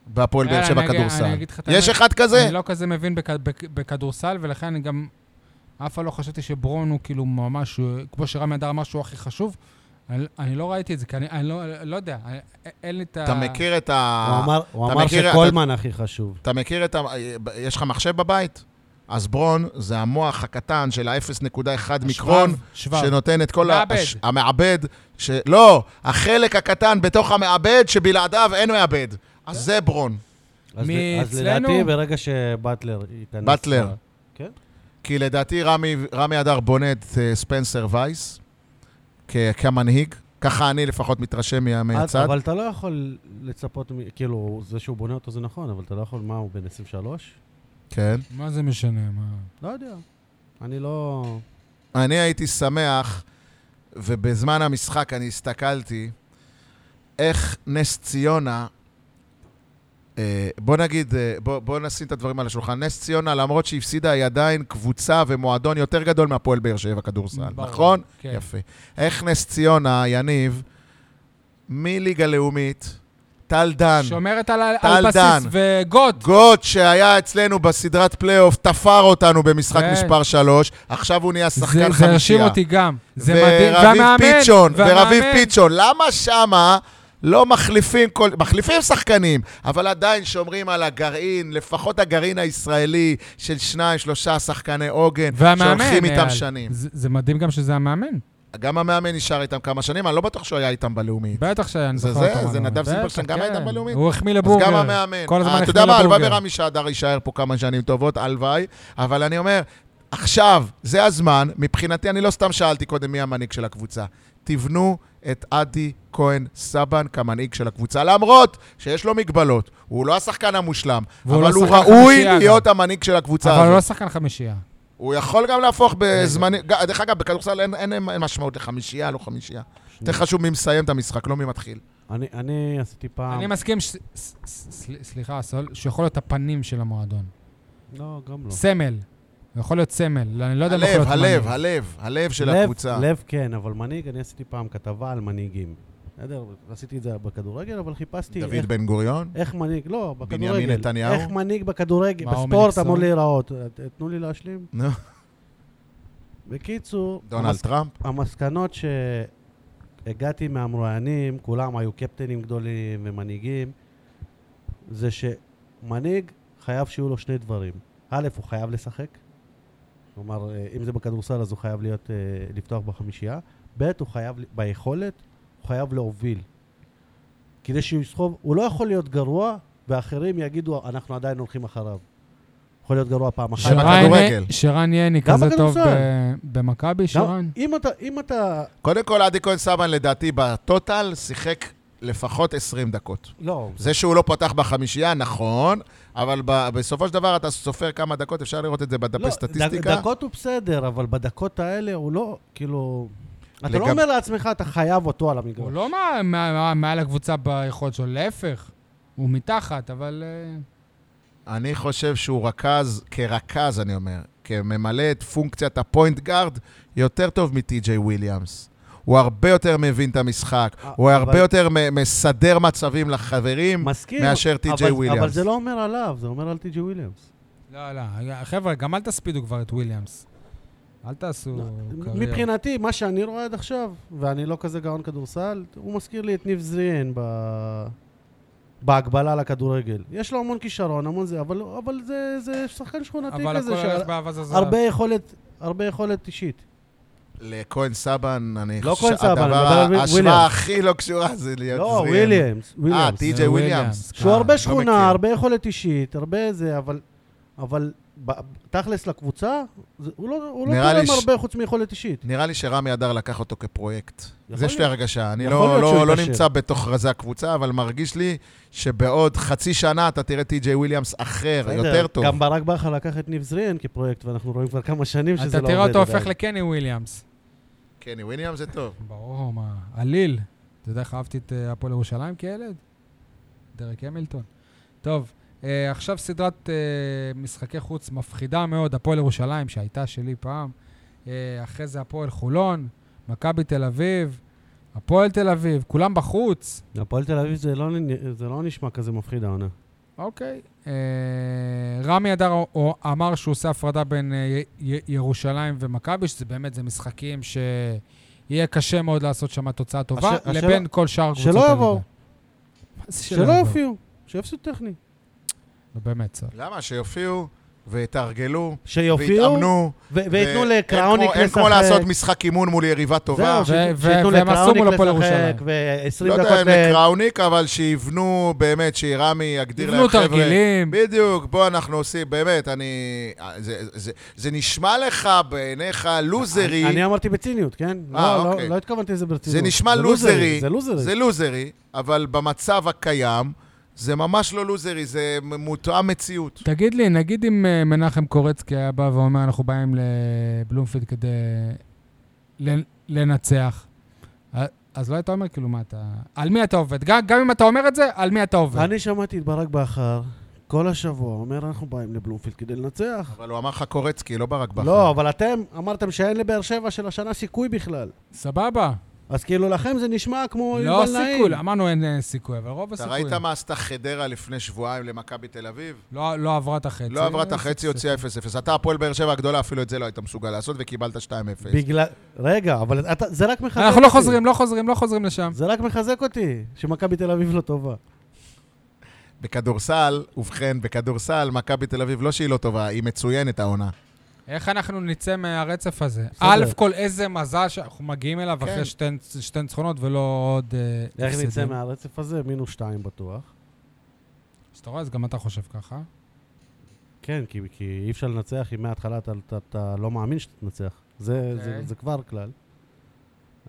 C: בהפועל באר
A: יאללה,
C: שבע
A: אני אגיד- אני
C: כדורסל?
A: אגיד לך את
C: יש
A: האמת,
C: אחד כזה?
A: אני לא כזה מבין בכ- בכ- בכדורסל, ולכן אני גם אף פעם לא חשבתי שברון הוא כאילו ממש, אה, כמו שרמי אדר אמר שהוא הכי חשוב. אני, אני לא ראיתי את זה, כי אני, אני לא, לא יודע, אני, אין לי את ה...
C: אתה מכיר את
B: הוא
C: ה...
B: אמר- הוא
C: אתה
B: אמר
C: מכיר-
B: שקולמן הכי חשוב.
C: אתה מכיר את ה... יש לך מחשב בבית? אז ברון זה המוח הקטן של ה-0.1 מיקרון,
A: שבב.
C: שנותן את כל
A: מעבד.
C: הש- המעבד, ש... לא, החלק הקטן בתוך המעבד, שבלעדיו אין מעבד. אז זה ברון.
B: אז
A: מי
B: ל- אז
A: אצלנו?
B: לדעתי, ברגע שבטלר ייכנס...
C: באטלר.
B: ל- כן?
C: כי לדעתי רמי, רמי אדר בונה את אה, ספנסר וייס כ, כמנהיג. ככה אני לפחות מתרשם מה- מהצד.
B: אבל אתה לא יכול לצפות, מ- כאילו, זה שהוא בונה אותו זה נכון, אבל אתה לא יכול, מה, הוא בן 23?
C: כן.
A: מה זה משנה? מה...
B: לא יודע. אני לא...
C: אני הייתי שמח, ובזמן המשחק אני הסתכלתי איך נס ציונה, אה, בוא נגיד, אה, בוא, בוא נשים את הדברים על השולחן. נס ציונה, למרות שהיא הפסידה, היא עדיין קבוצה ומועדון יותר גדול מהפועל באר שבע כדורסל,
A: ברור,
C: נכון?
A: כן.
C: יפה. איך נס ציונה, יניב, מליגה לאומית, טל דן,
A: שומרת על,
C: טל
A: על בסיס
C: דן.
A: וגוד.
C: גוט שהיה אצלנו בסדרת פלייאוף, תפר אותנו במשחק
A: כן.
C: מספר 3, עכשיו הוא נהיה
A: זה,
C: שחקן
A: זה הרשים
C: חמישייה.
A: אותי גם. זה מדהים.
C: ורביב
A: והמאמן,
C: פיצ'ון,
A: והמאמן.
C: ורביב פיצ'ון, למה שמה לא מחליפים, כל... מחליפים שחקנים, אבל עדיין שומרים על הגרעין, לפחות הגרעין הישראלי של שניים, שלושה שחקני עוגן,
A: והמאמן,
C: שהולכים איתם
A: אייל.
C: שנים.
A: זה, זה מדהים גם שזה המאמן.
C: גם המאמן נשאר איתם כמה שנים, אני לא בטוח שהוא היה איתם בלאומית.
A: בטח שהיה, אני
C: זה-
A: זוכר
C: זה-
A: אותו.
C: זה
A: מהמאמן.
C: נדב זילברשטיין,
A: בטח,
C: גם היית
A: כן.
C: בלאומית?
A: הוא החמיא
C: אז
A: לבורגר.
C: גם המאמן.
A: כל הזמן
C: אה, אתה
A: החמיא
C: יודע מה, הלוואי
A: לבורגר.
C: ורמי שעדר יישאר פה כמה שנים טובות, הלוואי, אבל אני אומר, עכשיו, זה הזמן, מבחינתי, אני לא סתם שאלתי קודם מי המנהיג של הקבוצה. תבנו את עדי כהן סבן כמנהיג של הקבוצה, למרות שיש לו מגבלות. הוא לא השחקן המושלם,
A: והוא
C: אבל
A: לא
C: הוא
A: שחקן
C: ראוי
A: חמישייה
C: להיות המנהיג של הקבוצה
A: אבל הוא לא
C: הזאת.
A: שחקן חמישייה.
C: הוא יכול גם להפוך בזמנים... ג- דרך אגב, בכדורסל אין- אין אין משמעות לחמישייה, לא חמישייה. יותר חשוב מי מסיים את המשחק, לא מי מתחיל.
B: אני, אני עשיתי פעם...
A: אני מסכים, ש- ס- ס- סל- סליחה, סול, שיכול להיות הפנים של המועדון.
B: לא, גם לא.
A: סמל. הוא יכול להיות סמל. אני לא יודע אם הוא יכול
C: הלב,
A: להיות
C: הלב,
A: מנהיג.
C: הלב, הלב של
B: לב-
C: הקבוצה.
B: לב כן, אבל מנהיג, אני עשיתי פעם כתבה על מנהיגים. בסדר? עשיתי את זה בכדורגל, אבל חיפשתי איך,
C: דוד בן גוריון?
B: איך מנהיג, לא, בכדורגל.
C: בנימין נתניהו?
B: איך מנהיג בכדורגל,
A: מה, הוא
B: בספורט
A: מניקסון?
B: אמור להיראות. ת- תנו לי להשלים.
C: נו.
B: בקיצור,
C: דונלד
B: המס-
C: טראמפ?
B: המסקנות שהגעתי מהמרואיינים, כולם היו קפטנים גדולים ומנהיגים, זה שמנהיג חייב שיהיו לו שני דברים. א', הוא חייב לשחק. כלומר, אה, אם זה בכדורסל אז הוא חייב להיות, אה, לפתוח בחמישייה. ב', הוא חייב, ל- ביכולת, הוא חייב להוביל. כדי שהוא יסחוב, הוא לא יכול להיות גרוע, ואחרים יגידו, אנחנו עדיין הולכים אחריו. יכול להיות גרוע פעם אחת.
C: שרן- בכדורגל.
A: שרן יני
B: גם
A: כזה טוב
B: בכדורסל.
A: ב- במכבי,
B: גם-
A: שרן?
B: אם אתה, אם אתה,
C: קודם כל, עדי כהן סבן, לדעתי, בטוטל, שיחק לפחות 20 דקות.
B: לא,
C: זה שהוא לא פתח בחמישייה, נכון, אבל ב- בסופו של דבר אתה סופר כמה דקות, אפשר לראות את זה בדפי
B: לא,
C: סטטיסטיקה.
B: דק- דקות הוא בסדר, אבל בדקות האלה הוא לא, כאילו... אתה
C: לגב-
B: לא אומר לעצמך, אתה חייב אותו על המגרש.
A: הוא לא מה- מה- מה- מעל הקבוצה ביכולת שלו, להפך. הוא מתחת, אבל... אה,
C: אני חושב שהוא רכז, כרכז, אני אומר, כממלא את פונקציית הפוינט גארד, יותר טוב מטי.ג'יי וויליאמס. הוא הרבה יותר מבין את המשחק,
B: אה,
C: הוא הרבה
B: אבל-
C: יותר מ- מסדר מצבים לחברים
B: מסכים.
C: מאשר טי.ג'יי
B: אבל-
C: וויליאמס.
B: אבל זה לא אומר עליו, זה אומר על טי.ג'י וויליאמס.
A: לא, לא. חבר'ה, גם אל תספידו כבר את וויליאמס. אל תעשו קריירה.
B: לא, מבחינתי, מה שאני רואה עד עכשיו, ואני לא כזה גאון כדורסל, הוא מזכיר לי את ניב זריאן ב... בהגבלה לכדורגל. יש לו המון כישרון, המון זה, אבל, אבל זה, זה שחקן שכונתי
A: אבל הכל
B: כזה,
A: הולך באהבה זו זו.
B: שהרבה יכולת, הרבה יכולת אישית.
C: לכהן סבן, אני
B: לא
C: חושב
B: כהן סבן, אני מדבר על
C: שהדבר,
B: וויל-
C: ההשוואה
B: וויליאמס.
C: הכי לא קשורה זה להיות
B: לא,
C: זריאן.
B: וויליאמס,
C: אה,
B: וויליאמס.
C: טי.ג'יי וויליאמס.
B: שהוא
A: אה,
B: הרבה
C: לא מכיר.
B: שכונה, הרבה יכולת אישית, הרבה זה, אבל... אבל ב- תכלס לקבוצה, זה- הוא לא, הוא לא
C: נראה לי
B: תורם
C: ש-
B: הרבה חוץ מיכולת אישית.
C: נראה לי שרמי אדר לקח אותו כפרויקט.
B: יכול
C: זה יש לי
B: להיות.
C: הרגשה. אני
B: יכול
C: לא,
B: להיות שהוא
C: לא, לא
B: ייכשל.
C: נמצא בתוך רזי הקבוצה, אבל מרגיש לי שבעוד חצי שנה אתה תראה טי.ג'יי וויליאמס אחר,
B: בסדר,
C: יותר טוב.
B: גם ברק בכר לקח את ניב זריאן כפרויקט, ואנחנו רואים כבר כמה שנים שזה לא
A: אתה
B: עובד.
A: תראה אותו הופך
B: עדיין.
A: לקני וויליאמס.
C: כן, וויליאמס זה טוב.
A: ברור, מה, עליל. אתה יודע איך אהבתי את אה, הפועל ירושלים כילד? דרק המילטון. טוב, אה, עכשיו סדרת אה, משחקי חוץ מפחידה מאוד, הפועל ירושלים, שהייתה שלי פעם. אה, אחרי זה הפועל חולון, מכבי תל אביב, הפועל תל אביב, כולם בחוץ.
B: הפועל תל אביב זה לא, נ- זה לא נשמע כזה מפחיד העונה.
A: אוקיי. אה, רמי אדר א- א- אמר שהוא עושה הפרדה בין אה, י- י- ירושלים ומכבי, שזה באמת, זה משחקים ש... יהיה קשה מאוד לעשות שם תוצאה טובה,
B: השאלה-
A: לבין כל שאר קבוצות
B: שלא יבואו.
A: מה זה
B: שלא
A: יבואו?
B: יופיעו, שיפסידו טכני.
A: נו, באמת, סל.
C: למה? שיופיעו ויתרגלו,
B: שיופיעו,
C: ויתאמנו.
B: ו- וייתנו
C: ו-
B: לקראוניק
C: אין כמו-
B: לשחק.
C: אין כמו לעשות משחק אימון מול יריבה טובה.
B: זהו, ש-
A: ו-
B: שייתנו
A: ו- והם עשו מול
B: לקראוניק
A: הפועל
B: לשחק,
A: ירושלים.
C: לא
B: ו-20
C: יודע
B: דקות
C: אם
B: ל...
C: לקראוניק, אבל שיבנו באמת, שרמי יגדיר להם,
A: תבנו
C: חבר'ה...
A: תרגילים.
C: בדיוק, בוא אנחנו עושים, באמת, אני... זה, זה, זה נשמע לך בעיניך לוזרי,
B: אני אמרתי בציניות, כן?
C: אה,
B: לא, לא-
C: אוקיי.
B: לא התכוונתי לזה ברצינות.
C: זה נשמע לוזרי.
B: זה לוזרי.
C: זה לוזרי, אבל במצב הקיים, זה ממש לא לוזרי, זה מ- מותאם מציאות.
A: תגיד לי, נגיד אם אה, מנחם קורצקי היה בא ואומר, אנחנו באים לבלומפילד כדי לנ- לנצח, אה, אז לא היית אומר, כאילו, מה אתה... על מי אתה עובד? גם גם אם אתה אומר את זה, על מי אתה עובד.
B: אני שמעתי את ברק בכר כל השבוע אומר, אנחנו באים לבלומפילד כדי לנצח.
C: אבל הוא אמר לך קורצקי, לא ברק בכר.
B: לא, אבל אתם אמרתם שאין לבאר שבע של השנה סיכוי בכלל.
A: סבבה.
B: אז כאילו לכם זה נשמע כמו
A: לא
B: יובל נעים.
A: סיכוי, אמרנו אין אה, סיכוי, אבל רוב
C: אתה
A: הסיכויים.
C: ראית מה עשתה חדרה לפני שבועיים למכבי תל אביב?
A: לא לא עברה את החצי.
C: לא עברה את
A: אה,
C: החצי,
A: סיכוי.
C: הוציאה 0-0. אתה הפועל באר שבע הגדולה, אפילו את זה לא היית מסוגל לעשות, וקיבלת 2-0.
B: בגלל... רגע, אבל אתה... זה רק מחזק אותי.
A: אנחנו לא חוזרים, לא חוזרים, לא חוזרים לשם.
B: זה רק מחזק אותי, שמכבי תל אביב לא טובה.
C: בכדורסל, ובכן, בכדורסל, מכבי תל אביב, לא שהיא לא טובה, היא מצוינת העונה.
A: איך אנחנו נצא מהרצף הזה?
B: בסדר.
A: א' כל איזה מזל שאנחנו מגיעים אליו
C: כן.
A: אחרי שתי שתי ניצחונות ולא עוד... אה,
B: איך
A: הפסדים.
B: נצא מהרצף הזה? מינוס שתיים בטוח.
A: אז אתה רואה, אז גם אתה חושב ככה.
B: כן, כי, כי אי אפשר לנצח אם מההתחלה אתה, אתה, אתה לא מאמין שתנצח. זה, okay.
A: אוקיי.
B: זה, זה כבר כלל.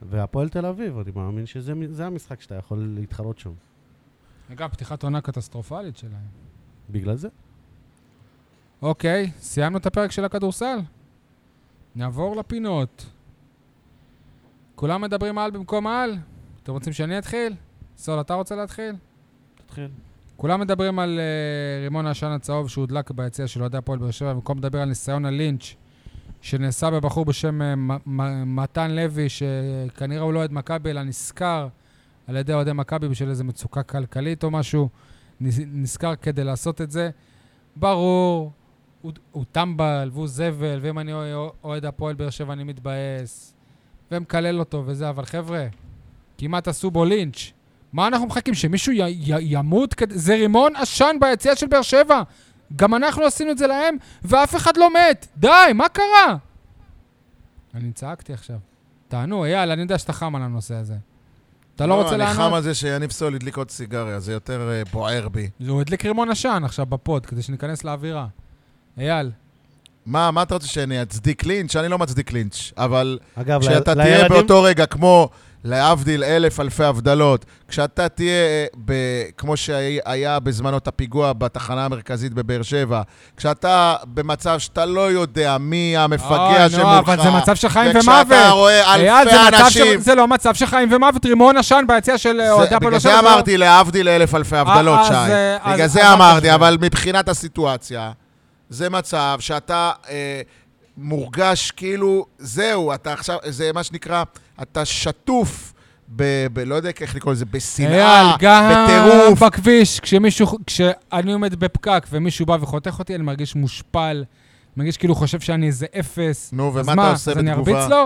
B: והפועל תל אביב, אני מאמין שזה מ- זה המשחק שאתה יכול להתחרות שם.
A: אגב, פתיחת עונה קטסטרופלית שלהם.
B: בגלל זה?
A: אוקיי, סיימנו את הפרק של הכדורסל. נעבור לפינות. כולם מדברים על במקום על? אתם רוצים שאני אתחיל? סול, אתה רוצה להתחיל?
B: תתחיל.
A: כולם מדברים על uh, רימון העשן הצהוב שהודלק ביציע של אוהדי הפועל באר שבע, במקום לדבר על ניסיון הלינץ' שנעשה בבחור בשם אה, מ- מ- מתן לוי, שכנראה הוא לא אוהד מכבי, אלא נשכר על ידי אוהדי מכבי בשביל איזו מצוקה כלכלית או משהו, נס- נשכר כדי לעשות את זה. ברור, הוא, הוא טמבל והוא זבל, ואם אני אוה- אוהד הפועל באר שבע אני מתבאס, ומקלל אותו וזה, אבל חבר'ה, כמעט עשו בו לינץ'. מה אנחנו מחכים? שמישהו י- י- ימות? כד- זה רימון עשן ביציאה של באר שבע. גם אנחנו עשינו את זה להם, ואף אחד לא מת. די, מה קרה? אני צעקתי עכשיו. תענו, אייל, אני יודע שאתה חם על הנושא הזה. אתה לא רוצה
C: אני חם
A: לענות?
C: על זה שיניב סול הדליק עוד סיגריה, זה יותר אה, בוער בי.
A: הוא הדליק רימון עשן עכשיו בפוד, כדי שניכנס לאווירה. אייל,
C: מה, מה אתה רוצה שאני אצדיק לינץ'? אני לא מצדיק לינץ', אבל
B: אגב,
C: כשאתה
B: ל-
C: תהיה
B: לילדים-
C: באותו רגע, כמו להבדיל אלף אלפי הבדלות, כשאתה תהיה, אה, ב- כמו שהיה בזמנו את הפיגוע בתחנה המרכזית בבאר שבע, כשאתה במצב שאתה לא יודע מי המפגע
A: אוי,
C: שמולך,
A: נו, אבל זה מצב של חיים
C: וכשאתה
A: ומוות.
C: רואה
A: אייל,
C: אלפי
A: זה מצב
C: אנשים...
A: של- זה לא מצב של חיים ומוות, רימון עשן ביציאה של
C: זה-
A: אוהדי הפועל
C: בגלל
A: באר שבע.
C: זה אמרתי להבדיל אלף אלפי הבדלות,
A: אז,
C: שי.
A: אה, אז-
C: בגלל
A: אז
C: זה
A: אל
C: אמרתי,
A: תשווה.
C: אבל מבחינת הסיטואציה, זה מצב שאתה אה, מורגש כאילו, זהו, אתה עכשיו, זה מה שנקרא, אתה שטוף. ב, ב, לא יודע איך לקרוא לזה,
A: אייל,
C: בשנאה,
A: גם
C: בטירוף.
A: בכביש, כשמישהו, כשאני עומד בפקק ומישהו בא וחותך אותי, אני מרגיש מושפל, מרגיש כאילו חושב שאני איזה אפס.
C: נו,
A: אז
C: ומה אתה עושה
A: אז אני
C: בתגובה?
A: ארביץ לו?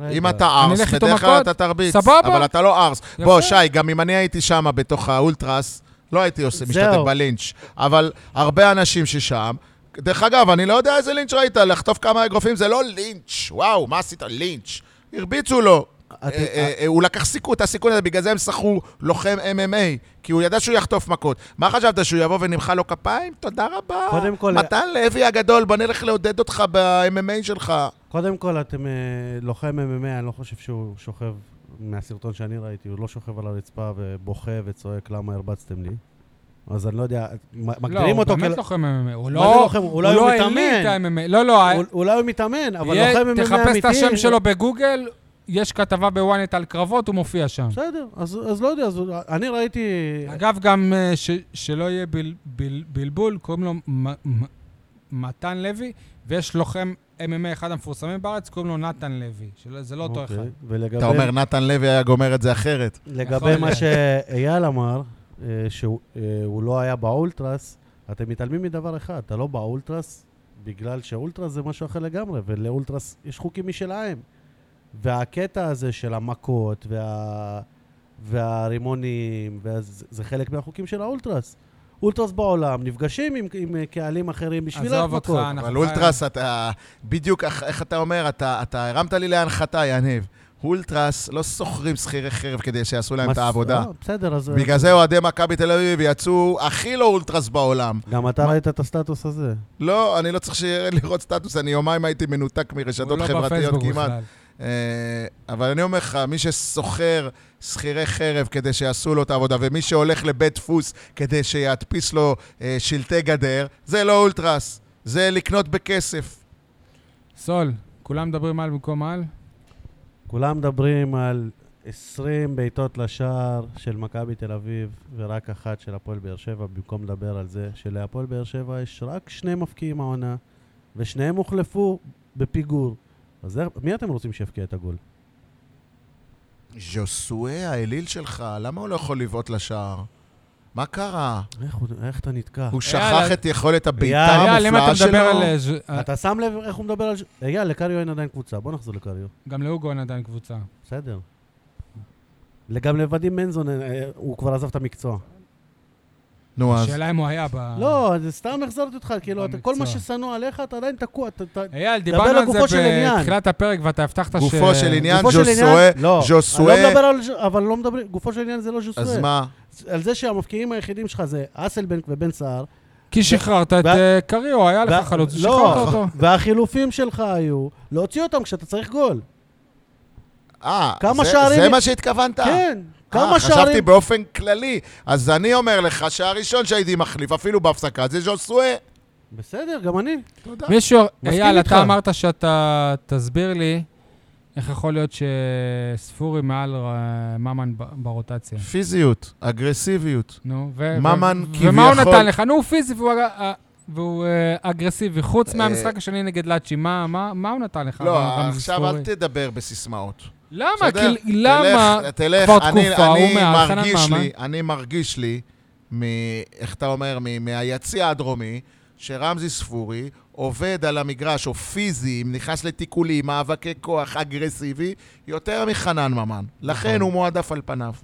B: רגע.
C: אם אתה
A: אני
C: ארס,
A: אלך איתו
C: בדרך כלל
A: מכות,
C: אתה תרביץ.
A: סבבה.
C: אבל אתה לא ארס. בוא,
A: יפה.
C: שי, גם אם אני הייתי שם בתוך האולטרס, לא הייתי עושה, משתתף
B: זהו.
C: בלינץ', אבל הרבה אנשים ששם... דרך אגב, אני לא יודע איזה לינץ' ראית, לחטוף כמה אגרופים זה לא לינץ', וואו, מה עשית? לינץ'. הרביצו לו.
B: אתם-
C: אה, אה, אה, הוא לקח סיכון, את הסיכון הזה, בגלל זה הם שכרו לוחם MMA, כי הוא ידע שהוא יחטוף מכות. מה חשבת, שהוא יבוא ונמחא לו כפיים? תודה רבה.
B: קודם כל-
C: מתן לוי הגדול, בוא נלך לעודד אותך ב-MMA שלך.
B: קודם כל, אתם אה, לוחם MMA, אני לא חושב שהוא שוכב, מהסרטון שאני ראיתי, הוא לא שוכב על הרצפה ובוכה וצועק למה הרבצתם לי. אז אני לא יודע, מ- מגדירים אותו
A: לא, הוא
B: כ-
A: באמת לוחם MMA. הוא
B: זה
A: לא
B: לוחם?
A: הוא
B: אולי הוא
A: לא
B: מתאמן.
A: העליל את ה-MMA. לא, לא, ה-
B: אול- אולי הוא מתאמן, אבל
A: יהיה-
B: לוחם MMA אמיתי...
A: תחפש את השם שלו בגוגל, יש כתבה בוויינט על קרבות, הוא מופיע שם.
B: בסדר, אז אז לא יודע, אז הוא- אני ראיתי...
A: אגב, גם אה, ש- שלא יהיה בל- בל- בלבול, קוראים לו מ- מ- מתן לוי, ויש לוחם MMA אחד המפורסמים בארץ, קוראים לו נתן לוי. שלא- זה לא אותו אחד.
B: אוקיי, ולגבי...
C: אתה אומר, נתן לוי היה גומר את זה אחרת.
A: יכול
B: לגבי
A: להיות.
B: מה שאייל אמר, אה, שהוא אה, הוא לא היה באולטרס, אתם מתעלמים מדבר אחד, אתה לא באולטרס בגלל שאולטרס זה משהו אחר לגמרי, ולאולטרס יש חוקים משלהם. והקטע הזה של המכות וה... והרימונים, וה... זה חלק מהחוקים של האולטרס. אולטרס בעולם נפגשים עם, עם אה, קהלים אחרים בשביל
A: עזוב אותך,
B: ההתמכות.
A: אנחנו
C: אבל
A: חיים-
C: אולטרס, אתה... בדיוק אח- איך אתה אומר, אתה אתה הרמת לי להנחתה, יניב. אולטרס לא שוכרים שכירי חרב כדי שיעשו להם את
B: מס-
A: לא,
C: העבודה.
B: אה, בסדר, אז...
C: בגלל זה אוהדי מכבי תל אביב יצאו הכי לא אולטרס בעולם.
B: גם אתה ראית את הסטטוס הזה.
C: לא, אני לא צריך שיהיה לראות סטטוס, אני יומיים הייתי מנותק
A: הוא
C: מרשתות
A: לא
C: חברתיות
A: בפייסבוק
C: כמעט.
A: בכלל.
C: אה, אבל אני אומר לך, מי שסוחר שכירי חרב כדי שיעשו לו את העבודה, ומי שהולך לבית דפוס כדי שידפיס לו אה, שלטי גדר, זה לא אולטרס, זה לקנות בכסף.
A: סול, כולם מדברים על במקום על?
B: כולם מדברים על 20 בעיטות לשער של מכבי תל אביב ורק אחת של הפועל באר שבע, במקום לדבר על זה שלהפועל באר שבע יש רק שני מפקיעים העונה, ושניהם הוחלפו בפיגור. אז איך- מי אתם רוצים שיפקיע את הגול?
C: ז'וסואה, האליל שלך, למה הוא לא יכול לבעוט לשער? מה קרה?
B: איך, הוא- איך אתה נתקע?
C: הוא שכח
A: אה, יאללה.
C: את יכולת הבעיטה
B: יאללה,
A: אייל, אם אתה
C: אה, המופלאה
A: מדבר על... אה,
C: שלו?
A: ז'- אה,
B: אתה שם לב איך הוא מדבר על... ש- אייל, לקריו אין עדיין קבוצה, בוא נחזור לקריו.
A: גם להוגו אין עדיין קבוצה.
B: בסדר. גם לוודים מנזון, אה, אה, הוא כבר עזב את המקצוע.
C: נו, אז...
A: השאלה אם הוא היה ב...
B: לא, זה סתם החזרתי אותך, כאילו, אתה- כל מה
A: במקצוע.
B: ששנוא עליך, אתה עדיין תקוע, אתה- אתה-
A: אייל,
B: דבר
A: דיברנו על
B: לגופו של
A: זה
B: עניין.
A: בתחילת הפרק, ואתה הבטחת ש...
C: גופו של עניין,
B: גופו של
C: ז'וסואה,
B: עניין- לא,
C: ז'וסואה-
B: אני לא מדבר על... ז'- אבל לא מדברים... גופו של עניין זה לא ז'וסואה.
C: אז מה?
B: על זה שהמפקיעים היחידים שלך זה אסלבנק ובן סער.
A: כי שחררת את
B: ו-
A: אה, קריו, היה לך
B: וה-
A: חלוץ,
B: לא,
A: שחררת אותו.
B: והחילופים שלך היו להוציא אותם כשאתה צריך גול.
C: אה,
B: כמה
C: זה-
B: שערים-
C: זה מה שהתכוונת?
B: כן,
C: אה,
B: כמה
C: חשבתי
B: שערים...
C: באופן כללי. אז אני אומר לך שהראשון שהייתי מחליף, אפילו בהפסקה, זה ז'וסואה.
B: בסדר, גם אני.
C: תודה.
A: מישהו,
B: מסכים
A: אייל,
B: איתך.
A: אתה אמרת שאתה... תסביר לי איך יכול להיות שספורי מעל אה, ממן ב- ברוטציה.
C: כן. פיזיות, אגרסיביות.
A: נו, ו...
C: ממן
A: ו- ומה הוא
C: כביכול-
A: נתן לך? נו, הוא פיזי והוא... אג- אה, והוא אה, אגרסיבי, חוץ
C: אה,
A: מהמשחק השני נגד לאצ'י, מה מה- מה הוא נתן לך?
C: לא,
A: רמזי
C: עכשיו
A: ספורי?
C: אל תדבר בסיסמאות.
A: למה?
C: בסדר?
A: כי- למה?
C: תלך, תלך,
A: כבר
C: אני-
A: תקופה,
C: אני
A: הוא מעל חנן
C: מרגיש
A: ממן.
C: לי, אני מרגיש לי, מ- איך אתה אומר, מ- מהיציע הדרומי, שרמזי ספורי עובד על המגרש, או פיזי, נכנס לתיקולים, מאבקי כוח, אגרסיבי, יותר מחנן ממן. לכן
A: נכון.
C: הוא מועדף על פניו,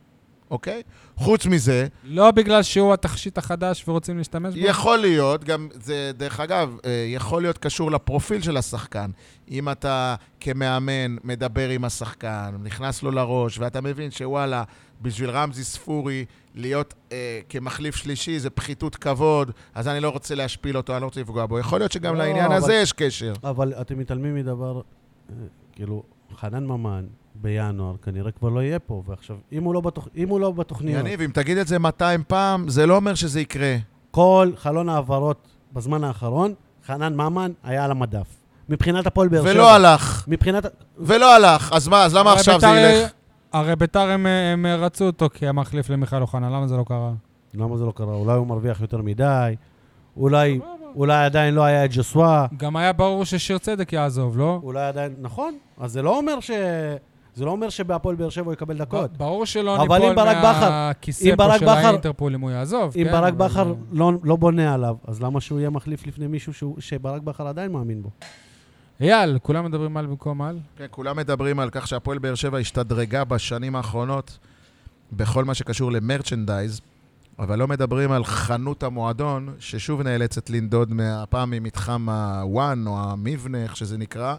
C: אוקיי? חוץ מזה,
A: לא בגלל שהוא התכשיט החדש ורוצים להשתמש בו?
C: יכול להיות, גם זה, דרך אגב, אה, יכול להיות קשור לפרופיל של השחקן. אם אתה כמאמן מדבר עם השחקן, נכנס לו לראש, ואתה מבין שוואלה, בשביל רמזי ספורי להיות אה, כמחליף שלישי זה פחיתות כבוד, אז אני לא רוצה להשפיל אותו, אני לא רוצה לפגוע בו. יכול להיות שגם
B: לא,
C: לעניין
B: אבל-
C: הזה יש קשר.
B: אבל אתם מתעלמים מדבר... אה, כאילו, חנן ממן בינואר כנראה כבר לא יהיה פה, ועכשיו, אם הוא לא בתוכ- אם הוא לא בתוכניות...
C: יניב, אם תגיד את זה 200 פעם, זה לא אומר שזה יקרה.
B: כל חלון העברות בזמן האחרון, חנן ממן היה על המדף. מבחינת הפועל באר שבע. אה,
C: ולא הלך.
B: מבחינת...
C: ולא הלך. אז מה, אז למה
A: הרי
C: עכשיו זה
A: ביתר-
C: ילך?
A: הרי ביתר הם- הם רצו אותו כמחליף למיכל אוחנה, למה זה לא קרה?
B: למה זה לא קרה? אולי הוא מרוויח יותר מדי, אולי, אולי עדיין לא היה את ג'סווה,
A: גם היה ברור ששיר צדק יעזוב, לא?
B: אולי עדיין... נכון, אז זה לא אומר ש... זה לא אומר שבהפועל באר שבע הוא יקבל דקות.
A: ב- ברור שלא
B: אבל
A: ניפול
B: אם ברק בכר-
A: מהכיסא פה
B: אם ברק
A: של
B: בכר-
A: האינטרפול אם הוא יעזוב.
B: אם
A: כן,
B: ברק
A: אבל-
B: בכר לא, לא בונה עליו, אז למה שהוא יהיה מחליף לפני מישהו שהוא, שברק בכר עדיין מאמין בו?
A: אייל, כולם מדברים על במקום על?
C: כן, כולם מדברים על כך שהפועל באר שבע השתדרגה בשנים האחרונות בכל מה שקשור למרצ'נדייז, אבל לא מדברים על חנות המועדון, ששוב נאלצת לנדוד, מה- הפעם ממתחם ה-one, או המבנה, איך שזה נקרא,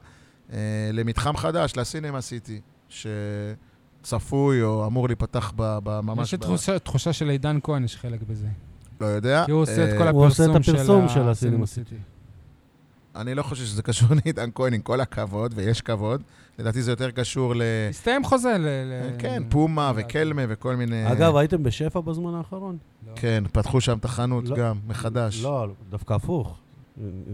C: אה, למתחם חדש, לסינמה סיטי, שצפוי או אמור להיפתח ב, ב, ממש...
A: יש לי
C: ב-
A: תחושה- תחושה שלעידן כהן יש חלק בזה.
C: לא יודע.
A: כי הוא עושה את
C: אה,
A: כל
B: הוא עושה את
A: הפרסום של
B: הפרסום של
A: ה-
B: הסינמה
A: cinema
B: סיטי.
A: city.
C: אני לא חושב שזה קשור לעידן כהן, עם כל הכבוד, ויש כבוד. לדעתי זה יותר קשור ל...
A: הסתיים חוזה ל... ל- לא.
C: כן,
A: אה,
C: פומה וקלמה וכל מיני...
B: אגב, הייתם בשפע בזמן האחרון?
A: לא.
C: כן, פתחו שם את החנות
B: לא-
C: גם, מחדש.
B: לא, דווקא הפוך.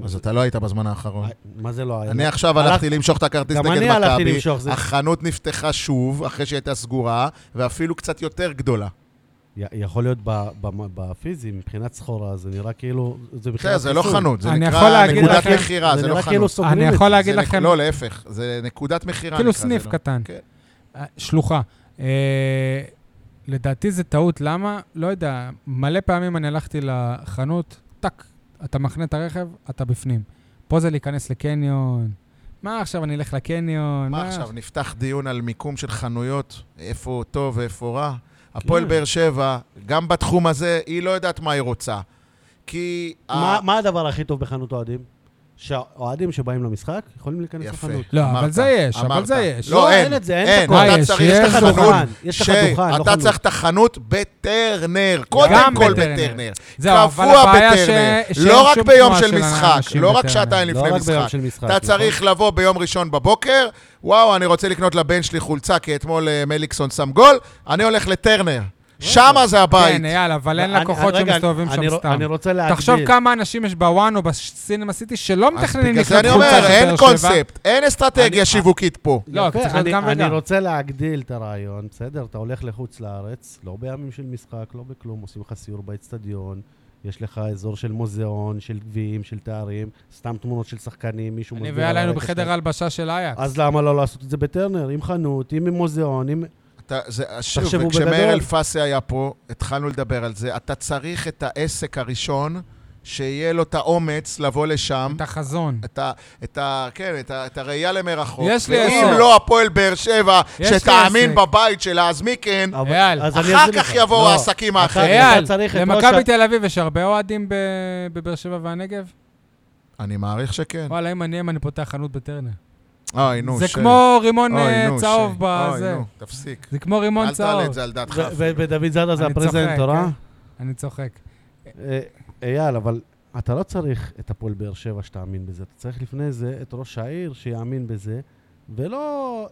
C: אז אתה לא היית בזמן האחרון.
B: מה זה לא היה?
C: אני עכשיו הלכתי למשוך את הכרטיס
B: גם
C: נגד
B: אני הלכתי
C: מכבי,
B: למשוך, זה-
C: החנות נפתחה שוב, אחרי שהיא הייתה סגורה, ואפילו קצת יותר גדולה.
B: י- יכול להיות ב- ב- בפיזי, מבחינת סחורה, זה נראה כאילו... זה
C: בסדר,
B: בכלל
C: זה לא
B: חיסול.
C: חנות, זה
A: אני יכול
C: נקרא
A: להגיד
C: נקודת
A: לכם-
C: מכירה, זה לא
B: נראה כאילו
C: חנות.
B: סוגרים
A: אני
B: את זה.
A: יכול להגיד
C: זה נק-
A: לכם,
C: לא, להפך, זה נקודת מכירה.
A: כאילו
C: נקרא, זה
A: סניף
C: לא-
A: קטן.
C: כן.
A: אה, שלוחה. אה, לדעתי זה טעות, למה? לא יודע, מלא פעמים אני הלכתי לחנות, טאק, אתה מחנה את הרכב, אתה בפנים. פה זה להיכנס לקניון. מה עכשיו, אני אלך לקניון?
C: מה עכשיו, נפתח דיון על מיקום של חנויות, איפה טוב ואיפה רע? הפועל
B: כן.
C: באר שבע, גם בתחום הזה, היא לא יודעת מה היא רוצה. כי...
B: מה-
C: ה-
B: מה הדבר הכי טוב בחנות אוהדים? שהאוהדים שבאים למשחק יכולים להיכנס
C: יפה.
B: לחנות.
A: לא,
C: אמרת,
A: אבל זה יש, אבל
C: אמרת.
A: זה יש.
C: לא, אין.
B: את זה, אין
C: אין,
B: את הכל.
A: מה
C: אתה
A: יש?
C: צריך
A: יש
C: את
A: לך
C: החנות.
B: דוכן, יש לך
C: שי,
B: דוכן, לא
C: אתה
B: חנות.
C: צריך את החנות בטרנר, קודם כל
A: בטרנר.
C: בטרנר.
A: זהו, אבל
C: קבוע
A: הבעיה ש-
C: בטרנר.
A: שאין
C: לא רק
A: שום
C: ביום
A: תנועה
C: של
A: של
C: משחק,
A: אנשים
C: לא רק
A: בטרנר.
C: שעתיים
B: לא רק
C: לפני
B: ביום
C: משחק.
B: של משחק.
C: אתה
B: נכון?
C: צריך לבוא ביום ראשון בבוקר, וואו, אני רוצה לקנות לבן שלי חולצה, כי אתמול אה, מליקסון שם גול, אני הולך לטרנר. שמה זה הבית.
A: כן, אייל, אבל אין
B: אני-
A: לקוחות
B: רגע,
A: שמסתובבים
B: אני
A: שם
B: רוצ-
A: סתם.
B: אני רוצה להגדיל.
A: תחשוב כמה אנשים יש בוואן או בסינמה סיטי שלא
C: אז
A: מתכננים
C: בגלל זה
A: לקנות
C: אני
A: חולצה של
C: אומר,
A: באר
C: אין
A: שבע.
C: קונספט, אין אסטרטגיה
B: אני-
C: שיווקית פה.
A: לא,
B: יפה,
A: צריך להיות
B: אני-
A: גם
B: אני
A: וגם.
B: רוצה להגדיל את הרעיון, בסדר? אתה הולך לחוץ לארץ, לא בימים של משחק, לא בכלום, עושים לך סיור באצטדיון, יש לך אזור של מוזיאון, של גביעים, של תארים, סתם תמונות של שחקנים, מישהו
A: אני
B: מסביר
A: ואייל
B: על
A: היינו
B: הרקע
A: בחדר
B: שלהם.
A: ההלבשה של אייקס.
B: אז למה לא לעשות את זה בטרנר? עם חנות, עם מוזיאון, עם...
C: אתה, זה, שוב,
B: תחשבו
C: וכשמאיר
B: בגדול.
C: אלפסי היה פה, התחלנו לדבר על זה. אתה צריך את העסק הראשון, שיהיה לו את האומץ לבוא לשם.
A: את החזון.
C: את ה... את ה... כן, את ה... את הראייה למרחוק.
A: יש לי
C: ואם
A: עסק.
C: לא הפועל באר שבע,
A: יש לי
C: שתאמין
A: עסק.
C: בבית שלה, אז מי כן?
B: אבל-
A: אייל,
B: אז אני
C: אחר
B: אסביר
C: כך
B: לך.
C: יבואו
B: לא,
C: העסקים
B: אתה-
C: האחרים.
A: אייל,
B: אתה צריך את ראש ה-
A: למכבי תל אביב יש הרבה אוהדים ב- בבאר שבע והנגב?
C: כן. אני מעריך שכן.
A: וואלה, אם אני אם אני פותח חנות בטרנר.
C: אוי, נו,
A: זה
C: שי.
A: כמו רימון
C: אוי,
A: אה,
C: נו,
A: צהוב
C: שי.
A: בזה.
C: אוי, נו, תפסיק.
A: זה כמו רימון
C: אל תעלה
A: צהוב.
C: את זה על דעתך.
B: ו- ו- ודוד זאדה זה
A: אני צוחק, כן?
B: הפרזנטור, אה?
A: אני צוחק.
B: אה, אייל, אבל אתה לא צריך את הפועל באר שבע שתאמין בזה, אתה צריך לפני זה את ראש העיר שיאמין בזה, ולא...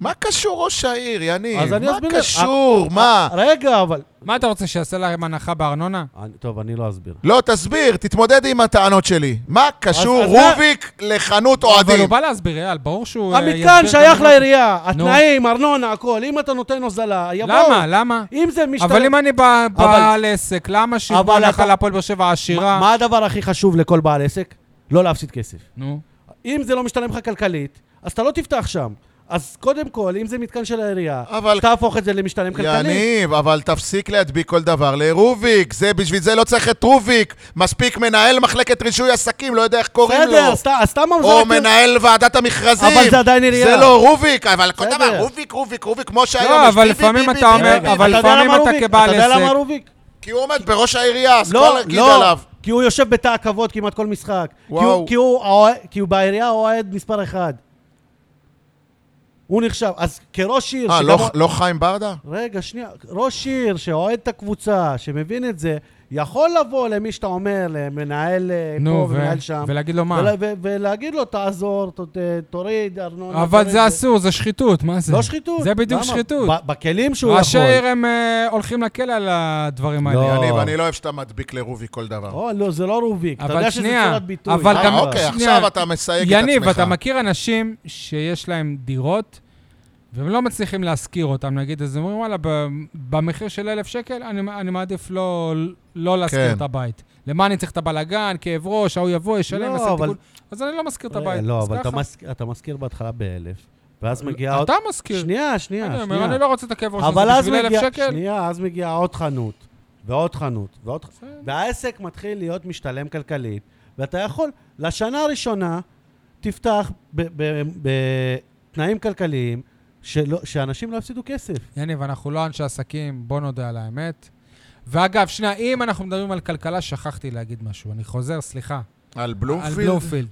C: מה קשור ראש העיר, יניב?
B: אז אני
C: מה
B: אסביר לך. אה,
C: קשור? מה?
B: רגע, אבל...
A: מה אתה רוצה, שיעשה להם הנחה בארנונה?
B: אני- טוב, אני לא אסביר.
C: לא, תסביר, תתמודד עם הטענות שלי. מה קשור
B: אז אתה-
C: רוביק לחנות
A: אבל
C: אוהדים?
A: הוא בא להסביר, אייל, ברור שהוא... אה,
B: המתקן
A: יסביר
B: שייך
A: גם-
B: לעירייה,
A: נו.
B: התנאים, ארנונה, הכל. אם אתה נותן הוזלה, יבואו.
A: למה? למה?
B: אם זה משתלם...
A: אבל אם אני בא- בעל
B: אבל-
A: עסק, למה שיבוא
B: אבל
A: לך
B: אתה-
A: להפועל באר שבע
B: מה
A: העשירה?
B: מה הדבר הכי חשוב לכל בעל עסק? לא להפסיד כסף.
A: נו.
B: אם זה לא משתלם לך כלכלית, אז אתה לא תפתח שם. אז קודם כל, אם זה מתקן של העירייה,
C: אבל-
B: תהפוך את זה למשתלם כלכלית.
C: יניב, אבל תפסיק להדביק כל דבר לרוביק. זה, בשביל זה לא צריך את רוביק. מספיק מנהל מחלקת רישוי עסקים, לא יודע איך קוראים לו.
B: בסדר, אז ת- אז סתם
C: או
B: המזרק...
C: מנהל ועדת המכרזים.
B: אבל זה עדיין עירייה.
C: זה לא רוביק, אבל כל
B: בסדר.
C: דבר, רוביק, רוביק, רוביק, כמו שהיום
A: לא,
C: יש
A: אבל
C: ביבי,
A: לפעמים
C: ביבי,
A: אתה אומר-
C: ביבי, ביבי.
A: אבל
B: אתה יודע
A: לפעמים
B: למה
A: אתה
B: רוביק?
A: כבעל
B: אתה יודע
A: עסק-
B: למה רוביק?
C: כי הוא עומד בראש העירייה, אז כל
B: לא,
C: להגיד
B: לא,
C: עליו.
B: כי הוא יושב בתא הכבוד כמעט כל משחק. כי הוא-
C: וואו.
B: כי הוא האוה- כי הוא בעירייה אוהד מספר אחד. הוא נחשב. אז כראש עיר...
C: אה,
B: שגם
C: לא-
B: הוא-
C: לא חיים ברדה?
B: רגע, שנייה. ראש עיר שאוהד את הקבוצה, שמבין את זה, יכול לבוא למי שאתה אומר, למנהל אה, פה
A: נו, ו-
B: ומנהל שם.
A: ולהגיד לו מה?
B: ול- ו- ולהגיד לו, תעזור, ת- ת- תוריד ארנונה.
A: אבל
B: תוריד
A: זה אסור, זה שחיתות, מה זה?
B: לא שחיתות.
A: זה בדיוק
B: למה?
A: שחיתות.
B: ב- בכלים שהוא יכול.
A: ראשי עיר הם אה, הולכים לכלא על הדברים האלה.
B: לא.
C: יניב, אני לא אוהב שאתה מדביק לרוביק כל דבר.
B: או, לא, זה לא רוביק. אתה
A: אבל
B: יודע שזה
A: שנייה,
B: צורת ביטוי.
A: אבל
C: אה,
A: גם-
C: אוקיי,
A: שנייה.
C: עכשיו אתה מסייג את עצמך.
A: יניב, אתה מכיר אנשים שיש להם דירות, והם לא מצליחים להשכיר אותם, נגיד, אז הם אומרים, וואלה, ב- במחיר של אלף שקל, אני, אני מעדיף לא, לא להשכיר
C: כן.
A: את הבית. למה אני צריך את הבלגן, כאב ראש, ההוא יבוא, ישלם,
B: לא,
A: יעשה
B: אבל-
A: תיקון? אז אני לא משכיר את הבית.
B: לא,
A: אז
B: אבל אתה
A: ככה. לא,
B: מזכיר- אתה מזכיר בהתחלה באלף, ואז מגיעה עוד...
A: אתה משכיר.
B: שנייה, שנייה,
A: אני אומר,
B: שנייה.
A: אני לא רוצה את הכאב ראש
B: אבל
A: הזה
B: אז
A: בשביל אלף
B: מגיעה...
A: שקל.
B: שנייה, אז מגיעה עוד חנות, ועוד חנות, ועוד חנות.
A: בסדר.
B: והעסק מתחיל להיות משתלם כלכלית, ואתה יכול, לשנה הראשונה, תפתח בתנאים כלכליים, שלא- שאנשים לא יפסידו כסף.
A: יניב, אנחנו לא אנשי עסקים, בוא נודה על האמת. ואגב, שנייה, אם אנחנו מדברים על כלכלה, שכחתי להגיד משהו. אני חוזר, סליחה.
C: על
A: על
C: בלומפילד?
A: בלומפילד.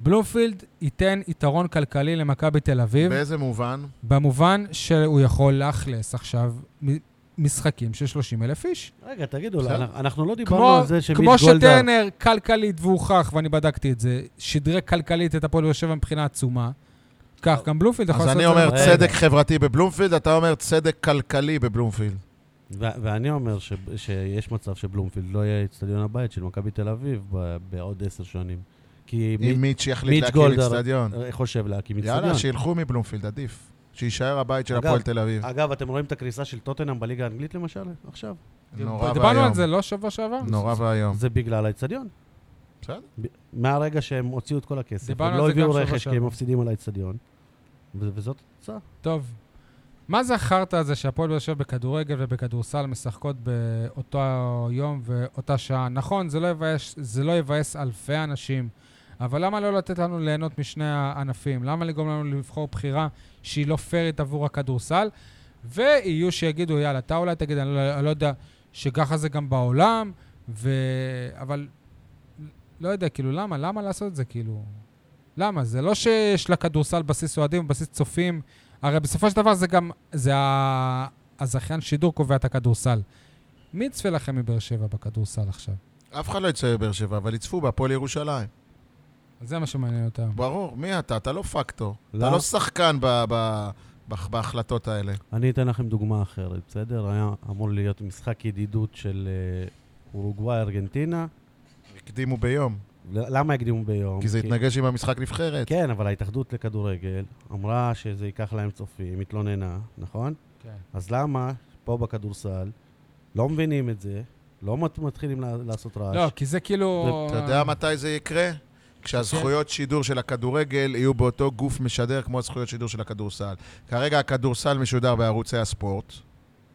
A: בלומפילד ייתן יתרון כלכלי למכבי תל אביב,
C: באיזה מובן?
A: במובן שהוא יכול לאכלס עכשיו מ- משחקים של 30 אלף איש.
B: רגע, תגידו,
C: בסדר.
B: אנחנו- אנחנו לא דיברנו
A: כמו,
B: על זה שמיט
A: כמו
B: גולדהר...
A: שטרנר כלכלית והוכח, ואני בדקתי את זה, שדרג כלכלית את הפועל באר שבע מבחינה עצומה, כך גם בלומפילד יכול
C: אז
A: לעשות
C: אני
A: את זה.
C: אומר
B: רגע.
C: צדק חברתי בבלומפילד, אתה אומר צדק כלכלי בבלומפילד.
B: ו- ואני אומר ש- שיש מצב שבלומפילד לא יהיה אצטדיון הבית של מכבי תל אביב ב- בעוד עשר שנים. כי מי-
C: אם מיץ' יחליט
B: מיץ'
C: להקים
B: גולדהר.
C: אצטדיון.
B: חושב להקים
C: יאללה,
B: אצטדיון.
C: שילכו מבלומפילד, עדיף. שיישאר הבית של
B: אגב, אה,
C: הפועל תל אביב.
B: אגב, אתם רואים את הקריסה של טוטנאם בליגה האנגלית למשל? עכשיו.
C: נורא ואיום.
A: דיברנו על זה לא שבוע שעבר?
C: נורא ואיום.
B: זה בגלל האצטדיון.
C: בסדר.
B: ב- מהרגע שהם הוציאו את כל הכסף,
A: דיברנו
B: הם
A: על
B: לא
A: זה
B: הביאו
A: גם שבוע
B: רכש כי הם
A: שעבר.
B: מפסידים על האצטדיון. ו- וזאת התוצאה.
A: טוב. מה זה החרטא הזה שהפועל באר שבע בכדורגל ובכדורסל משחקות באותו יום ואותה שעה? נכון, זה לא, יבאס, זה לא יבאס אלפי אנשים, אבל למה לא לתת לנו ליהנות משני הענפים? למה לגרום לנו לבחור בחירה שהיא לא פיירית עבור הכדורסל? ויהיו שיגידו, יאללה, אתה אולי תגיד, אני לא, אני לא יודע, שככה זה גם בעולם, ו... אבל לא יודע, כאילו, למה? למה לעשות את זה, כאילו? למה? זה לא שיש לכדורסל בסיס אוהדים ובסיס צופים. הרי בסופו של דבר זה גם, זה ה- הזכיין שידור קובע את הכדורסל. מי יצפה לכם מבאר שבע בכדורסל עכשיו?
C: אף אחד לא יצא בבאר שבע, אבל יצפו בהפועל ירושלים.
A: זה מה שמעניין אותם.
C: ברור, מי אתה? אתה לא פקטור. אתה
B: למה?
C: לא שחקן ב- ב- ב- בהחלטות האלה.
B: אני אתן לכם דוגמה אחרת, בסדר? היה אמור להיות משחק ידידות של אה, אורוגוואי-ארגנטינה.
C: הקדימו ביום,
B: ל- למה הקדימו ביום?
C: כי זה התנגש עם המשחק נבחרת.
B: כן, אבל ההתאחדות לכדורגל אמרה שזה ייקח להם צופים, התלוננה, נכון?
A: כן.
B: אז למה פה בכדורסל לא מבינים את זה, לא מת- מתחילים לה- לעשות רעש?
A: לא, כי זה כאילו...
B: אה.
C: אתה יודע מתי זה יקרה? כשהזכויות
B: כן.
C: שידור של הכדורגל יהיו באותו גוף משדר כמו הזכויות שידור של הכדורסל. כרגע הכדורסל משודר בערוצי הספורט,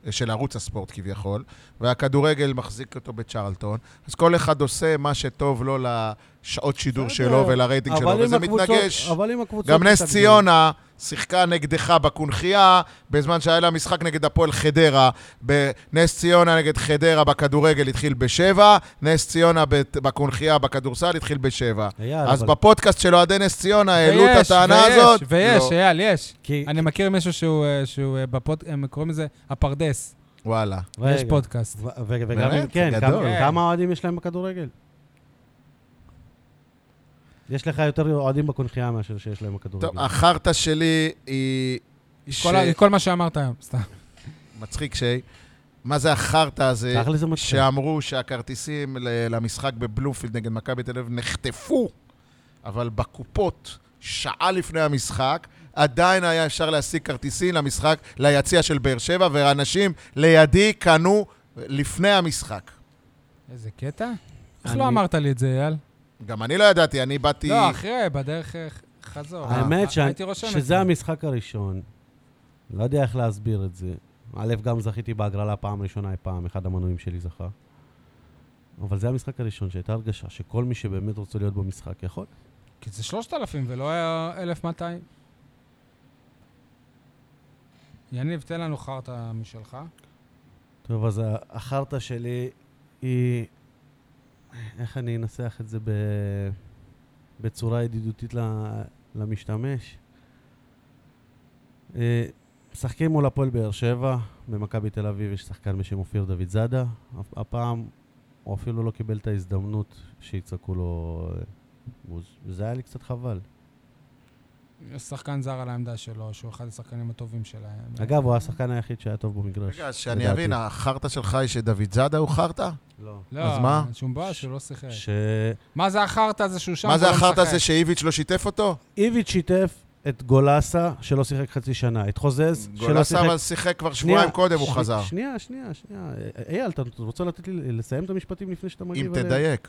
C: אה, של ערוץ הספורט כביכול, והכדורגל מחזיק אותו בצ'רלטון, אז כל אחד עושה מה שטוב לו לשעות שידור
B: בסדר,
C: שלו ולרייטינג
B: אבל
C: שלו,
B: אם
C: וזה
B: הקבוצות-
C: מתנגש.
B: אבל אם הקבוצות...
C: גם נס
B: מתאגדות-
C: ציונה שיחקה נגדך בקונכייה, בזמן שהיה לה משחק נגד הפועל חדרה. בנס ציונה נגד חדרה בכדורגל התחיל בשבע, נס ציונה בת- בקונכייה בכדורסל התחיל בשבע.
B: אייל,
C: אז
B: אבל...
C: בפודקאסט של אוהדי נס ציונה העלו את
A: אה, ויש,
C: הטענה
A: ויש,
C: הזאת?
A: ויש,
C: לא.
A: אייל, יש.
B: כי...
A: אני מכיר מישהו שהוא, אה, שהוא אה, בפוד... הם קוראים לזה הפרדס.
C: וואלה.
B: רגע.
A: יש פודקאסט.
B: ו- ו- וגם אם
C: באמת?
B: כן,
C: גדול.
B: כמה-
A: כן.
B: כמה אוהדים יש להם בכדורגל? יש לך יותר אוהדים בקונחייה מאשר שיש להם בכדורגל.
C: טוב, החרטא שלי היא... ש-
A: כל, ה... כל מה שאמרת היום, סתם.
C: מצחיק שי. מה זה החרטא הזה?
B: תכל'ס זה מצחיק.
C: שאמרו שהכרטיסים ל- למשחק בבלומפילד נגד מכבי תל אביב נחטפו, אבל בקופות, שעה לפני המשחק, עדיין היה אפשר להשיג כרטיסים למשחק, ליציע של באר שבע, ואנשים לידי קנו לפני המשחק.
A: איזה קטע? איך
B: אני-
A: לא אמרת לי את זה, אייל?
C: גם אני לא ידעתי, אני באתי...
A: לא, אחרי, בדרך אה, חזור.
B: האמת
A: אה,
B: ש-
A: הייתי רושם את
B: שזה
A: זה.
B: המשחק הראשון, לא יודע איך להסביר את זה. א', גם זכיתי בהגרלה פעם ראשונה אי פעם, אחד המנויים שלי זכה. אבל זה המשחק הראשון שהייתה הרגשה שכל מי שבאמת רוצה להיות במשחק יכול.
A: כי זה 3,000 ולא היה 1,200. יניב, תן לנו חרטא משלך.
B: טוב, אז החרטא שלי היא... איך אני אנסח את זה ב... בצורה ידידותית ל... למשתמש? אה, משחקים מול הפועל באר שבע, במכבי תל אביב יש שחקן בשם אופיר דוד זאדה. הפ- הפעם הוא אפילו לא קיבל את ההזדמנות שיצעקו לו אה, בוז, וזה היה לי קצת חבל.
A: יש שחקן זר על העמדה שלו, שהוא אחד השחקנים הטובים שלהם.
B: אגב, הוא השחקן היחיד שהיה טוב במגרש.
C: רגע, אז שאני
B: לדעתי.
C: אבין, החרטא שלך היא שדוד זאדה הוא חרטא?
B: לא.
A: לא,
C: אז מה?
A: שום בעיה, שהוא לא שיחק.
B: שאיביץ'
A: מה זה החרטא הזה שהוא שם?
C: מה זה
A: והוא לא
C: החרטא
A: משחק?
C: הזה שאיביץ' לא שיתף אותו?
B: שיתף את גולסה, שלא שיחק חצי שנה, את חוזז, שלא
C: גולסה
B: שיחק
C: אבל שיחק כבר
B: שנייה,
C: שבועיים קודם, הוא
B: שני-
C: חזר.
B: שנייה, שנייה, שנייה. אה, אייל, אתה רוצה לתת לי לסיים את המשפטים לפני שאתה מגיב
C: אם
B: עליהם?
C: תדייק.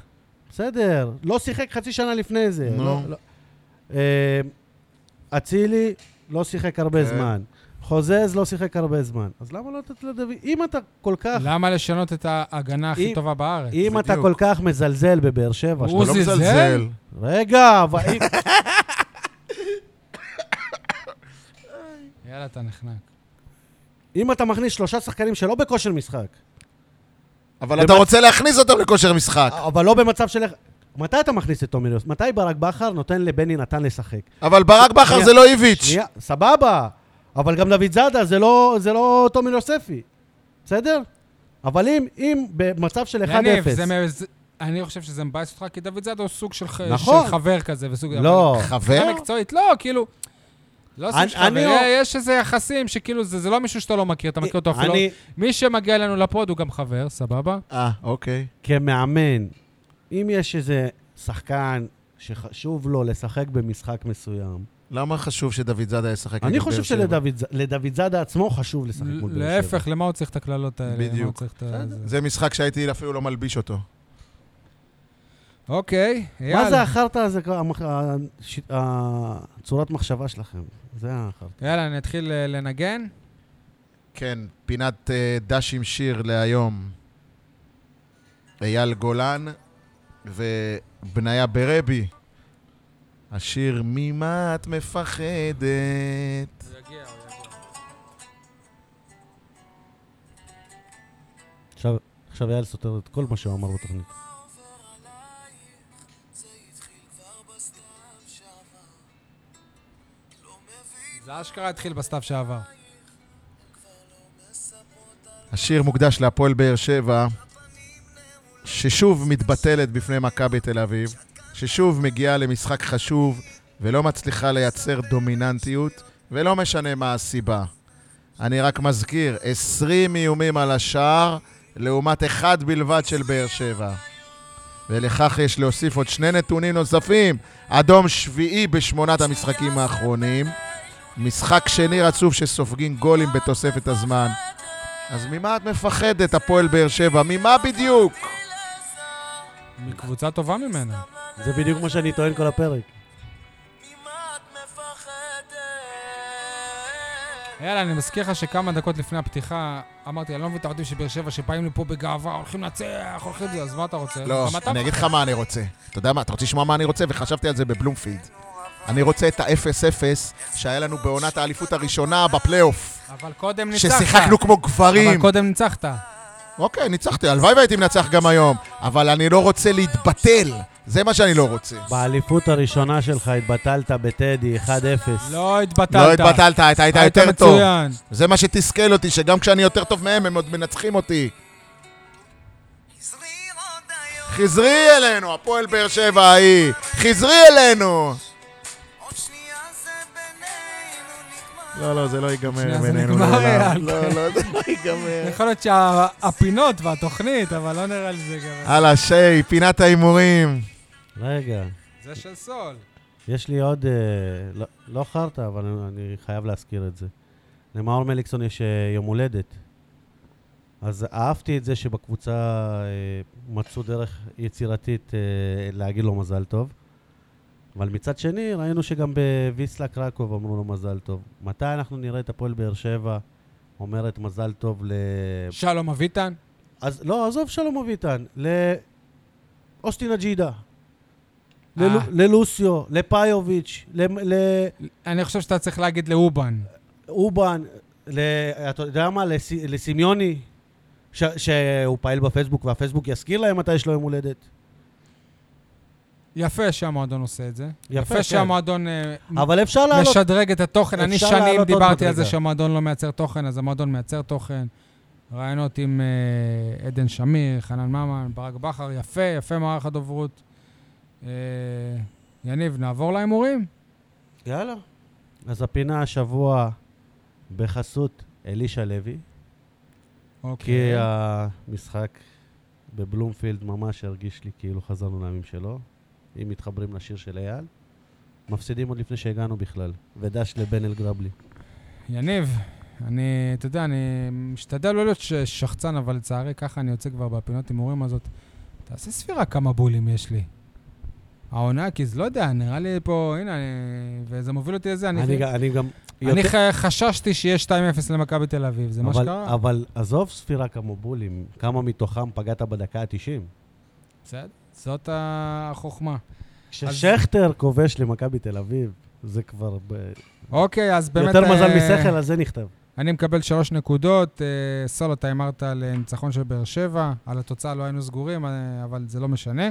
B: בסדר, לא שיחק חצי שנה לפני זה.
C: נו.
B: לא- לא. אה, אצילי לא שיחק הרבה
C: כן.
B: זמן. חוזז לא שיחק הרבה זמן. אז למה לא לתת לדוד? אם אתה כל כך...
A: למה לשנות את ההגנה הכי
B: אם-
A: טובה בארץ?
B: אם אתה
C: בדיוק.
B: כל כך מזלזל בבאר שבע,
A: הוא
B: שאתה לא...
C: אתה לא
A: זלזל?
C: מזלזל.
B: רגע, אבל אם...
A: יאללה, אתה נחנק.
B: אם אתה מכניס שלושה שחקנים שלא בכושר משחק,
C: אבל אתה רוצה להכניס אותם לכושר משחק.
B: אבל לא במצב של... מתי אתה מכניס את תומר יוס? מתי ברק בכר נותן לבני נתן לשחק?
C: אבל ברק בכר
B: שנייה,
C: זה לא איביץ'.
B: שנייה, סבבה, אבל גם דוד זאדה זה לא, זה לא תומר יוספי, בסדר? אבל אם, אם במצב של 1-0...
A: יניב, זה מ- זה- אני חושב שזה מבאס אותך, כי דוד זאדו הוא סוג של ח-
B: נכון.
A: של חבר כזה, וסוג...
B: לא.
C: חבר?
A: אבל מקצועית, לא, כאילו... לא סוג
B: אני-
A: של
B: אני
A: חבר,
B: לא-
A: יש איזה יחסים שכאילו, זה זה לא מישהו שאתה לא מכיר, אתה מכיר אותו אפילו. לא-
B: אני
A: מי שמגיע אלינו לפוד הוא גם חבר, סבבה?
C: אה, אוקיי.
B: כמאמן, אם יש איזה שחקן שחשוב לו לשחק במשחק מסוים,
C: למה חשוב שדוד זאדה ישחק
B: אני
C: נגד
B: חושב
C: באר שבע?
B: שלדוד ז- לדוד זאדה עצמו חשוב לשחק מול
A: ל-
B: באר שבע.
A: להפך, למה הוא צריך את הקללות האלה? למה הוא
C: בדיוק.
A: צריך את ה- זה?
C: זה משחק שהייתי אפילו לא מלביש אותו.
A: אוקיי, יאללה.
B: מה זה החרטא הזה, כל המח- הש- הצורת מחשבה שלכם? זה החרטא.
A: יאללה, נתחיל אה, לנגן.
C: כן, פינת אה, דש עם שיר להיום. אייל גולן ובניה ברבי. השיר ממה את מפחדת?
B: עכשיו- עכשיו אייל סותר את כל מה שהוא אמר בתוכנית.
A: זה אשכרה התחיל בסתיו שעבר.
C: השיר מוקדש להפועל באר שבע, ששוב מתבטלת בפני מכבי תל אביב, ששוב מגיעה למשחק חשוב ולא מצליחה לייצר דומיננטיות, ולא משנה מה הסיבה. אני רק מזכיר, 20 איומים על השער, לעומת אחד בלבד של באר שבע. ולכך יש להוסיף עוד שני נתונים נוספים. אדום שביעי בשמונת המשחקים האחרונים. משחק שני רצוף שסופגים גולים בתוספת הזמן. אז ממה את מפחדת, הפועל באר שבע? ממה בדיוק?
A: מקבוצה טובה ממנה.
B: זה בדיוק מה שאני טוען כל הפרק.
A: יאללה, אני מזכיר לך שכמה דקות לפני הפתיחה, אמרתי, אני לא מבין את האוהדים של באר שבע שבאים לפה בגאווה, הולכים לנצח, הולכים לזה, אז מה אתה רוצה?
C: לא,
A: גם אתה-
C: אני אגיד לך מה אני רוצה. אתה יודע מה, אתה רוצה לשמוע מה אני רוצה? וחשבתי על זה בבלומפילד. אני רוצה את ה-0-0 שהיה לנו בעונת האליפות הראשונה בפלייאוף.
A: אבל קודם ניצחת.
C: ששיחקנו כמו גברים.
A: אבל קודם ניצחת.
C: אוקיי, ניצחתי, הלוואי והייתי מנצח גם היום. אבל אני לא רוצה להתבטל. זה מה שאני לא רוצה.
B: באליפות הראשונה שלך התבטלת בטדי 1-0.
A: לא התבטלת.
C: לא התבטלת, אתה היית יותר טוב.
A: מצוין.
C: זה מה שתסכל אותי, שגם כשאני יותר טוב מהם, הם עוד מנצחים אותי. חזרי אלינו, הפועל באר שבע ההיא. חזרי אלינו. לא, לא, זה לא ייגמר
A: שנייה, זה
C: בינינו.
A: נגמר, אה,
C: לעולם.
A: אייל.
C: לא, לא, זה לא ייגמר.
A: יכול להיות שהפינות והתוכנית, אבל לא נראה לי זה גם...
C: הלאה, שי, פינת ההימורים.
B: רגע,
A: זה של סול.
B: יש לי עוד... אה, לא- לא חרטא, אבל אני- אני חייב להזכיר את זה. למאור מליקסון יש אה, יום הולדת. אז אהבתי את זה שבקבוצה אה, מצאו דרך יצירתית אה, להגיד לו מזל טוב. אבל מצד שני, ראינו שגם בוויסלה קרקוב אמרו לו מזל טוב. מתי אנחנו נראה את הפועל באר שבע אומרת מזל טוב ל...
A: שלום אביטן.
B: אז לא, עזוב שלום אביטן, לאוסטין אג'ידה,
A: אה.
B: ללו- ללוסיו, לפיוביץ', למ-
A: אני חושב שאתה צריך להגיד לאובן.
B: לאובן, ל- אתה יודע מה, לס- לסמיוני, ש- שהוא פעיל בפייסבוק, והפייסבוק יזכיר להם מתי יש לו יום הולדת.
A: יפה שהמועדון עושה את זה.
B: יפה,
A: יפה
B: כן.
A: שהמועדון אה,
B: אבל אפשר לעלות...
A: משדרג את התוכן. אני
B: אפשר
A: שנים
B: לעלות עוד
A: דיברתי על זה
B: מדרגה.
A: שהמועדון לא מייצר תוכן, אז המועדון מייצר תוכן. ראיונות עם אה, עדן שמיר, חנן ממן, ברק בכר, יפה, יפה מערך הדוברות. אה, יניב, נעבור להימורים?
B: יאללה. אז הפינה השבוע בחסות אלישע לוי, כי
A: כן. אוקיי.
B: המשחק בבלומפילד ממש הרגיש לי כאילו חזרנו לימים שלו. אם מתחברים לשיר של אייל, מפסידים עוד לפני שהגענו בכלל. ודש לבן אל גרבלי.
A: יניב, אני, אתה יודע, אני משתדל לא להיות ש- שחצן, אבל לצערי ככה אני יוצא כבר בפינות הימורים הזאת. תעשה ספירה כמה בולים יש לי. העונה, כי זה לא יודע, נראה לי פה, הנה, אני, וזה מוביל אותי לזה, אני,
B: אני
A: אני,
B: ג- אני גם...
A: אני
B: יותר-
A: ח... חששתי שיהיה 2-0 למכבי תל אביב, זה מה
B: אבל-
A: שקרה.
B: אבל עזוב ספירה כמו בולים, כמה מתוכם פגעת בדקה ה-90.
A: בסדר, זאת החוכמה.
B: כששכטר כובש למכבי תל אביב, זה כבר ב-
A: אוקיי, אז באמת...
B: יותר מזל
A: אה,
B: משכל, על זה נכתב.
A: אני מקבל שלוש נקודות, אה, סולו אתה הימרת על אה, ניצחון של באר שבע, על התוצאה לא היינו סגורים, אה, אבל זה לא משנה.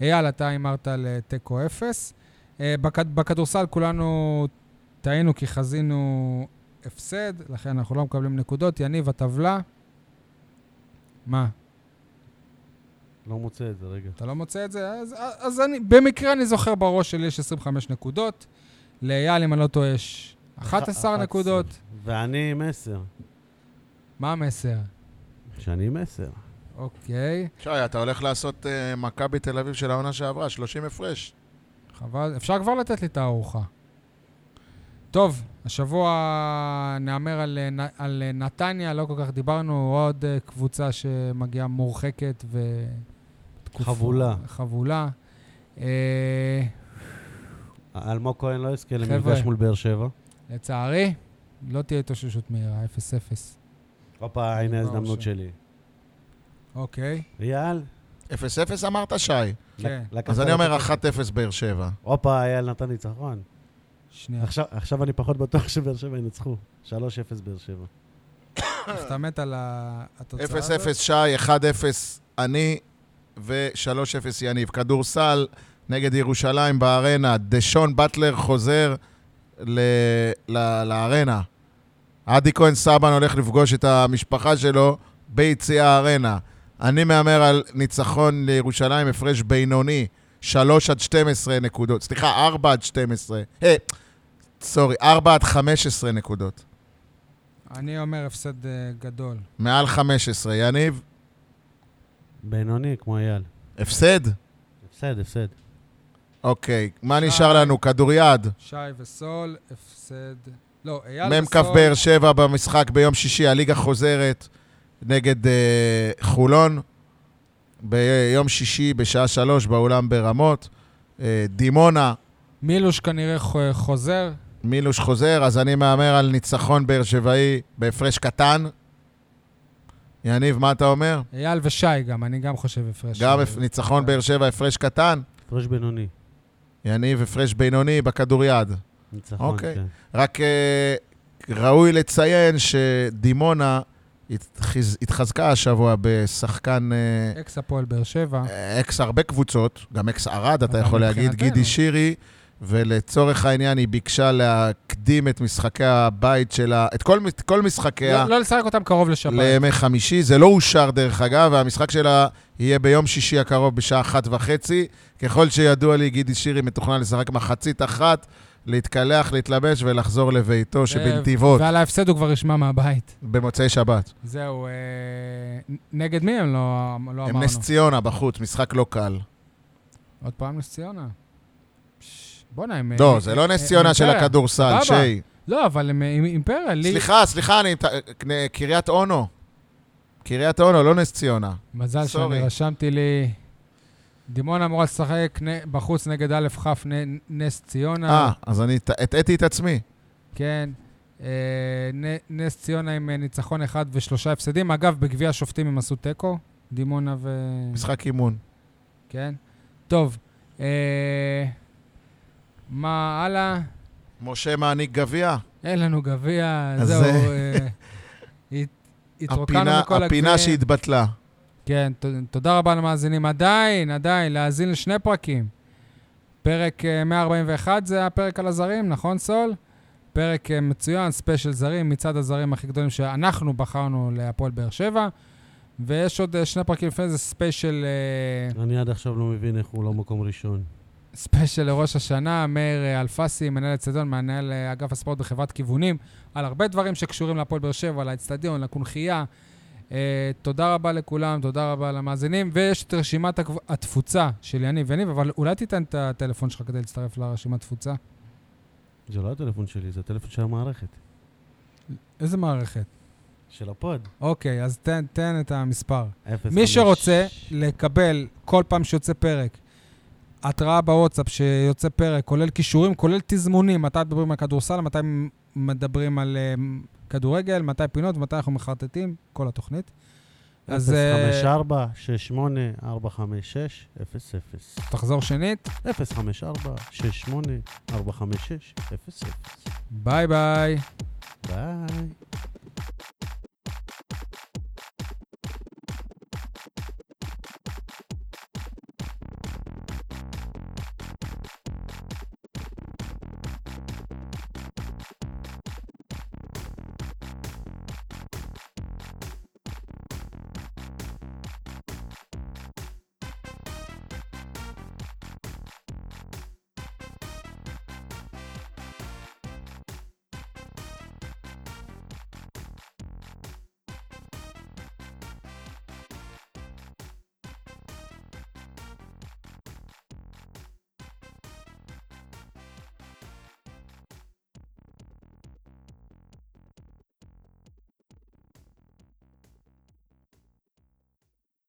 A: אייל, אתה הימרת על אה, תיקו אפס. אה, בכ- בכדורסל כולנו טעינו כי חזינו הפסד, לכן אנחנו לא מקבלים נקודות. יניב, הטבלה? מה?
B: לא מוצא את זה, רגע.
A: אתה לא מוצא את זה? אז, אז אני, במקרה אני זוכר בראש שלי יש 25 נקודות. לאייל, אם אני לא טועה, יש 11
B: 11.
A: נקודות.
B: ואני עם עשר.
A: מה המסר?
B: שאני עם עשר.
A: אוקיי,
C: שי, אתה הולך לעשות אה, מכבי תל אביב של העונה שעברה, 30 הפרש.
A: חבל. אפשר כבר לתת לי את הארוחה. טוב, השבוע נאמר על, אה, נ- על אה, נתניה, לא כל כך דיברנו, עוד אה, קבוצה שמגיעה מורחקת ו... תקופה-
B: חבולה.
A: חבולה. אה,
B: אלמוג כהן לא יזכה
A: חבר'ה.
B: למפגש מול באר שבע.
A: לצערי, לא תהיה התאוששות מהירה, 0-0.
B: הופה, הנה
A: נגמר
B: ההזדמנות
A: שם.
B: שלי.
A: אוקיי,
B: אייל?
C: 0-0 אמרת, שי?
A: כן.
B: לק- לקחת
C: אז אני
B: לי-
C: אומר 1-0 באר שבע.
B: הופה, אייל נתן ניצחון.
A: כן. שנייה.
B: עכשיו- עכשיו אני פחות בטוח שבאר שבע ינצחו. 3-0 באר שבע.
A: אז אתה מת על ה-
C: 0-0
A: התוצאה הזאת?
C: שי, 1-0 אני ו-3-0 יניב. כדורסל נגד ירושלים בארנה, דשון באטלר חוזר ל... ל... לארנה. עדי כהן סבן הולך לפגוש את המשפחה שלו ביציע הארנה. אני מהמר על ניצחון לירושלים, הפרש בינוני, 3 עד 12 נקודות. סליחה, 4 עד 12. אה, סורי, 4 עד 15 נקודות.
A: אני אומר הפסד אה, גדול.
C: מעל 15. יניב,
B: בינוני, כמו אייל.
C: הפסד?
B: הפסד, הפסד.
C: אוקיי, מה
A: שי.
C: נשאר לנו? כדוריד.
A: שי וסול, הפסד... לא, אייל
C: מ"כ
A: וסול...
C: באר שבע במשחק ביום שישי, הליגה חוזרת נגד אה, חולון. ביום שישי בשעה שלוש באולם ברמות. אה, דימונה,
A: מילוש כנראה ח- חוזר.
C: מילוש חוזר, אז אני מהמר על ניצחון באר שבעי בהפרש קטן. יניב, מה אתה אומר?
A: אייל ושי גם, אני גם חושב הפרש.
C: גם
A: אה,
C: הפ- ניצחון באר שבע, הפרש קטן.
B: הפרש בינוני.
C: יניב, הפרש בינוני בכדוריד.
B: ניצחון,
C: אוקיי.
B: כן.
C: רק אה, ראוי לציין שדימונה התחז- התחזקה השבוע בשחקן אה,
A: אקס הפועל באר שבע.
C: אה, אקס הרבה קבוצות, גם אקס ערד, אתה
A: אבל
C: יכול להגיד,
A: מבחינתנו.
C: גידי שירי, ולצורך העניין היא ביקשה להקדים את משחקי הבית שלה, את כל, את כל משחקיה
A: לא לא לשחק אותם קרוב לשבת.
C: לימי חמישי. זה לא אושר דרך אגב, והמשחק שלה יהיה ביום שישי הקרוב בשעה אחת וחצי. ככל שידוע לי, גידי שירי מתוכנן לשחק מחצית אחת. להתקלח, להתלבש ולחזור
A: אה,
C: לביתו שבנתיבות.
A: ועל ההפסד הוא כבר ישמע מהבית.
C: במוצאי שבת.
A: זהו, אה, נ- נגד מי הם לא לא
C: הם
A: אמרנו?
C: נס ציונה בחוץ, משחק לא קל.
A: עוד פעם נס ציונה. פש, בואנה, הם...
C: לא,
A: הם-
C: זה לא
A: הם-
C: נס
A: הם
C: ציונה של
A: אימפריה.
C: הכדורסל,
A: אה, סבבה.
C: שי.
A: לא, אבל הם הם אימפריה. לי-
C: סליחה, סליחה, אני... אה, קריית אונו. קריית אונו, לא נס ציונה.
A: מזל
C: סורי.
A: שאני רשמתי לי... דימונה אמורה לשחק נ- בחוץ נגד א' כ' נ- נס ציונה.
C: אה, אז אני ט- הטעיתי את עצמי.
A: כן. אה, נ- נס ציונה עם אה, ניצחון אחד ושלושה הפסדים. אגב, בגביע השופטים הם עשו תיקו. דימונה ו...
C: משחק אימון.
A: כן. טוב. אה, מה הלאה?
C: משה מעניק גביע.
A: אין לנו גביע,
C: אז
A: זהו.
C: זה-
A: אה, הת- התרוקנו
C: הפינה-
A: מכל הגביע.
C: הפינה שהתבטלה.
A: כן, ת, תודה רבה למאזינים. עדיין, עדיין, להאזין לשני פרקים. פרק אה, 141 זה הפרק על הזרים, נכון, סול? פרק אה, מצוין, ספיישל זרים, מצעד הזרים הכי גדולים שאנחנו בחרנו להפועל באר שבע. ויש עוד אה, שני פרקים לפני זה, ספיישל, אה,
B: אני עד עכשיו לא מבין איך הוא לא מקום ראשון.
A: ספיישל לראש השנה, מאיר אה, אלפסי, מנהל אצטדיון, מנהל אה, אגף הספורט בחברת כיוונים, על הרבה דברים שקשורים להפועל באר שבע, לאצטדיון, לקונכייה. אה, תודה רבה לכולם, תודה רבה למאזינים, ויש את רשימת הקב- התפוצה של יניב יניב, אבל אולי תיתן את הטלפון שלך כדי להצטרף לרשימת תפוצה.
B: זה לא הטלפון שלי, זה הטלפון של המערכת.
A: איזה מערכת?
B: של הפוד.
A: אוקיי, אז תן, תן את המספר.
B: אפס,
A: מי
B: חמש.
A: שרוצה לקבל כל פעם שיוצא פרק, התראה בוואטסאפ שיוצא פרק, כולל כישורים, כולל תזמונים, מתי מדברים על כדורסל, מתי מדברים על uh, כדורגל, מתי פינות, מתי אנחנו מחרטטים, כל התוכנית. אז אה,
B: 054 68 456 00
A: תחזור שנית,
B: 054 68 456 00
A: ביי ביי.
B: ביי.